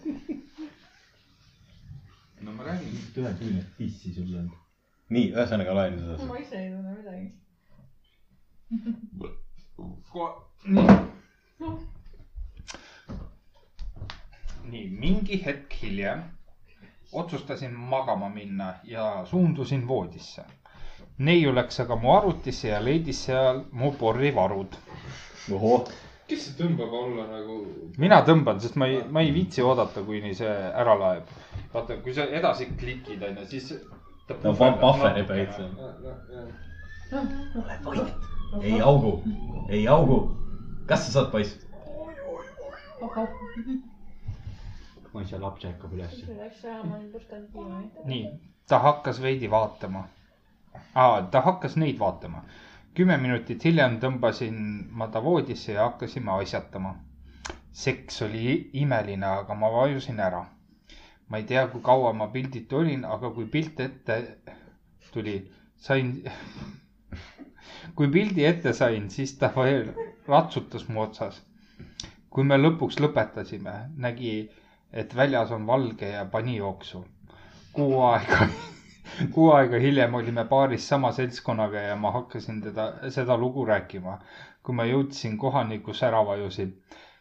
B: no ma räägin .
G: ühe tunni pissi sul on . nii , ühesõnaga loen nüüd edasi .
D: ma ise ei tunne midagi .
B: nii , mingi hetk hiljem otsustasin magama minna ja suundusin voodisse . neiu läks aga mu arvutisse ja leidis seal mu porrivarud .
E: kes see tõmbab alla nagu ?
B: mina tõmban , sest ma ei , ma ei viitsi oodata , kuni see ära laeb . vaata , kui sa edasi klikid , onju , siis .
G: No, pa- pahver ei peitsa.
E: Äh,
F: ole
G: vait . ei augu , ei augu . kas sa saad poiss ?
C: ma ei saa , laps ärkab üles .
D: siis läks ajama , olin puhtalt kiire .
B: nii , ta hakkas veidi vaatama ah, . ta hakkas neid vaatama . kümme minutit hiljem tõmbasin ma ta voodisse ja hakkasime asjatama . seks oli imeline , aga ma vajusin ära . ma ei tea , kui kaua ma pilditu olin , aga kui pilt ette tuli , sain , kui pildi ette sain , siis ta veel ratsutas mu otsas . kui me lõpuks lõpetasime , nägi , et väljas on valge ja pani jooksu kuu aega , kuu aega hiljem olime baaris sama seltskonnaga ja ma hakkasin teda , seda lugu rääkima . kui ma jõudsin kohani , kus ära vajusin ,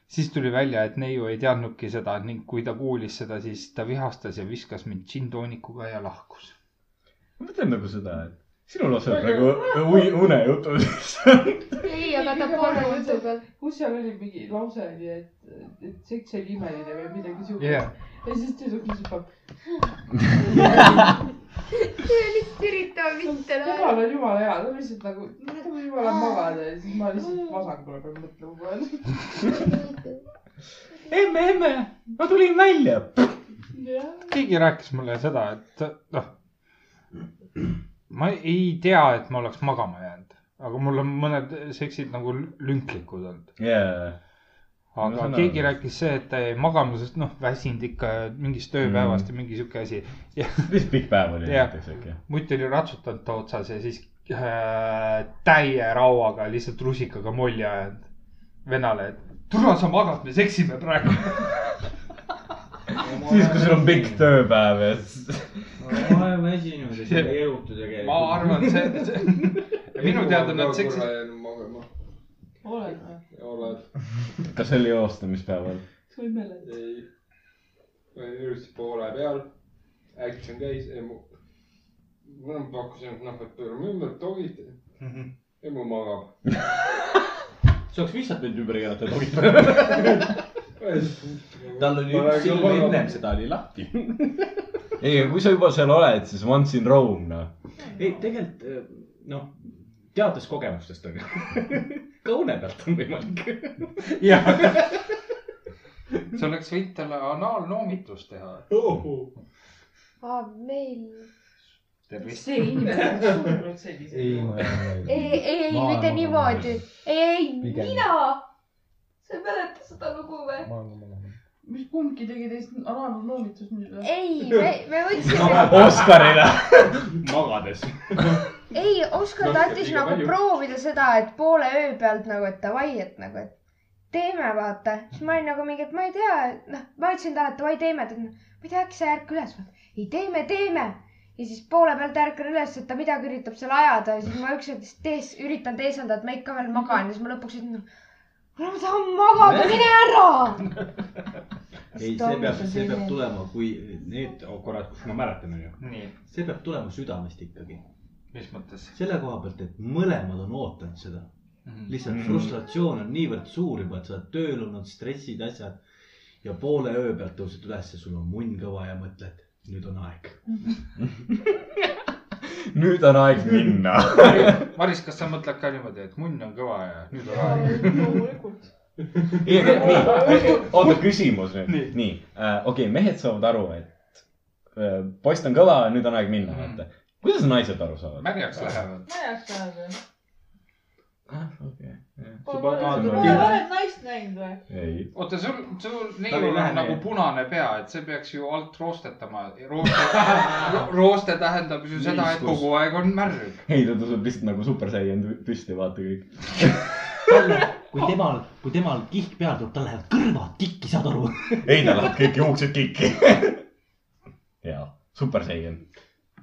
B: siis tuli välja , et neiu ei teadnudki seda ning kui ta kuulis seda , siis ta vihastas ja viskas mind džinntoonikuga ja lahkus .
G: ma mõtlen nagu seda , et sinul laseb nagu ui- unejutudest .
J: ei , aga ta poole jutu peal .
F: kus seal oli mingi lause oli , et , et seks oli imeline või midagi siukest
B: Jah.
F: ja siis tüdruk lihtsalt
J: see on lihtsalt üritav mitte
F: jumal on jumala hea , ta lihtsalt nagu , ta võib jumala magada ja siis ma lihtsalt vasakule pean mõtlema kogu aeg .
G: emme , emme , ma tulin välja .
B: keegi rääkis mulle seda , et noh , ma ei tea , et ma oleks magama jäänud , aga mul on mõned seksid nagu lünklikud olnud .
G: jaa . Ma
B: aga
G: saan
B: no,
G: aru.
B: keegi rääkis see , et ta jäi magama , sest noh , väsinud ikka mingist tööpäevast mm. ja mingi sihuke asi .
G: lihtsalt pikk päev oli
B: Jah.
G: näiteks äkki .
B: mutt oli ratsutanud ta otsas ja siis äh, täie rauaga lihtsalt rusikaga molli ajanud venale , et tule sa magad , me seksime praegu .
G: siis , kui sul on pikk tööpäev ja siis .
C: ma olen väsinud ja seal ei erutu tegelikult .
B: ma arvan , see, see , minu teada nad seksid .
E: magama .
F: oled või ?
E: oled ?
G: kas see oli joostamispäeval ?
F: sa ei mäleta ?
E: ei . ma olin ilusti poole peal . Action käis , emu . ma pakkusin , et noh , et pöörame ümber , togid . emu magab .
C: sa oleks lihtsalt võinud ümber keerata ja togid
E: tal
C: tal oli üks silm ennem seda oli lahti .
G: ei , kui sa juba seal oled , siis once in Rome , noh .
C: ei , tegelikult eh, noh , teades kogemustest on ju , ka une pealt on võimalik . jah .
B: sa oleks võinud talle anaalnoomitus teha .
J: meil ,
B: tervist .
U: see inimene on surnud sellise .
V: ei , ma ei
J: ei , ei , ei , mitte niimoodi . ei ,
V: Pigem.
J: mina .
W: sa ei mäleta seda lugu või ?
F: mis kumbki tegi teist alanud noomitust nüüd või ?
J: ei , me , me võtsime .
C: Oskarile magades .
J: ei , Oskar
C: No,
J: tahtis
C: liiga
J: nagu
C: palju.
J: proovida seda , et poole öö pealt nagu , et davai , et nagu , et teeme , vaata . siis ma olin nagu mingi , et ma ei tea , noh , ma ütlesin talle , et davai , teeme . ta on , ma ei tea , äkki sa ei ärka üles . ei , teeme , teeme . ja siis poole pealt ärkan üles , et ta midagi üritab seal ajada ja siis ma üks hetk tees , üritan teeselda , et ma ikka veel magan ja siis ma lõpuks ütlen , kuule , ma tahan magada , mine ära .
C: ei , see peab , see peab tulema , kui need korrad , kus ma mäletan , onju . see peab tulema südamest ikkagi .
B: mis mõttes ?
C: selle koha pealt , et mõlemad on ootanud seda . lihtsalt
B: Mhm.
C: frustratsioon on niivõrd suur juba , et sa oled tööl olnud , stressid , asjad ja poole öö pealt tõused üles ja sul on munn kõva ja mõtled , nüüd on aeg .
G: nüüd on aeg minna .
B: Maris , kas sa mõtled ka niimoodi , et munn on kõva ja nüüd on aeg ?
F: loomulikult .
G: ei , aga nii , oota , küsimus nüüd . nii, nii. , okei okay, , mehed saavad aru , et äh, poiss on kõva , nüüd on aeg minna , vaata . kuidas naised aru saavad ?
B: märjaks lähevad .
D: ma ei jaksa öelda .
G: Ah,
C: paned
D: oled
C: naadri
D: pole-
C: kinni.
D: oled naist näinud või ?
G: ei .
B: oota , sul , sul ,
C: Tal
B: neil
C: ei lähe
B: on nagu
C: nii.
B: punane pea , et see peaks ju alt roostetama . rooste , rooste tähendab ju seda , et
G: Niiskus.
B: kogu aeg on märg .
G: ei , ta tõuseb lihtsalt nagu super saiyan püsti , vaata kõik .
C: kui temal , kui temal kihk peale tuleb , tal lähevad kõrvad kikki , saad aru ?
G: ei , tal lähevad kõik juuksed kikki . jaa , super saiyan .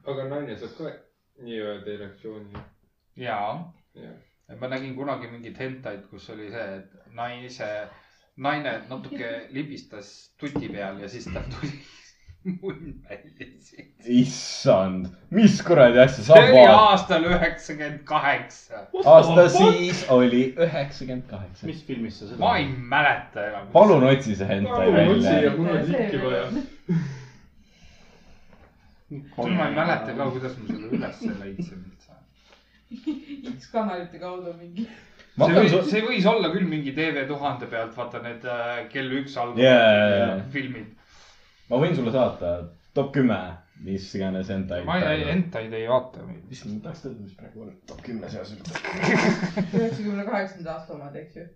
E: aga naine saab ka nii-öelda erektsiooni .
B: jaa
E: Jah. ,
B: ma nägin kunagi mingit hentait , kus oli see , et naise , naine natuke libistas tuti peal ja siis tal tuli munn välja .
G: issand , mis kuradi asja sa
B: see oli
G: vaatad ?
B: aastal üheksakümmend kaheksa .
G: aasta siis oli üheksakümmend kaheksa .
C: mis filmis sa
B: ma ei mäleta enam .
G: palun otsi see hentai välja .
B: küll ma ei mäleta ka , kuidas ma selle ülesse leidsin .
F: X-kanalite kaudu mingi .
G: Ma
B: see
G: hakkan
B: võis ,
G: su-
B: see võis olla küll mingi TV tuhande pealt , vaata need äh, kell üks algul
G: Jaa, jaa, jaa.
B: filmid .
G: ma võin sulle saata top kümme , mis iganes hentai .
B: ma ei , hentaid ei vaata .
G: issand , ma tahaks teada , mis praegu on top kümne seas üldse .
F: üheksakümne kaheksanda aasta omad , eks ju .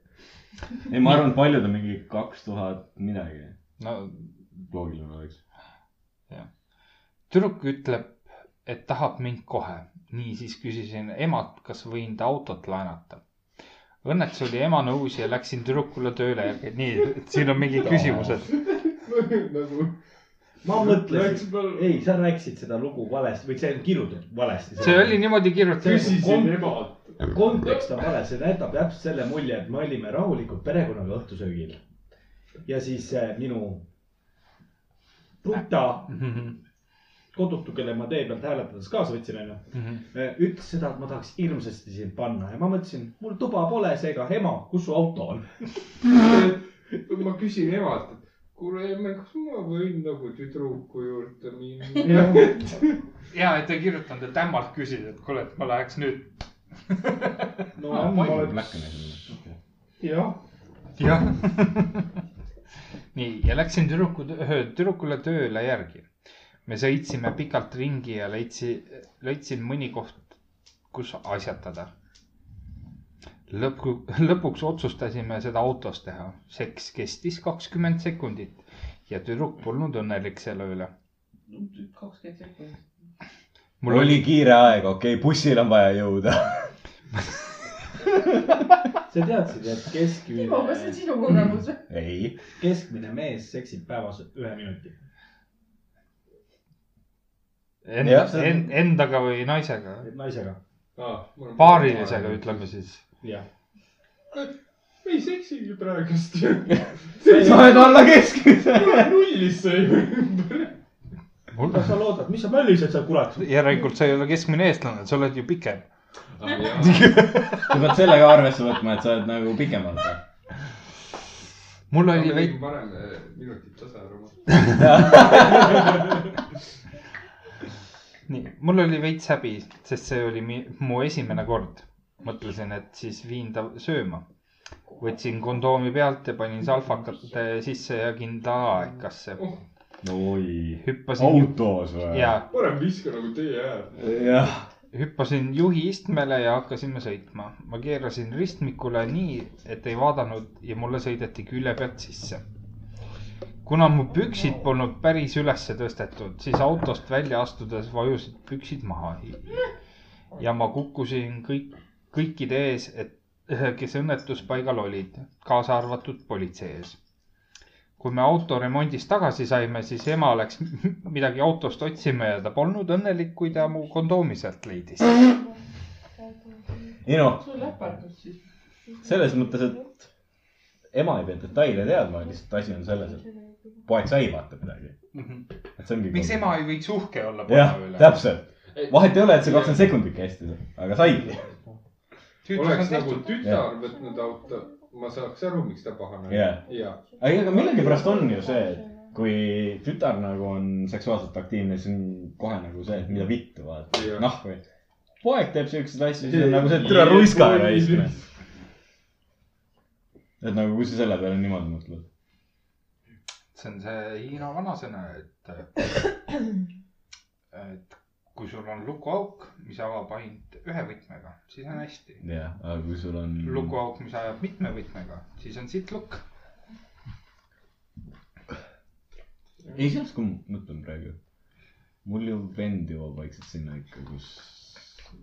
G: ei , ma arvan , et paljud on mingi kaks tuhat midagi .
B: no
G: loogiline oleks .
B: tüdruk ütleb , et tahab mind kohe . niisiis küsisin emalt , kas võin ta autot laenata . Õnneks oli ema nõus ja läksin tüdrukule tööle ja nii , siin on mingid küsimused .
E: nagu .
C: ma mõtlesin , ei , sa rääkisid seda lugu valesti või see on kirjutatud valesti .
B: see oli niimoodi kirjutatud .
E: emalt .
C: kontekst on vale , see jätab täpselt selle mulje , et me olime rahulikult perekonnaga õhtusöögil . ja siis äh, minu tuta , kodutu , kelle ma tee pealt hääletades kaasa võtsin , onju , ütles seda , et ma tahaks hirmsasti sind panna ja ma mõtlesin , mul tuba pole , seega ema , kus su auto on ?
E: ma küsin emalt , et kuule emme , kas ma võin nagu tüdruku juurde minna
C: Jah. ?
B: ja , et ei kirjutanud , et ämmalt küsida , et kuule , et ma läheks nüüd .
C: no
B: Ah,
C: ma
B: palju
C: olen , jah ,
B: jah . nii , ja läksin tüdruku , tüdrukule tööle järgi . me sõitsime pikalt ringi ja leidsi , leidsin mõni koht , kus asjatada . lõpu , lõpuks otsustasime seda autos teha . seks kestis kakskümmend sekundit ja tüdruk polnud õnnelik selle üle .
F: kakskümmend sekundit .
G: mul oli kiire aeg , okei okay, , bussil on vaja jõuda .
C: sa teadsid , et
F: Timo , kas see on
C: keskmine ,
F: sinu kogemus või ?
G: ei .
C: keskmine mees seksib päevas ühe minuti .
B: Enda
C: Jah, , see on-
B: endaga või naisega ,
C: naisega ,
E: Ah,
B: paarilisega , ütleme siis .
C: jah .
E: ma ei seksigi praegust .
G: sa oled alla keskmise .
E: nullis sa ju .
C: kas sa loodad , mis sa möllised seal , kurat ?
B: järelikult sa ei ole keskmine eestlane , sa oled ju pikem .
G: sa pead selle ka arvesse võtma , et sa oled nagu pikemalt .
B: mul
E: ma
B: oli veidi ,
E: tegin parem eh, minutit tasa ära .
B: nii , mul oli veits häbi , sest see oli mi- mu esimene kord . mõtlesin , et siis viin ta sööma . võtsin kondoomi pealt ja panin salfakate sisse ja kindla aekasse .
G: oi ,
B: hüppasin .
G: autos või ?
B: jaa ,
E: parem viska nagu teie äär .
G: jah ,
B: hüppasin juhi istmele ja hakkasime sõitma . ma keerasin ristmikule nii , et ei vaadanud ja mulle sõideti külje pealt sisse . kuna mu püksid polnud päris ülesse tõstetud , siis autost välja astudes vajusid püksid maha . ja ma kukkusin kõik , kõikide ees , et kes õnnetuspaigal olid , kaasa arvatud politsei ees kui me auto remondist tagasi saime , siis ema läks midagi autost otsima ja ta polnud õnnelik , kui ta mu kondoomi sealt leidis .
G: ei noh ,
F: sul läpardus siis .
G: selles mõttes , et ema ei pea detaile teadma , lihtsalt asi on selles , et poeg sai vaata midagi . et see ongi .
B: miks ema ei võiks uhke olla poja
G: Mhm. jah ,
B: üle ?
G: täpselt . vahet ei ole , et see kakskümmend sekundit kestis , aga sai .
E: oleks nagu tütar võtnud auto , ma saaks aru , miks ta pahane
G: Jah.
E: jaa .
G: aga ega millegipärast on ju see , et kui tütar nagu on seksuaalselt aktiivne , siis on kohe nagu see , et mida vittu vaata , noh või . poeg teeb siukseid asju , siis on nagu see , et türa ruiska ära istme . et nagu , kui sa selle peale niimoodi mõtled . nagu-
B: see on see Hiina vanasõna , et , et kui sul on lukuauk , mis avab ainult ühe võtmega , siis on hästi .
G: jah , aga kui sul on .
B: lukuauk , mis ajab mitme võtmega , siis on siit lukk .
G: ei , sellest , kui ma mõtlen praegu . mul ju vend jõuab vaikselt sinna ikka , kus .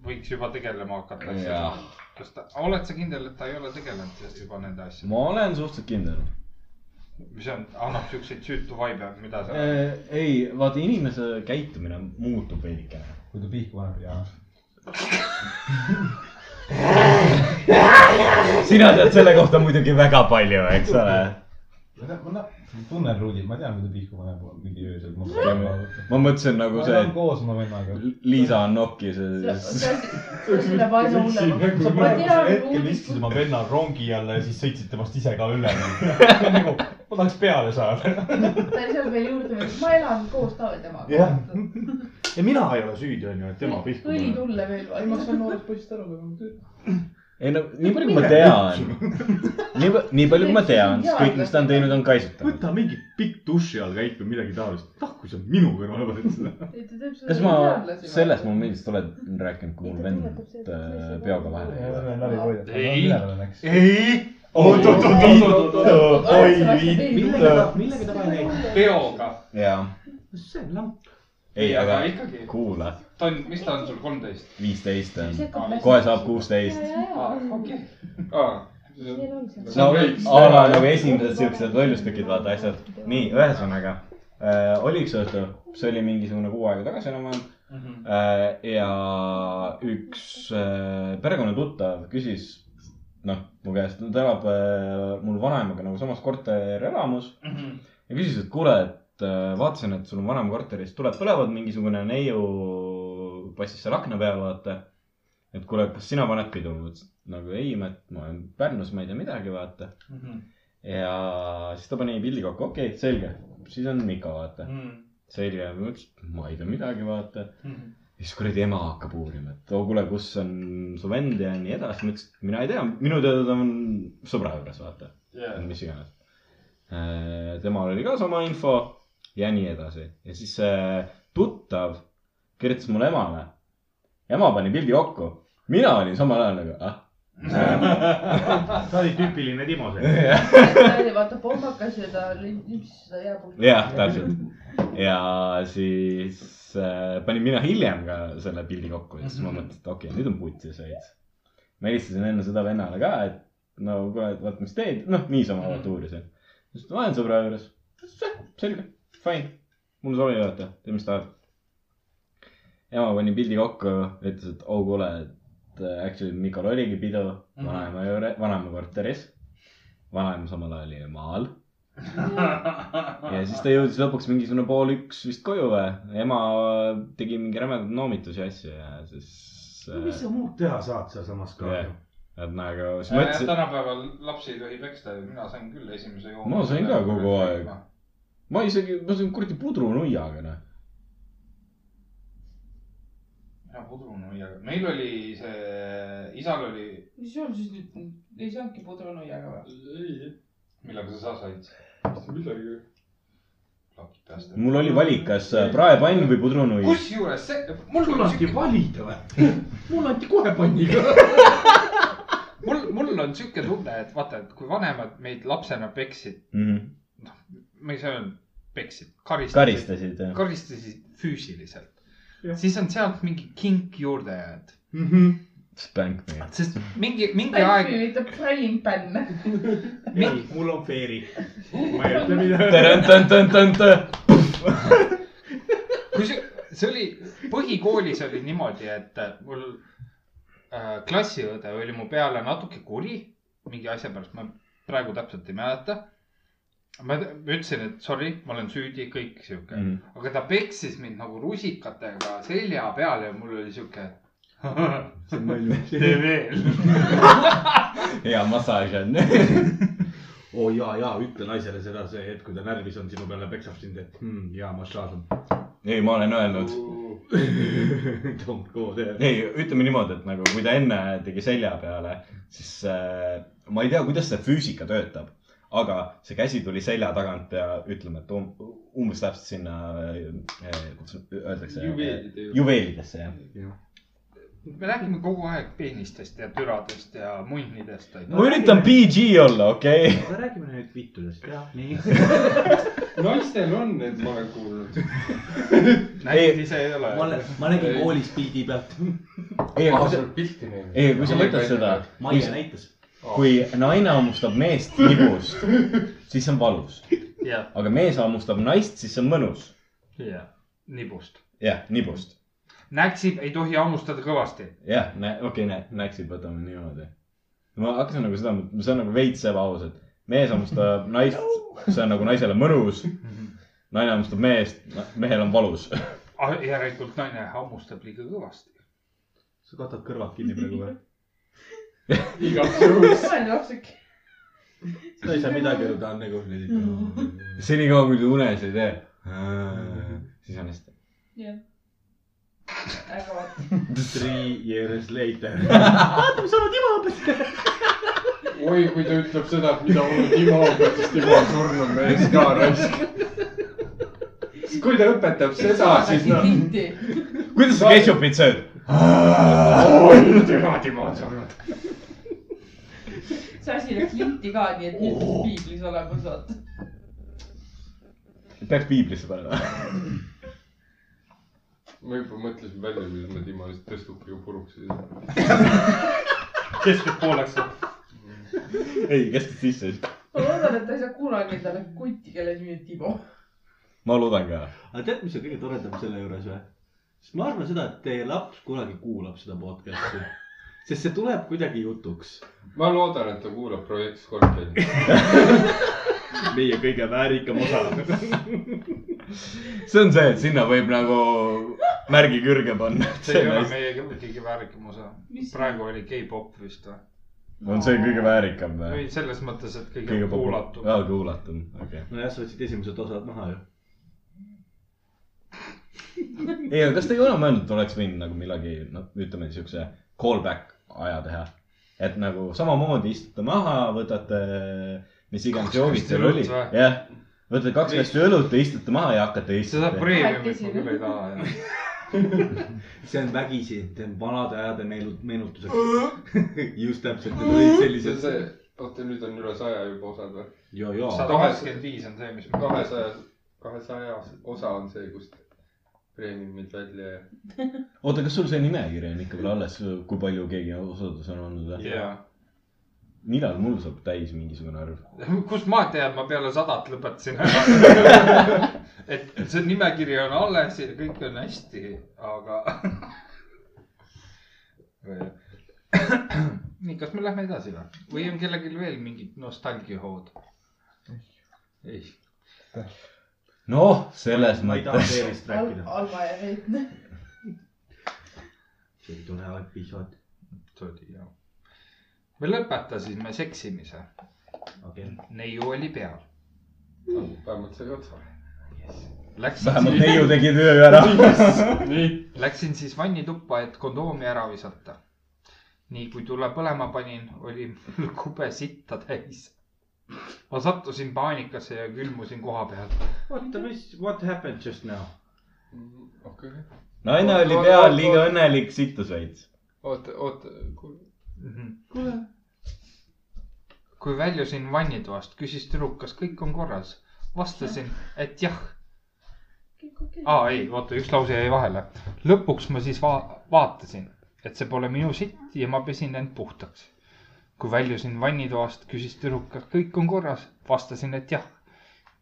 B: võiks juba tegelema hakata
G: Jah.
B: asjadega . kas ta , oled sa kindel , et ta ei ole tegelenud juba nende asjadega ?
G: ma olen suhteliselt kindel .
B: mis on , annab siukseid süütu vaibe , mida sa .
G: Äh. ei , vaata inimese käitumine muutub veidikene .
O: kui ta pihku paneb ja .
G: sina tead selle kohta muidugi väga palju , eks ole .
O: ma tean , ma na- tunnen Ruudi , ma tean , kui ta pihku paneb mingi öösel .
G: ma mõtlesin nagu see ,
O: et . koos oma vennaga .
G: et Liisa on nokis ja siis .
B: noh.
O: praegusel hetkel istusid oma venna rongi alla ja siis sõitsid temast ise ka üle . nagu , ma tahaks peale saada .
F: ta ei saa veel juurde minna , ma elan koos ta temaga .
Q: jah , ja mina ei ole süüdi , onju , et tema pihku
F: õli
Q: tuleb .
F: tulle veel
X: ei , ma
F: vaid .
X: saan noorest poisist aru , aga ma töö .
G: ei no nii palju , kui ma tean , nii , nii palju , kui ma tean , siis kõik , mis ta on teinud , on kaisutanud .
Q: võta mingi pikk duši all käik või midagi taolist . ah , kui sa minu kõrvale paned seda .
G: kas ma sellest momendist olen rääkinud , kui mul vend äh, peoga vahele jäi või ?
B: ei ,
G: ei .
B: Oot, oot, oot, oot, oot, oot.
G: oi
B: Millega ta-
G: vitt .
Q: millega ta vahele jäi ?
B: peoga .
G: jaa ,
Q: see on lamp .
G: ei , aga
B: ikkagi ,
G: kuula ,
B: ta on , mis ta on sul , kolmteist ?
G: viisteist on , kohe saab kuusteist .
B: okei .
G: no a la nagu esimesed siuksed lollustükid , vaata asjad . nii , ühesõnaga äh, oli üks õhtu , see oli mingisugune kuu aega tagasi enam-vähem
B: Mm.
G: äh, . ja üks äh, perekonnatuttav küsis , noh , mu käest , ta elab äh, mul vanaemaga nagu samas korterelamus ja küsis , et kuule , et äh, vaatasin , et sul on vanem korteris , tuleb , tulevad mingisugune neiu , passis seal akna peal , vaata . et kuule , kas sina paned pidu ? ma ütlesin , et nagu ei , ma , ma olen Pärnus , ma ei tea midagi , vaata . ja siis ta pani pildi kokku , okei okay, , selge , siis on Mika , vaata . selge , ma ütlesin , et ma ei tea midagi , vaata . siis kuradi ema hakkab uurima , et oo , kuule , kus on su vend ja nii edasi . ma ütlesin , et mina ei tea , minu teada ta on sõbra juures , vaata
B: Jaa.
G: yeah. . mis iganes . temal oli ka sama info ja nii edasi ja siis see tuttav kirjutas mulle emale . ema pani pildi kokku , mina olin samal ajal nagu ah .
Q: sa olid tüüpiline Timo see .
G: jah ,
F: ta oli vaata pommakas ja ta limpsis seda jääpulka .
G: jah , täpselt ja siis äh, panin mina hiljem ka selle pildi kokku ja siis ma mõtlesin , et okei okay, , nüüd on putsi seis . ma helistasin enne seda vennale ka , et no kuule , et vaata , mis teed , noh , niisama vaata uurisin . siis ma olen sõbra juures , selge , fine , mul sobi vaata , tee mis tahad . ema pani pildi kokku , ütles , et oo kuule , et äh, actually Mikal oligi pidu
B: Mhm.
G: vanaema juures , vanaema korteris . vanaema samal ajal oli maal . ja siis ta jõudis lõpuks mingisugune pool üks vist koju või , ema
A: äh,
G: tegi mingi rämedaid noomitusi ja asju ja siis .
Q: mis
A: äh,
Q: sa muud teha saad sealsamas ka
G: Jah.
Q: ju ?
G: et nagu
C: Äh,
G: siis ma ütlesin ,
B: tänapäeval lapsi ei tohi peksta ju , mina sain küll esimese joo .
G: ma sain ka kogu aeg . ma isegi , ma sain kuradi pudrunuiaga noh .
B: mina pudrunuiaga , meil oli see , isal oli ,
F: mis sul siis nüüd , ei saanudki pudrunuiaga või ?
E: ei ,
B: millega sa said ,
E: mitte midagi .
B: plakid päästa .
G: Mm.
A: mul
C: Mm.
A: oli valik , kas praepann või pudrunui .
B: kusjuures see , mul
C: sul
B: on
C: anti
B: siuke ,
C: valida või ? mul anti kohe panniga .
B: mul , mul on siuke tunne , et vaata , et kui vanemad meid lapsena peksid ,
G: Mhm.
B: ma ei saa öelda , peksid , karistasid ,
A: karistasid jah .
B: karistasid füüsiliselt , siis on sealt mingi kink juurde jäänud ,
A: Spank me .
B: sest mingi , mingi aeg
F: pälmi , mitte prällimpänn .
C: ei , mul on Fairy . ma ei ütle midagi .
A: tõrõntõntõntõntõ .
B: kui see , see oli , põhikoolis oli niimoodi , et mul äh, klassiõde oli mu peale natuke kuri , mingi asja pärast , ma praegu täpselt ei mäleta . ma ma ütlesin , et sorry , ma olen süüdi , kõik sihuke mm ,
A: Mhm.
B: -hmm. aga ta peksis mind nagu rusikatega selja peale ja mul oli sihuke tee veel .
A: hea massaaž on .
C: oo oh, ja , ja ütle naisele seda , see hetk , kui ta närvis on sinu peale , peksab sind , et hmm, hea massaaž on .
A: ei , ma olen öelnud .
C: Don't go there .
A: ei , ütleme niimoodi , et nagu kui ta enne tegi selja peale , siis äh, ma ei tea , kuidas see füüsika töötab , aga see käsi tuli selja tagant ja ütleme , et um, umbes täpselt sinna äh, , kuidas öeldakse
E: Juveelide juurde. ,
A: juveelidesse jah .
B: me räägime kogu aeg peenistest ja türadest ja munnidest .
A: ma üritan PG olla , okei okay? .
C: aga räägime nüüd vittudest , jah . nii .
E: naistel on need , ma olen kuulnud .
B: näinud ise ei ole .
C: ma olen , ma nägin koolis pildi pealt .
A: ei ,
E: aa ,
A: aga
E: sa
A: kui sa ,
E: oled pilti näinud .
A: ei , kui sa mõtled seda , kui
C: Maie , näitas .
A: kui naine hammustab meest nibust , siis see on valus .
B: jah ,
A: aga mees hammustab naist , siis see on mõnus .
B: jah , nibust .
A: jah , nibust .
B: näksib , ei tohi hammustada kõvasti .
A: jah , okei okay, , näe , näksid , võtame niimoodi . ma hakkasin nagu seda , see on nagu veits ebaaus , et mees hammustab naist , see on nagu naisele mõnus . naine hammustab meest , mehel on valus .
B: Ah, järelikult naine hammustab liiga kõvasti .
C: sa katad kõrvad kinni praegu või ?
E: igaks juhuks .
F: ma olen lapsik .
C: ta ei saa midagi aru , ta on nagu nii .
A: senikaua , kui ta unes ei tee , siis on hästi .
F: jah . väga vaata .
C: Three years later . vaata , mis sa oled ima õpetanud .
E: oi , kui ta ütleb seda , et mida mul Timo õpetas , Timo on surnud mees ka raisk . kui ta õpetab seda , siis noh .
F: kinti .
A: kuidas sa ketšupit sööd ?
E: oi , türa , Timo on surnud .
F: see asi läks linti ka , nii et nüüd siis piiblis olemas vaata .
A: peaks piiblisse panema .
E: ma juba mõtlesin välja , kuidas ma Timo lihtsalt tõstukiga puruks ei saa .
B: keskelt pooleks .
A: ei , kestad sisse ,
F: ma loodan , et ta ei saa kunagi endale kuti , kelle nimi on Timo .
A: ma loodan ka .
C: aga tead , mis on kõige toredam selle juures või ? sest ma arvan seda , et teie laps kunagi kuulab seda podcast'i , sest see tuleb kuidagi jutuks .
E: ma loodan , et ta kuulab Projekt Skorpioni .
C: meie kõige väärikam osa .
A: see on see , et sinna võib nagu märgi külge panna .
B: see ei ole meie kõ- kõige väärikam osa . praegu oli K-pop vist või ?
A: on see kõige väärikam või
B: või ? selles mõttes , et kõige
A: kõige
B: kuulatum .
A: aa , kuulatum , okei .
C: nojah , sa võtsid esimesed osad maha ju .
A: ei , aga kas te ei ole mõelnud , et oleks võinud nagu millegi , noh , ütleme siukse callback aja teha ? et nagu samamoodi istute maha , võtate , mis iganes
B: Kaks
A: joogid
B: kasti
A: teil
B: õlut
A: oli ,
B: või?
A: jah . võtate kaks kasti õlut ja istute maha ja hakkate
B: seda
A: istuma .
B: preemiumit ma küll ei taha jah .
C: see on vägisi , see on vanade ajade meelu- , meenutuseks . just täpselt , need olid
E: see on
C: sellised .
E: see , oota nüüd on üle saja juba osad või ?
C: ja , ja .
B: sada kaheksakümmend viis on see , mis ma kahes .
E: kahesaja , kahesaja osa on see , kust preemiumid välja ja .
A: oota , kas sul see nimekiri on ikka veel alles , kui palju keegi osadus on olnud või ?
B: jaa .
A: millal mul saab täis mingisugune arv ?
B: kust ma tean , ma peale sadat lõpetasin ära . et et see nimekiri on alles ja kõik on hästi , aga . nii , kas me lähme edasi või , või on kellelgi veel mingid nostalgiahood ? ei ,
A: noh , selles
C: ma ei taha
A: mõttes .
C: Teerist
G: noh.
C: rääkida .
F: Alma ja Rein .
C: see oli tore episood .
B: see oli jah . me lõpetasime seksimise ,
C: okei .
B: neiu oli peal ,
E: Noh, vähemalt sai otsa .
B: Läksin
G: vähemalt
B: siis-
G: neiu tegi töö ära .
B: nii , läksin siis vannituppa , et kondoomi ära visata . nii kui tule põlema panin , oli mul kube sitta täis . ma sattusin paanikasse ja külmusin koha peal .
C: oota , mis , what happened just now ?
E: okei .
G: naine oli peal liiga õnnelik , sittus veits .
E: oota , oota , kuule .
B: kuule . Mhm. kui väljusin vannitoast , küsis tüdruk , kas kõik on korras . vastasin , et jah . aa , ei , oota , üks lause jäi vahele . lõpuks ma siis va vaatasin , et see pole minu sitt ja ma pesin end puhtaks . kui väljusin vannitoast , küsis tüdruk , kas kõik on korras . vastasin , et jah .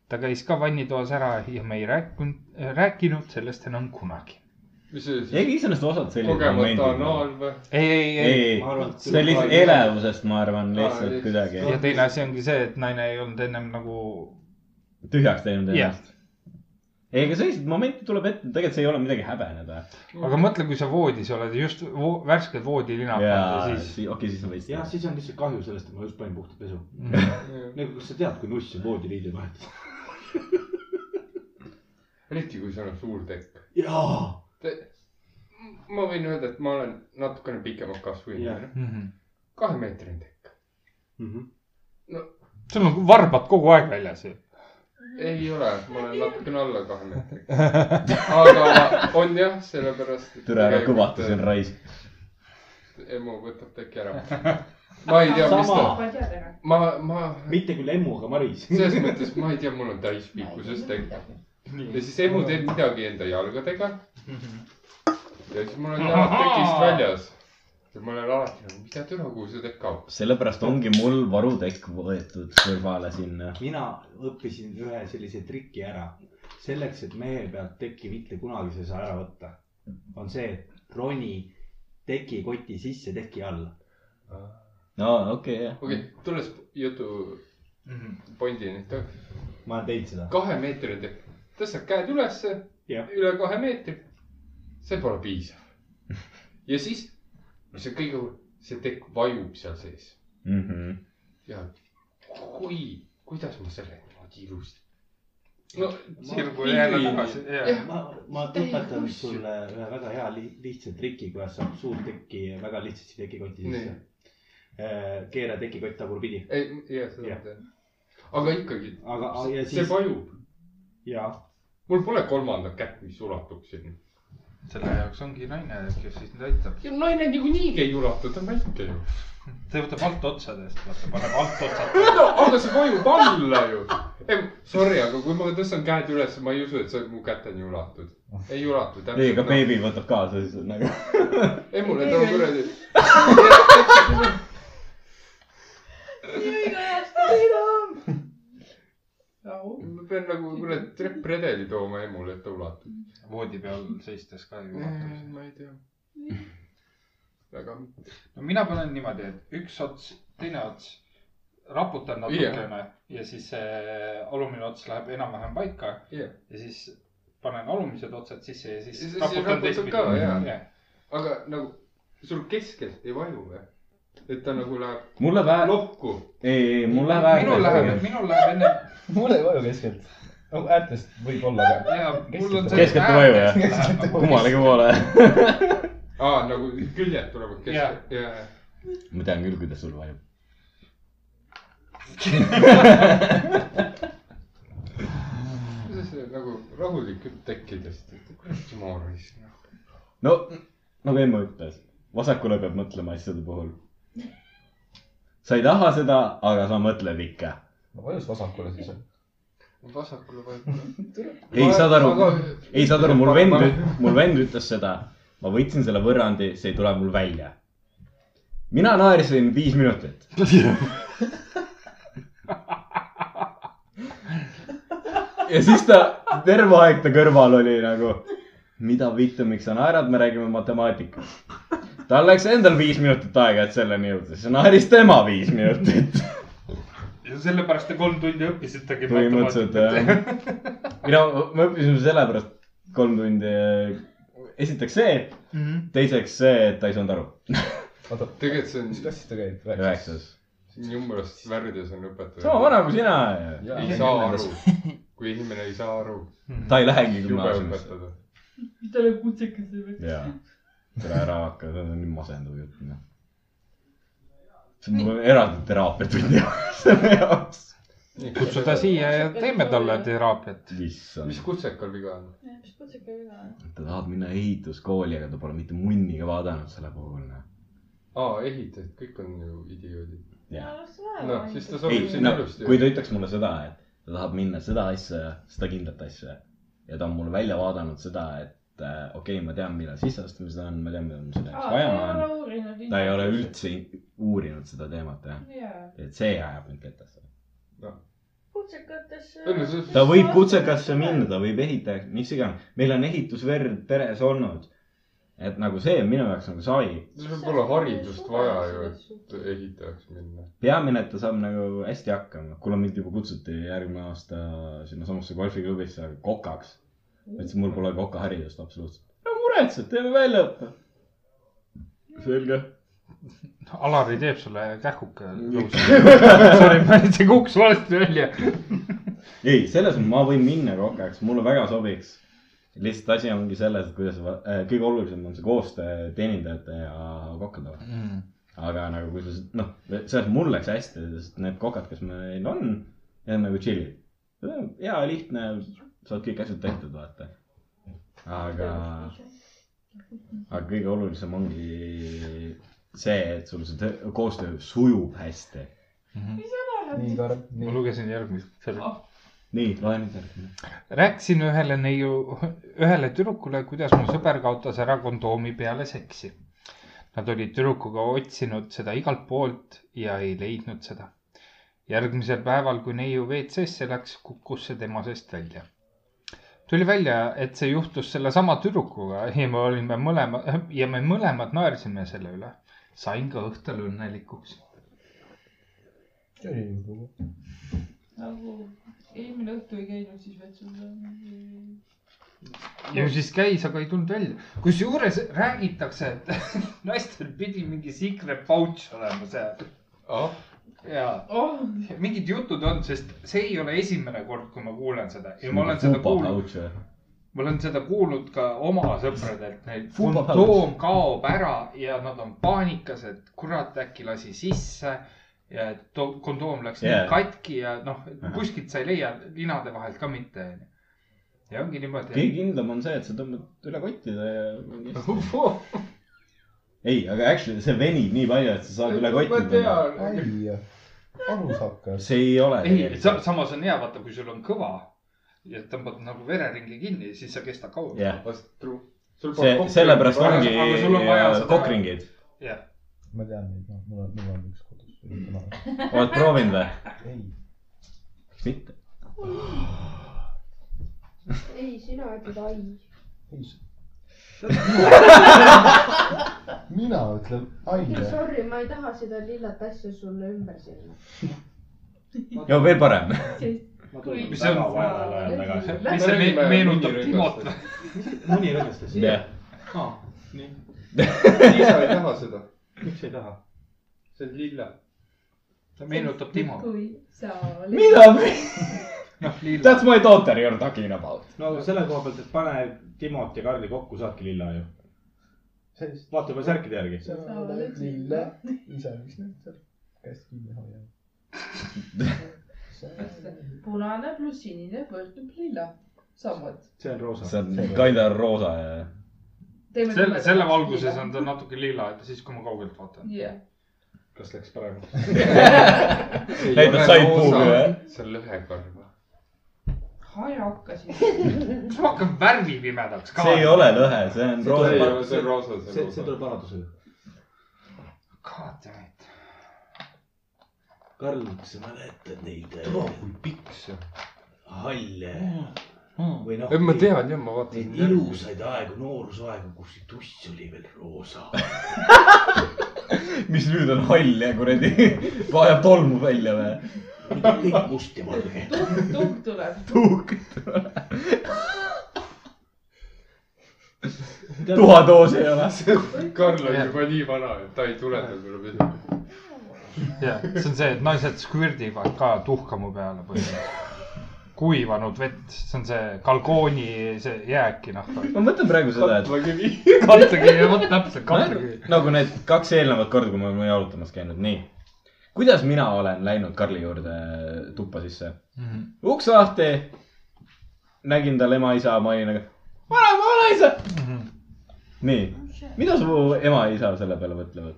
B: ta käis ka vannitoas ära ja me ei rääkinud , rääkinud sellest enam kunagi .
E: mis see siis ?
G: ei , iseenesest osad sellised
E: kogemata
G: momendid .
E: anal või ?
B: ei , ei ,
G: ei , ei , see oli lihtsalt . elevusest , ma arvan , lihtsalt
B: Aa,
G: kuidagi
B: ja teine asi ongi see , et naine ei olnud ennem nagu
G: tühjaks teinud
B: Jah.
G: ennast . ei , aga selliseid momente tuleb ette , tegelikult see ei ole midagi häbeneda .
B: aga
E: Mhm.
B: mõtle , kui sa voodis oled ja just vo värsked voodilina
G: jaa ,
B: pannud ja Ah, siis
G: okei , siis on veits .
C: jah , Ah, siis on lihtsalt kahju sellest , et ma just panin puhta pesu . nagu , kas sa tead , kui nuss on voodiriidel vahetada ?
E: eriti kui sul on suur tekk .
C: jaa .
E: ma võin öelda , et ma olen natukene pikema kasvu
B: Mhm.
E: inimene . kahemeetrine tekk .
C: Mhm.
E: no
B: sul on varbad kogu aeg väljas ju .
E: ei ole , ma olen natukene alla kahe meetri . aga on jah , sellepärast . äh,
G: türa ära kõvata , see on . raisk .
E: emu võtab teki ära . ma ei tea , mis ta ,
F: ta .
E: ma , ma ,
C: mitte küll emmu , aga Maris .
E: selles mõttes ma ei tea , mul on täispikkuses tekk . ja siis emu teeb midagi enda jalgadega . ja siis mul on jalad tekist väljas . ja ma olen alati nagu , mida türa , kuhu see tekk kaob .
G: sellepärast ongi mul varutekk võetud kõrvale sinna .
C: mina õppisin ühe sellise triki ära . selleks , et mehe pealt teki mitte kunagi sa ei saa ära võtta , on see , et roni tekikoti sisse teki alla .
G: no okei okay, , jah .
E: okei , tulles jutu pointini , et
C: ma olen teinud seda .
E: kahemeetrine tekk , tõstad käed ülesse , üle kahe meetri . see pole piisav . ja siis , mis on kõige hullem , see tekk vajub seal sees ja kui , kuidas ma selle niimoodi ilusti . no
B: Sirgu jälle tagasi, jaa.
E: jah ,
C: ma , ma õpetan sulle ühe väga hea li- lihtsa triki , kuidas saab suur teki väga lihtsasti tekikoti sisse . keera tekikott tagurpidi .
E: ei , jah , seda ma tean . aga ikkagi ,
C: aga aga- ja
E: see
C: siis .
E: vajub .
C: jaa .
E: mul pole kolmandat kätt , mis ulatuks sinna .
B: selle jaoks ongi naine , kes siis nüüd aitab .
E: ja naine niikuinii ei ulatu , ta on väike ju .
B: ta võtab alt otsadest , vaata , paneb alt otsad .
E: no aga see vajub alla ju . ei , sorry , aga kui ma tõstan käed üles , ma ei usu , et sa mu käteni ulatud . ei ulatu täpselt .
G: ei , aga beebi võtab kaasa siis nagu .
E: ei , mul on nagu kuradi . ma pean nagu kurat treppredeli tooma emule , et ta ulatub .
B: voodi peal seistes ka ju .
E: Mm, ma ei tea . väga .
B: no mina panen niimoodi , et üks ots , teine ots , raputan natukene yeah. ja siis see alumine ots läheb enam-vähem paika
E: Jah.
B: ja siis panen alumised otsad sisse ja siis
E: siis
B: raputan
E: raputab
B: teistpidi
E: ka , jaa
B: Jah. .
E: aga nagu sul keskelt ei vaju või ? et ta nagu läheb
G: mul läheb äär- ,
E: kokku .
G: ei , ei , mul läheb äär- .
B: minul läheb , minul läheb enne ,
O: mul ei vaju keskelt . no äärtest võib-olla , aga .
B: jaa , mul on see .
G: keskelt ei vaju jah ? kummalegi poole .
E: aa , nagu küljed tulevad keskelt . ja , ja .
G: ma tean küll , kuidas sul vajub .
E: kuidas see nagu rahulikult tekkidest , et kurat , ma arvasin .
G: no , nagu emme ütles , vasakule peab mõtlema asjade puhul . sa ei taha seda , aga sa mõtled ikka .
O: no vajus vasakule siis .
E: vasakule vajub .
G: ei , saad aru , ei saad aru , mul vend , mul vend ütles seda . ma võtsin selle võrrandi , see ei tule mul välja . mina naersin viis minutit . ja siis ta , terve aeg ta kõrval oli nagu , mida vittu , miks sa naerad , me räägime matemaatikast . tal läks endal viis minutit aega , et selleni jõuda , siis naeris tema viis minutit .
B: ja sellepärast te kolm tundi õppisitegi .
G: põhimõtteliselt jah . mina , me õppisime sellepärast kolm tundi . esiteks see ,
B: Mhm.
G: teiseks see , et ta ei saanud aru .
O: oota ,
E: tegelikult see on ,
O: mis klassis ta käib ?
G: üheksas .
E: see on jummalast värvides on õpetaja .
G: sama vana kui sina .
E: ei saa aru , kui inimene ei saa aru .
G: Ta ei lähegi gümnaasiumisse. .
P: tal on kutsekas või ?
G: jaa , tule ära hakka , see on nii masendav jutt , noh . mul on eraldi teraapiatund selle jaoks .
B: kutsu ta siia ja teeme talle teraapiat .
G: issand ,
E: mis kutsekal viga on ?
D: mis kutsega viga on ?
G: ta tahab minna ehituskooli , aga ta pole mitte munniga vaadanud selle puhul , noh .
E: aa , ehitajad , kõik on ju idioodid .
G: Jah.
E: noh , siis ta
G: ei
E: sobib , sinna
G: no
E: ilusti .
G: kui ta ütleks mulle seda , et ta tahab minna seda asja ja seda kindlat asja ja ta on mulle välja vaadanud seda , et äh, okei okay, , ma tean , millal sisseastumised on , ma tean , millal mul seda jaoks vaja on . ta ei ole . üldse uurinud seda teemat , jah
D: Jaa. .
G: et see ajab mind ketesse .
D: kutsekatesse .
G: ta võib . kutsekasse minna , ta võib ehitajaks , mis iganes , meil on ehitusverd peres olnud . et nagu see on minu jaoks nagu sai ,
E: sul pole haridust vaja ju , et ehitajaks minna .
G: peamine , et ta saab nagu hästi hakkama , kuna mind juba kutsuti järgmine aasta sinnasamasse golfiklubisse kokaks . ma ütlesin , mul pole kokaharidust absoluutselt . no muretsed , teeme väljaõppe . selge .
B: Alari teeb sulle kähkuke . Sorry , ma andsin kuks valesti välja .
G: ei , selles mõttes ma võin minna kokaks , mulle väga sobiks . lihtsalt asi ongi selles , et kuidas , kõige olulisem on see koostöö teenindajate ja kokkade vahel .
B: Mm.
G: aga nagu kui sa , noh , selles mõttes mul läks hästi , sest need kokad , kes meil on , need on nagu chill'id . hea , lihtne , saad kõik asjad tehtud , vaata . aga , aga kõige olulisem ongi see , et sul see töö- koostöö sujub hästi .
E: Mhm.
B: nii , Karl , ma lugesin järgmist .
G: nii , loe nüüd järgmine .
B: rääkisin ühele neiu , ühele tüdrukule , kuidas mu sõber kaotas ära kondoomi peale seksi . Nad olid tüdrukuga otsinud seda igalt poolt ja ei leidnud seda . järgmisel päeval , kui neiu WC-sse läks , kukkus see tema seest välja . tuli välja , et see juhtus sellesama tüdrukuga ja me olime mõlema ja me mõlemad naersime selle üle . sain ka õhtul õnnelikuks .
F: nagu eelmine õhtu ei käinud siis vetsus .
B: ju siis käis , aga ei tulnud välja . kusjuures räägitakse , et naistel pidi mingi secret pouch olema seal
E: oh. .
B: ja
F: oh.
B: mingid jutud on , sest see ei ole esimene kord , kui ma kuulen seda ja nagu- ma olen seda kuulnud , ma olen seda kuulnud ka oma sõpradelt , neil
G: Fupa pouch.
B: kondoom kaob ära ja nad on paanikas , et kurat , äkki lasi sisse ja et to- kondoom läks yeah.
G: Jaa.
B: katki ja noh
G: Ahah. ,
B: kuskilt sa ei leia ninade vahelt ka mitte onju . ja ongi niimoodi .
G: kõige kindlam on see , et sa tõmbad üle kottide ja . ei , aga actually see venib nii palju , et sa saad üle kottide .
Y: ai , valus hakkas .
G: see ei ole .
B: ei , samas on hea , vaata , kui sul on kõva ja tõmbad nagu vereringi kinni , siis sa kestad kaua
G: Jah.
B: Sul pole
G: see
B: kokringi
G: sellepärast
B: vaja,
G: ongi
B: aga sul on vaja
G: äh,
B: seda-
G: kokringid .
B: jah ,
Y: ma tean neid , noh , mul on , mul on üks kodus .
G: oled proovinud või ?
Y: ei ,
G: miks mitte ?
J: ei , sina ütled ai .
Y: mina ütlen ai .
J: Sorry , ma ei taha seda lillat asja sulle ümber sinna .
G: ja veel parem .
B: mis see on ? mis see me-
E: Lähme
B: meenutab
E: munirõivastest.
B: Timot või ?
C: mõni lõdvestas .
G: jah ,
C: nii .
E: siis sa ei taha seda ,
C: miks ei taha ?
E: see on lilla .
B: ta meenutab Timo .
P: kui sa oled .
G: Mida me- ?
B: noh , lilla .
G: that's my daughter you are talking about .
C: no selle koha pealt , et pane Timot ja Karli kokku , saadki lilla ju . vaata juba särkide järgi .
Y: sa oled lille , isa , mis nüüd seal käest kinni hoiab ?
F: punane pluss sinine võrdub lilla , samad .
C: see on roosa .
G: see on kinda roosa ja .
B: selle , selle valguses on ta natuke lilla , et siis , kui ma kaugelt vaatan .
F: jah ,
E: kas läks paremaks ?
G: näitad said puuga jah ?
E: see on lõhekarv .
F: hajakasid .
B: miks ma hakkan värvi pimedaks ka ?
G: see ei ole lõhe , see on roosa .
E: see on roosa , see on
C: see ,
E: roosa.
C: see tuleb aladusele . Karl , kas sa mäletad neid äh,
E: tuleb kui pikk see on .
C: halle
B: mm.
C: või noh
E: ei , ma tean jah , ma vaatasin
C: neid . ilusaid aegu , noorusaegu , kus see tuss oli veel roosa .
G: mis nüüd on hall ja kuradi vajab tolmu välja või ?
C: nüüd on kõik must ja valge .
F: tuhk tuleb .
G: tuhk . tuhatoos ei ole .
E: Karl on juba nii vana , et ta ei tule tal tuleb esimene .
B: jah , see on see , et naised skvirdivad ka tuhka mu peale põhimõtteliselt . kuivanud vett , see on see kalkooni see jääki , noh .
G: ma mõtlen praegu seda , et .
B: katlakivi , vot täpselt , katlakivi .
G: nagu need kaks eelnevat korda , kui me oleme jalutamas käinud , nii . kuidas mina olen läinud Karli juurde äh, tuppa sisse ? uks lahti . nägin tal ema-isa , ma olin nagu , vanaema , vanaisa . nii , mida su ema ja isa selle peale mõtlevad ?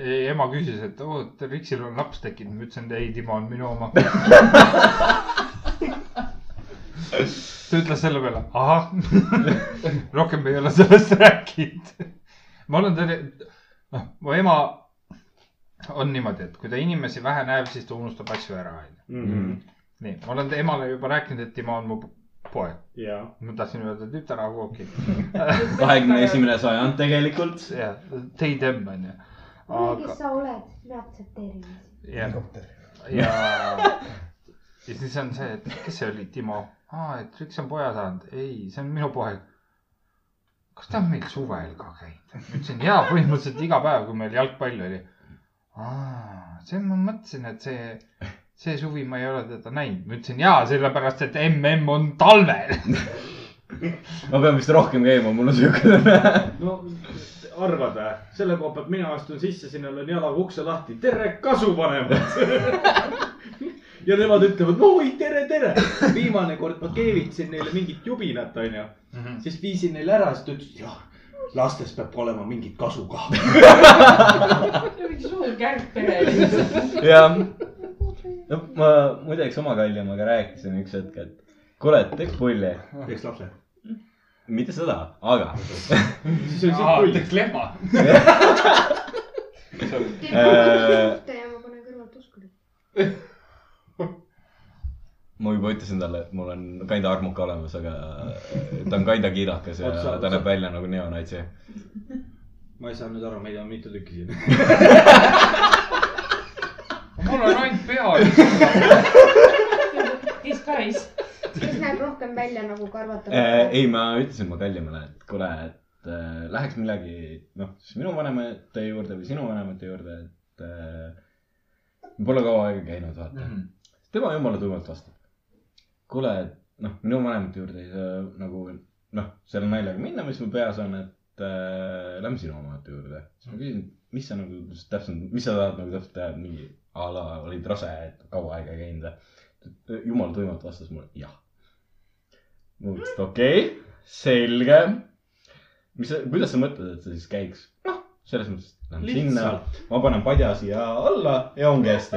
B: ei , ema küsis , et oo , et Riksil on laps tekkinud , ma ütlesin , et ei , Timo on minu oma . ta ütles selle peale , ahah , rohkem ei ole sellest rääkinud . ma olen teile , noh , mu ema on niimoodi , et kui ta inimesi vähe näeb , siis ta unustab asju ära ,
G: Mhm.
B: onju . nii , ma olen emale juba rääkinud , et Timo on mu poeg . ma tahtsin öelda tütar , aga okei .
G: kahekümne esimene sajand tegelikult .
B: jah , they them onju . aga
Z: kes sa oled , me aktsepteerime sind .
B: jah , ja , ja siis on see , et kes see oli , Timo . aa , et üks on poja saanud , ei , see on minu poeg . kas ta on meil suvel ka käinud ? ma ütlesin jaa , põhimõtteliselt iga päev , kui meil jalgpall oli . aa , see ma mõtlesin , et see , see suvi ma ei ole teda näinud . ma ütlesin jaa , sellepärast et mm on talvel .
G: ma pean vist rohkem käima , mul on siuke tunne .
C: no arvad vä ? selle koha pealt mina astun sisse , sinna löön jalaga ukse lahti , tere kasuvanemad . ja nemad ütlevad , no oi , tere , tere . viimane kord ma keevitasin neile mingit jubinat , onju . siis viisin neile ära , siis ta ütles , jah , lastes peab olema mingit kasu ka .
F: mingi suur kärgpere lihtsalt .
G: jah . no ma muideks oma kallimaga rääkisin üks hetk , et kuule , teeks pulli .
C: teeks lapse .
G: mitte seda , aga .
C: siis oli siit pull .
B: teeks lehma .
J: ja ma panen kõrvalt uskuma .
G: ma juba ütlesin talle , et mul on kinda armuke olemas , aga ta on kinda kiidakas ja
C: Otsa-
G: ta
C: otsa-
G: näeb välja nagu neonaitse .
C: ma ei saa nüüd aru , meid on mitu tükki siin .
B: mul on ainult pea .
P: Disguise .
J: kes näeb rohkem välja nagu karvatav
G: Eh, . ei , ma ütlesin mu kallimale , et kuule , et eh, läheks millegi , noh , siis minu vanemate juurde või sinu vanemate juurde , et eh, pole kaua aega käinud , vaata mm . -hmm. tema jumala tuimalt vastab . kuule , et noh , minu vanemate juurde ei saa nagu noh , selle naljaga minna , mis mul peas on , et äh, lähme sinu vanemate juurde . siis ma küsin , mis sa nagu s- täpselt , mis sa tahad nagu täpselt teha , et mingi a la olid rase , et kaua aega ei käinud või ? jumal tuimalt vastas mulle , jah . ma mõtlesin , et okei okay, , selge . mis sa , kuidas sa mõtled , et see siis käiks ? noh , selles mõttes , et lähen sinna , ma panen padja siia alla ja ongi hästi .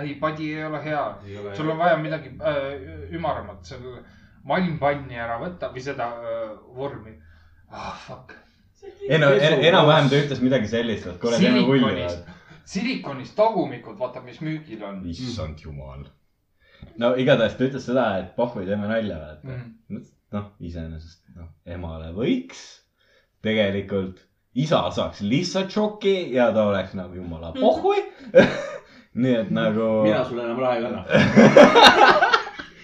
B: ei , padi ei ole hea . sul on vaja midagi äh, ümaramat , seal malmpanni ära võtta või seda äh, vormi . ah , fuck .
G: enam-vähem ta ütles midagi sellist , et kuule , teeme pulli .
B: silikonist , silikonist tagumikud , vaata , mis müügil on .
G: issand jumal . no igatahes ta ütles seda , et pohhui , teeme nalja , vaata
B: Mhm.
G: mm. . noh , iseenesest , noh , emale võiks . tegelikult isa saaks lihtsalt šoki ja ta oleks nagu jumala pohhui . nii et nagu .
C: mina sulle enam raha ei anna .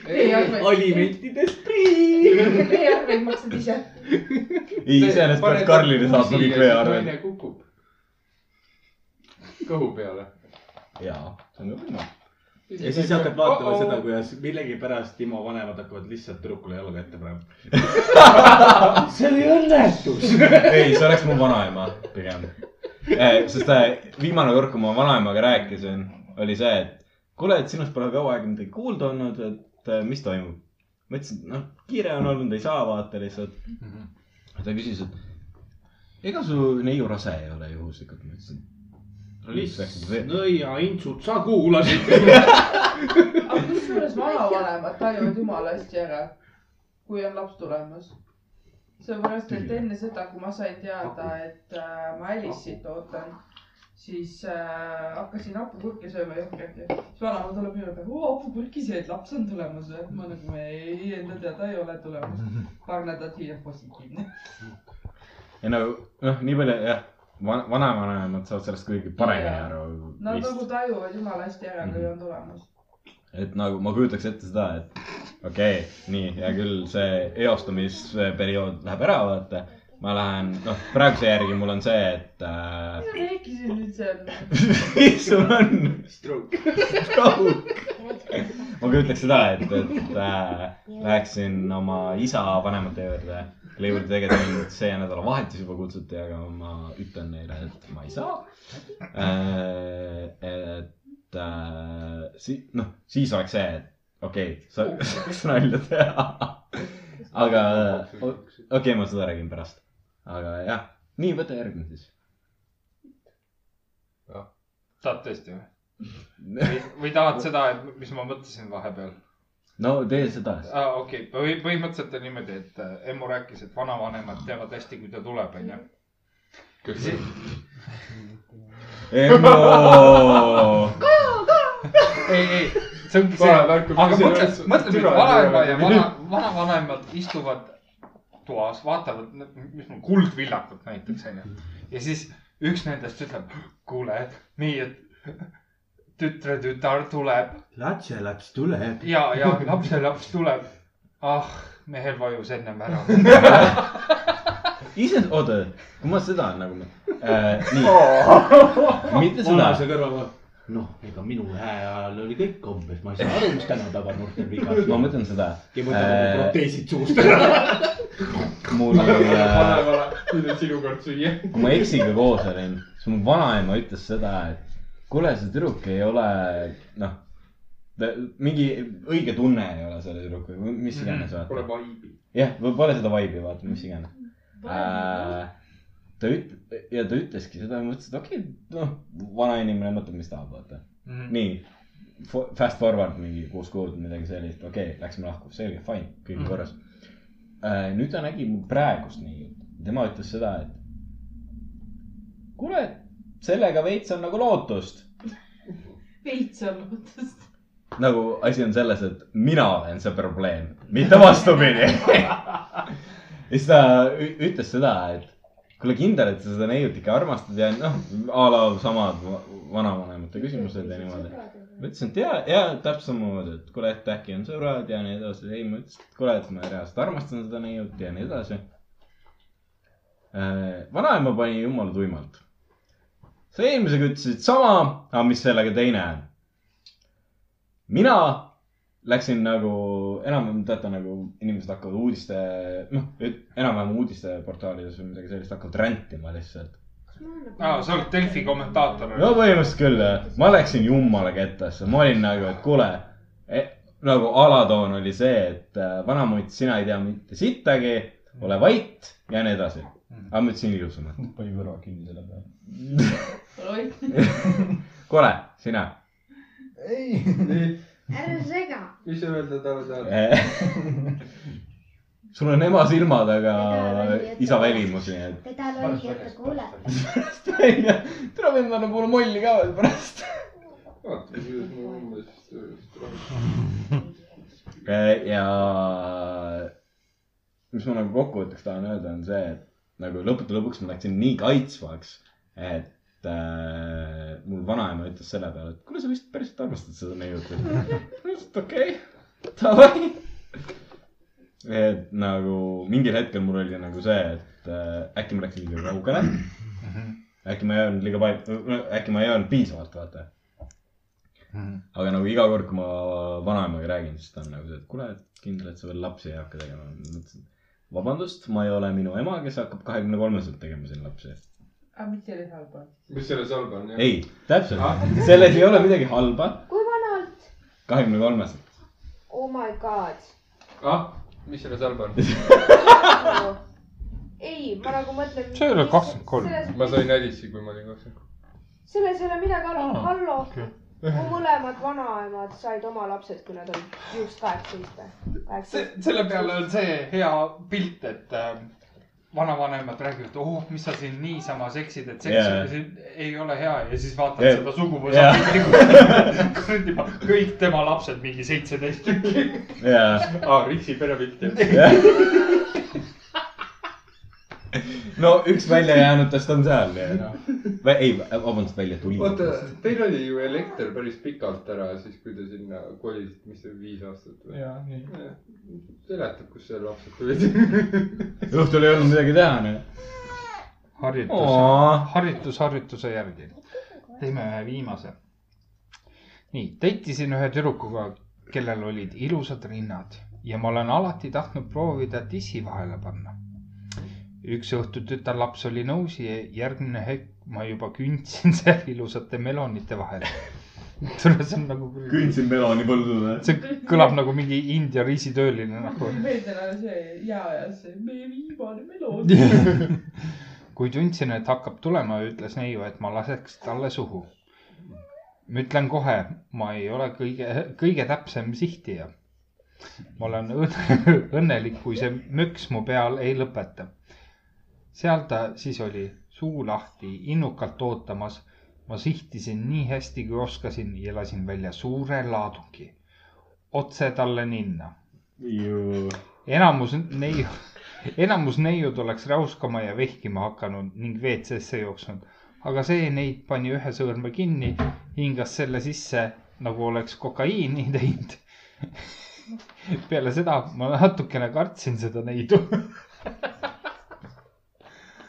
F: ei arva ,
C: alimentidest
F: ei
C: prii .
F: arva , et maksad ise .
G: ei , iseenesest peaks Karlile saatma kõik veearved .
E: kukub kõhu peale .
G: jaa , see on ka võimalik .
C: ja siis hakkad vaatama oh -oh. seda , kuidas millegipärast Timo vanemad hakkavad lihtsalt tüdrukule jalaga ette panema . Ah, see oli õnnetus .
G: ei , see oleks mu vanaema pigem . sest äh, viimane kord , kui ma vanaemaga rääkisin , oli see , et kuule , et sinust pole kaua aega midagi kuulda olnud , et äh, mis toimub . ma ütlesin , noh , kiire on olnud , ei saa vaata lihtsalt . ta küsis , et ega su neiu rase ei ole juhuslikult . ma ütlesin , nagu
C: lihtsalt nõiaintsud , sa kuulasid .
F: aga kusjuures vanavanemad tajuvad jumala hästi ära , kui on laps tulemas . seepärast , et enne seda , kui ma sain teada , et äh, ma Alice'it ootan , siis äh, hakkasin hapukurki sööma jõhkralt ja siis vanaema tuleb minu juurde , oo hapukurki sööd , laps on tulemas või ? ma nagu ei , enda teada ei ole tulemas . paar nädalat hiljem positiivne .
G: ei no , noh , nii palju jah , vanavanemad saavad sellest kuidagi paremini aru .
F: Nad nagu tajuvad jumala hästi ära , kui on tulemas .
G: et nagu ma kujutaks ette seda , et okei okay, , nii , hea küll , see eostumisperiood läheb ära , vaata . ma lähen , noh , praeguse järgi mul on see , et äh,
F: mis äh, sa rääkisid nüüd seal ?
G: mis sul on ?
C: stroke .
G: stroke . ma küll ütleks seda , et , et äh, läheksin oma isa vanemate juurde , kelle juurde tegelikult mind see nädalavahetus juba kutsuti , aga ma ütlen neile , et ma ei saa äh, . et äh, si- , noh , siis oleks see , et okei okay, , sa saaks nalja teha . aga äh, o- okei okay, , ma seda räägin pärast . aga jah , nii , võta järgmine siis .
B: tahad tõesti või ? või , või tahad seda , et mis ma mõtlesin vahepeal ?
G: no tee seda .
B: aa , okei , põhimõtteliselt on niimoodi , et äh, emu rääkis , et vanavanemad teavad hästi , kui ta tuleb , onju .
G: Emmo .
B: ei , ei , see ongi see ,
E: Vana värk on
B: aga
E: see
B: mõtle
E: üles- ,
B: mõtle ,
E: türa-
B: et vanaema ja
E: türa-
B: vana , vanavanemad istuvad toas , vaatavad , mis mul , kuldvillakut näiteks onju . ja siis üks nendest ütleb , kuule , meie tütretütar tuleb
C: lapselaps tuleb .
B: ja , ja lapselaps tuleb . ah , mehel vajus ennem ära .
G: ise , oota , kui ma seda nagu äh, ,
C: Oh.
G: nii , mitte
C: Vanase
G: seda .
C: kõrvaga . noh , ega minu hää ajal oli kõik umbes , ma ei saa aru , mis tänapäeva noortel viga
G: ma mõtlen seda .
C: ja võtame äh... proteesid suust ära .
G: mul
E: vana ,
G: äh, ,
E: vana , nüüd on sinu kord süüa .
G: kui ma eksiga koos olin , siis mu vanaema ütles seda , et kuule , see tüdruk ei ole , noh , mingi õige tunne ei ole selle tüdrukuga , mis iganes ,
E: Mhm. Pole
G: vaata .
E: vaibi .
G: jah , pole seda vibe'i , vaata , mis iganes .
B: nagu
G: Äh, ta üt- , ja ta ütleski seda ja ma mõtlesin , et okei okay, , noh , vana inimene mõtleb , mis tahab , vaata
B: Mhm.
G: mm . -hmm. nii , fast forward mingi kuus kuud , midagi sellist , okei okay, , läksime lahku , selge , fine , kõik on mm -hmm.
B: Mhm.
G: korras äh, . nüüd ta nägi mu praegust nii , tema ütles seda , et kuule , sellega veits on nagu lootust .
P: veits on lootust .
G: nagu asi on selles , et mina olen see probleem , mitte vastupidi ja siis ta ü- ütles seda , et kuule kindel , et sa seda neiut ikka armastad ja noh , a la samad va- vanavanemate küsimused ja niimoodi . ma ütlesin , et ja , ja täpselt samamoodi , et kuule , et äkki on sõbrad ja nii edasi . ei , ma ütlesin , et kuule , et ma reaalselt armastan seda neiut ja nii edasi . vanaema pani jumala tuimalt . sa eelmisega ütlesid sama , aga mis sellega teine on ? mina läksin nagu enam-vähem , teate nagu inimesed hakkavad uudiste , noh , enam-vähem uudisteportaalides või midagi sellist hakkavad rändima lihtsalt .
B: aa , sa oled Delfi kommentaator .
G: no põhimõtteliselt küll jah , ma läksin jumala kettasse , ma olin nagu , et kuule eh, , nagu alatoon oli see , et äh, vanamutt , sina ei tea mitte sittagi , ole vait ja nii edasi . aga ma ütlesin ilusamalt .
O: pani kõrva kinni selle peale .
P: oi .
G: kuule , sina .
E: ei .
J: ära sega .
E: mis sa öelda tahad ,
G: e, sul on ema silmad , aga isa välimus , nii et .
Z: teda lolligi , et ta kuuleb .
G: tere , vend annab mulle molli ka veel pärast .
E: vaata , kuidas mul umbes tööst
G: Äh, ja mis ma nagu kokkuvõtteks tahan öelda , on see , et nagu lõppude lõpuks ma läksin nii kaitsvaks , et äh, mul vanaema ütles selle peale , et kuule , sa vist päriselt armastad seda neiut . ma ütlesin , et okei okay, , davai . Nagu et nagu mingil hetkel mul oli nagu see , et äh, äkki ma läksin liiga kaugele . äkki ma ei olnud liiga palju , äkki ma ei olnud piisavalt , vaata . aga nagu iga kord , kui ma vanaemaga räägin , siis ta on nagu see , et kuule , et kindel , et sa veel lapsi ei hakka tegema . ma mõtlesin , vabandust , ma ei ole minu ema , kes hakkab kahekümne kolmeselt tegema siin lapsi .
P: aga mis selles halba on ?
E: mis selles halba on ?
G: ei ,
C: Ah.
G: täpselt , selles ei ole midagi halba ,
J: kui vanalt ?
G: kahekümne kolmeselt .
J: Oh my god .
E: ah , mis selles halba on ?
J: ei , ma nagu mõtlen .
E: See ei ole 23. ma
J: selles ,
E: sain Alice'i , kui ma olin kakskümmend kolm .
J: selles ei ole midagi halba ,
E: Aa,
J: hallo .
E: okei.
J: mu mõlemad vanaemad said oma lapsed , kui nad olid just kaheksateist või ? kaheksateist .
B: selle peale on see hea pilt , et äh, vanavanemad räägivad , oh , mis sa siin niisama seksid , et seks
G: Jaa.
B: yeah. ei ole hea ja siis vaatad
G: Jaa.
B: yeah. seda
G: Jaa.
B: suguvõsa yeah. pilti , kus kõik tema lapsed mingi seitseteist tükki .
G: jaa .
E: aa , Riksi perepilt
G: Jah. no üks väljajäänutest on seal , nii et . ei , vabandust , välja tuli .
E: oota , teil oli ju elekter päris pikalt ära , siis kui te sinna kolisite , mis see viis aastat või ?
O: Jaa, nii.
E: seletab , kust see lapsed tulid .
G: õhtul ei olnud midagi teha , nii .
B: harjutus
G: Aa. ,
B: harjutus harjutuse järgi . teeme ühe viimase . nii , datisin ühe tüdrukuga , kellel olid ilusad rinnad ja ma olen alati tahtnud proovida tissi vahele panna . üks õhtu tütarlaps oli nõus ja järgmine hetk ma juba kündsin seal ilusate melonite vahel . tule , see on nagu .
G: Kündsin meloni põldule.
B: see kõlab nagu mingi India riisitööline nagu .
F: meeldib ära see jääajas , see meie viimane meloon .
B: kui tundsin , et hakkab tulema , ütles neiu , et ma laseks talle suhu . ma ütlen kohe , ma ei ole kõige , kõige täpsem sihtija . ma olen õnne, õnnelik , kui see möks mu peal ei lõpeta . seal ta siis oli , suu lahti , innukalt ootamas . ma sihtisin nii hästi , kui oskasin ja lasin välja suure laaduki otse talle ninna . enamus neiu , enamus neiud oleks räuskama ja vehkima hakanud ning WC-sse jooksnud , aga see neid pani ühe sõõrme kinni , hingas selle sisse nagu oleks kokaiini teinud . peale seda ma natukene kartsin seda neidu .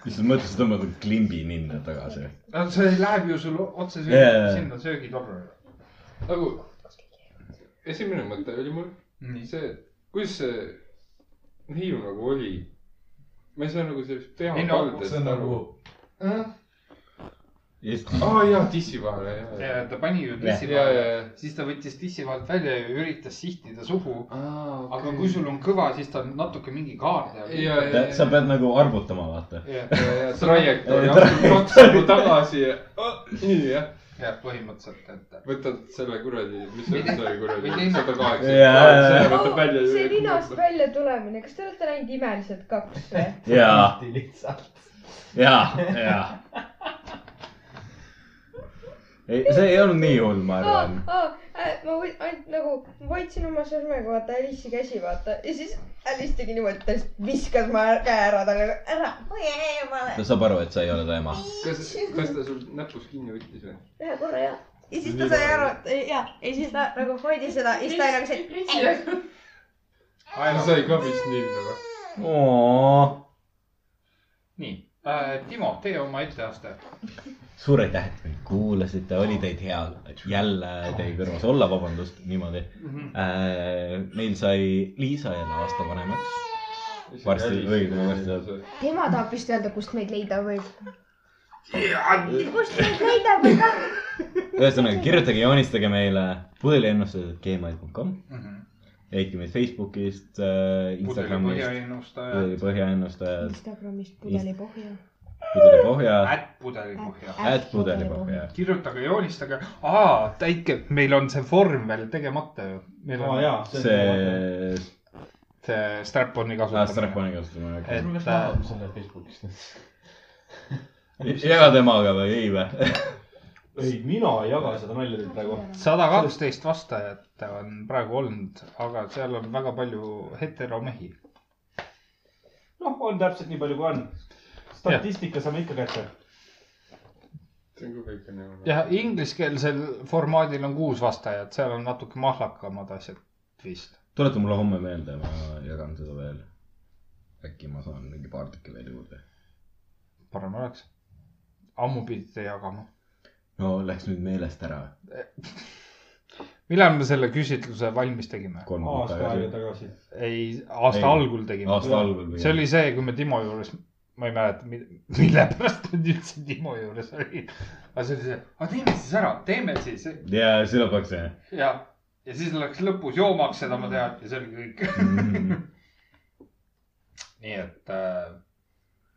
G: issand , mõtle , sa tõmbad klimbi ninna tagasi .
B: no see läheb ju sul otse söögi
G: Jaa, jaa, jaa.
B: sinna söögitorre .
E: nagu esimene mõte oli mul see , et kuidas see neiu nagu oli . ma ei saa nagu sellest
B: Ei no,
E: peavaldest
B: see on nagu
E: aru .
B: Aa,
E: aa jaa , tissi vahele jah .
B: ja ta pani ju tissi
E: Jah.
B: vahele
E: Jah, jah, ,
B: siis ta võttis tissi vahelt välja ja üritas sihtida suhu .
E: Okay.
B: aga kui sul on kõva , siis ta on natuke mingi kaarde .
G: sa pead nagu arvutama , vaata .
B: ja
E: trajektoori
G: Ei,
E: astub
G: trajektoori.
E: kaks nagu tagasi ja oh, nii jah .
B: jah , põhimõtteliselt , et .
E: võtad selle kuradi , mis see üldse oli kuradi ,
B: Või-
E: sada kaheksa .
G: Jaa, jaa, jaa.
E: võtad välja .
J: Oh, see ninast välja tulemine , kas te olete näinud Imelised kaks eh? või ?
G: jaa ,
Y: lihtsalt .
G: jaa , jaa . ei , see ei olnud nii hull , ma
J: aa
G: arvan .,
J: aa , ma või- ainult nagu ma hoidsin oma sõrmega vaata Alice'i käsi vaata ja siis Alice tegi niimoodi , ta lihtsalt viskas mu ära- käe ära talle , ära , hoia
G: ta
J: eemale .
G: saab aru , et sa ei ole ta ema .
E: kas , kas ta sul näpus kinni võttis või ?
J: ühe korra ja , ja siis ta sai aru , et ja , ja siis ta nagu hoidis seda ja siis ta oli nagu see .
E: ta sai ka vist ninna või ?
B: nii , Timo , tee oma etteaste .
G: suur aitäh , et meid kuulasite , oli teid hea jälle teie kõrvas olla , vabandust , niimoodi
B: Mhm.
G: äh, . meil sai Liisa jälle aasta vanemaks . varsti , õigemini varsti saab .
J: tema tahab vist öelda , kust meid leida võib .
G: kust
J: meid leida võib ka .
G: ühesõnaga , kirjutage , joonistage meile pudeliennustajad.gmail.com
B: Mhm.
G: leidke meid Facebookist äh, , Instagramist ,
B: põhjaennustajad.
G: põhjaennustajad ,
J: Instagramist pudelipohja .
G: pudelipohja ,
B: ätt pudelipohja .
G: Ätt pudelipohja.
B: kirjutage , joonistage , aa , täitke , meil on see vorm veel tegemata ju .
C: Aa, jaa, Ah, see on
G: see .
B: see strap-on'i kasutamine .
G: Ah, Strap-on'i kasutamine, okei.
B: et
G: Kas
B: äh,
Y: selle Facebookis nüüd .
G: jaga temaga või ei või ?
C: ei , mina ei jaga seda nalja teil praegu .
B: sada kaksteist vastajat on praegu olnud , aga seal on väga palju heteromehi .
C: noh , on täpselt nii palju , kui on . statistika saame ikka kätte .
E: see on ka kõik on ju .
B: ja ingliskeelsel formaadil on kuus vastajat , seal on natuke mahlakamad asjad vist .
G: tuleta mulle homme meelde , ma jagan seda veel . äkki ma saan mingi paar tükki veel juurde .
B: parem oleks . ammu pidite jagama .
G: no läks nüüd meelest ära .
B: millal me selle küsitluse valmis tegime ?
G: kolm
C: aasta aega . tagasi .
B: ei , aasta
G: Ei,
B: ei, algul tegime .
G: aasta algul tegime.
B: see oli see , kui me Timo juures , ma ei mäleta , mille pärast me üldse Timo juures olime . aga see oli see , aga teeme siis ära , teeme siis
G: ja seda peaks jah .
B: ja , ja siis läks lõpus joomaks , seda ma tean ja see oli kõik . nii et äh,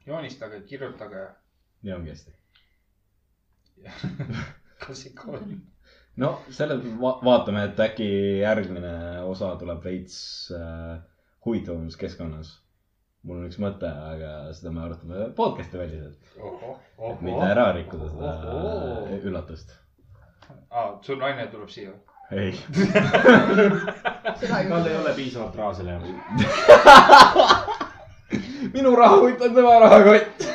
B: joonistage , kirjutage .
G: nii ongi hästi .
B: kas ikka oli ?
G: no selle va vaatame , et äkki järgmine osa tuleb veits äh, huvitavamas keskkonnas . mul on üks mõte , aga seda me arutame podcast'i väliselt . et mitte ära rikkuda seda
B: Ohoo.
G: üllatust .
B: aa , Ah, su naine tuleb siia .
G: ei .
C: tal ei ole piisavalt raha selle jaoks .
G: minu rahakott on tema rahakott .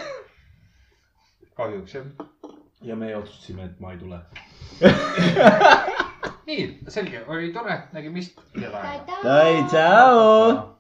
B: kahjuks jah .
C: ja me otsustasime , et ma ei tule .
B: nii , selge , oli tore , nägemist .
G: tai , tšau .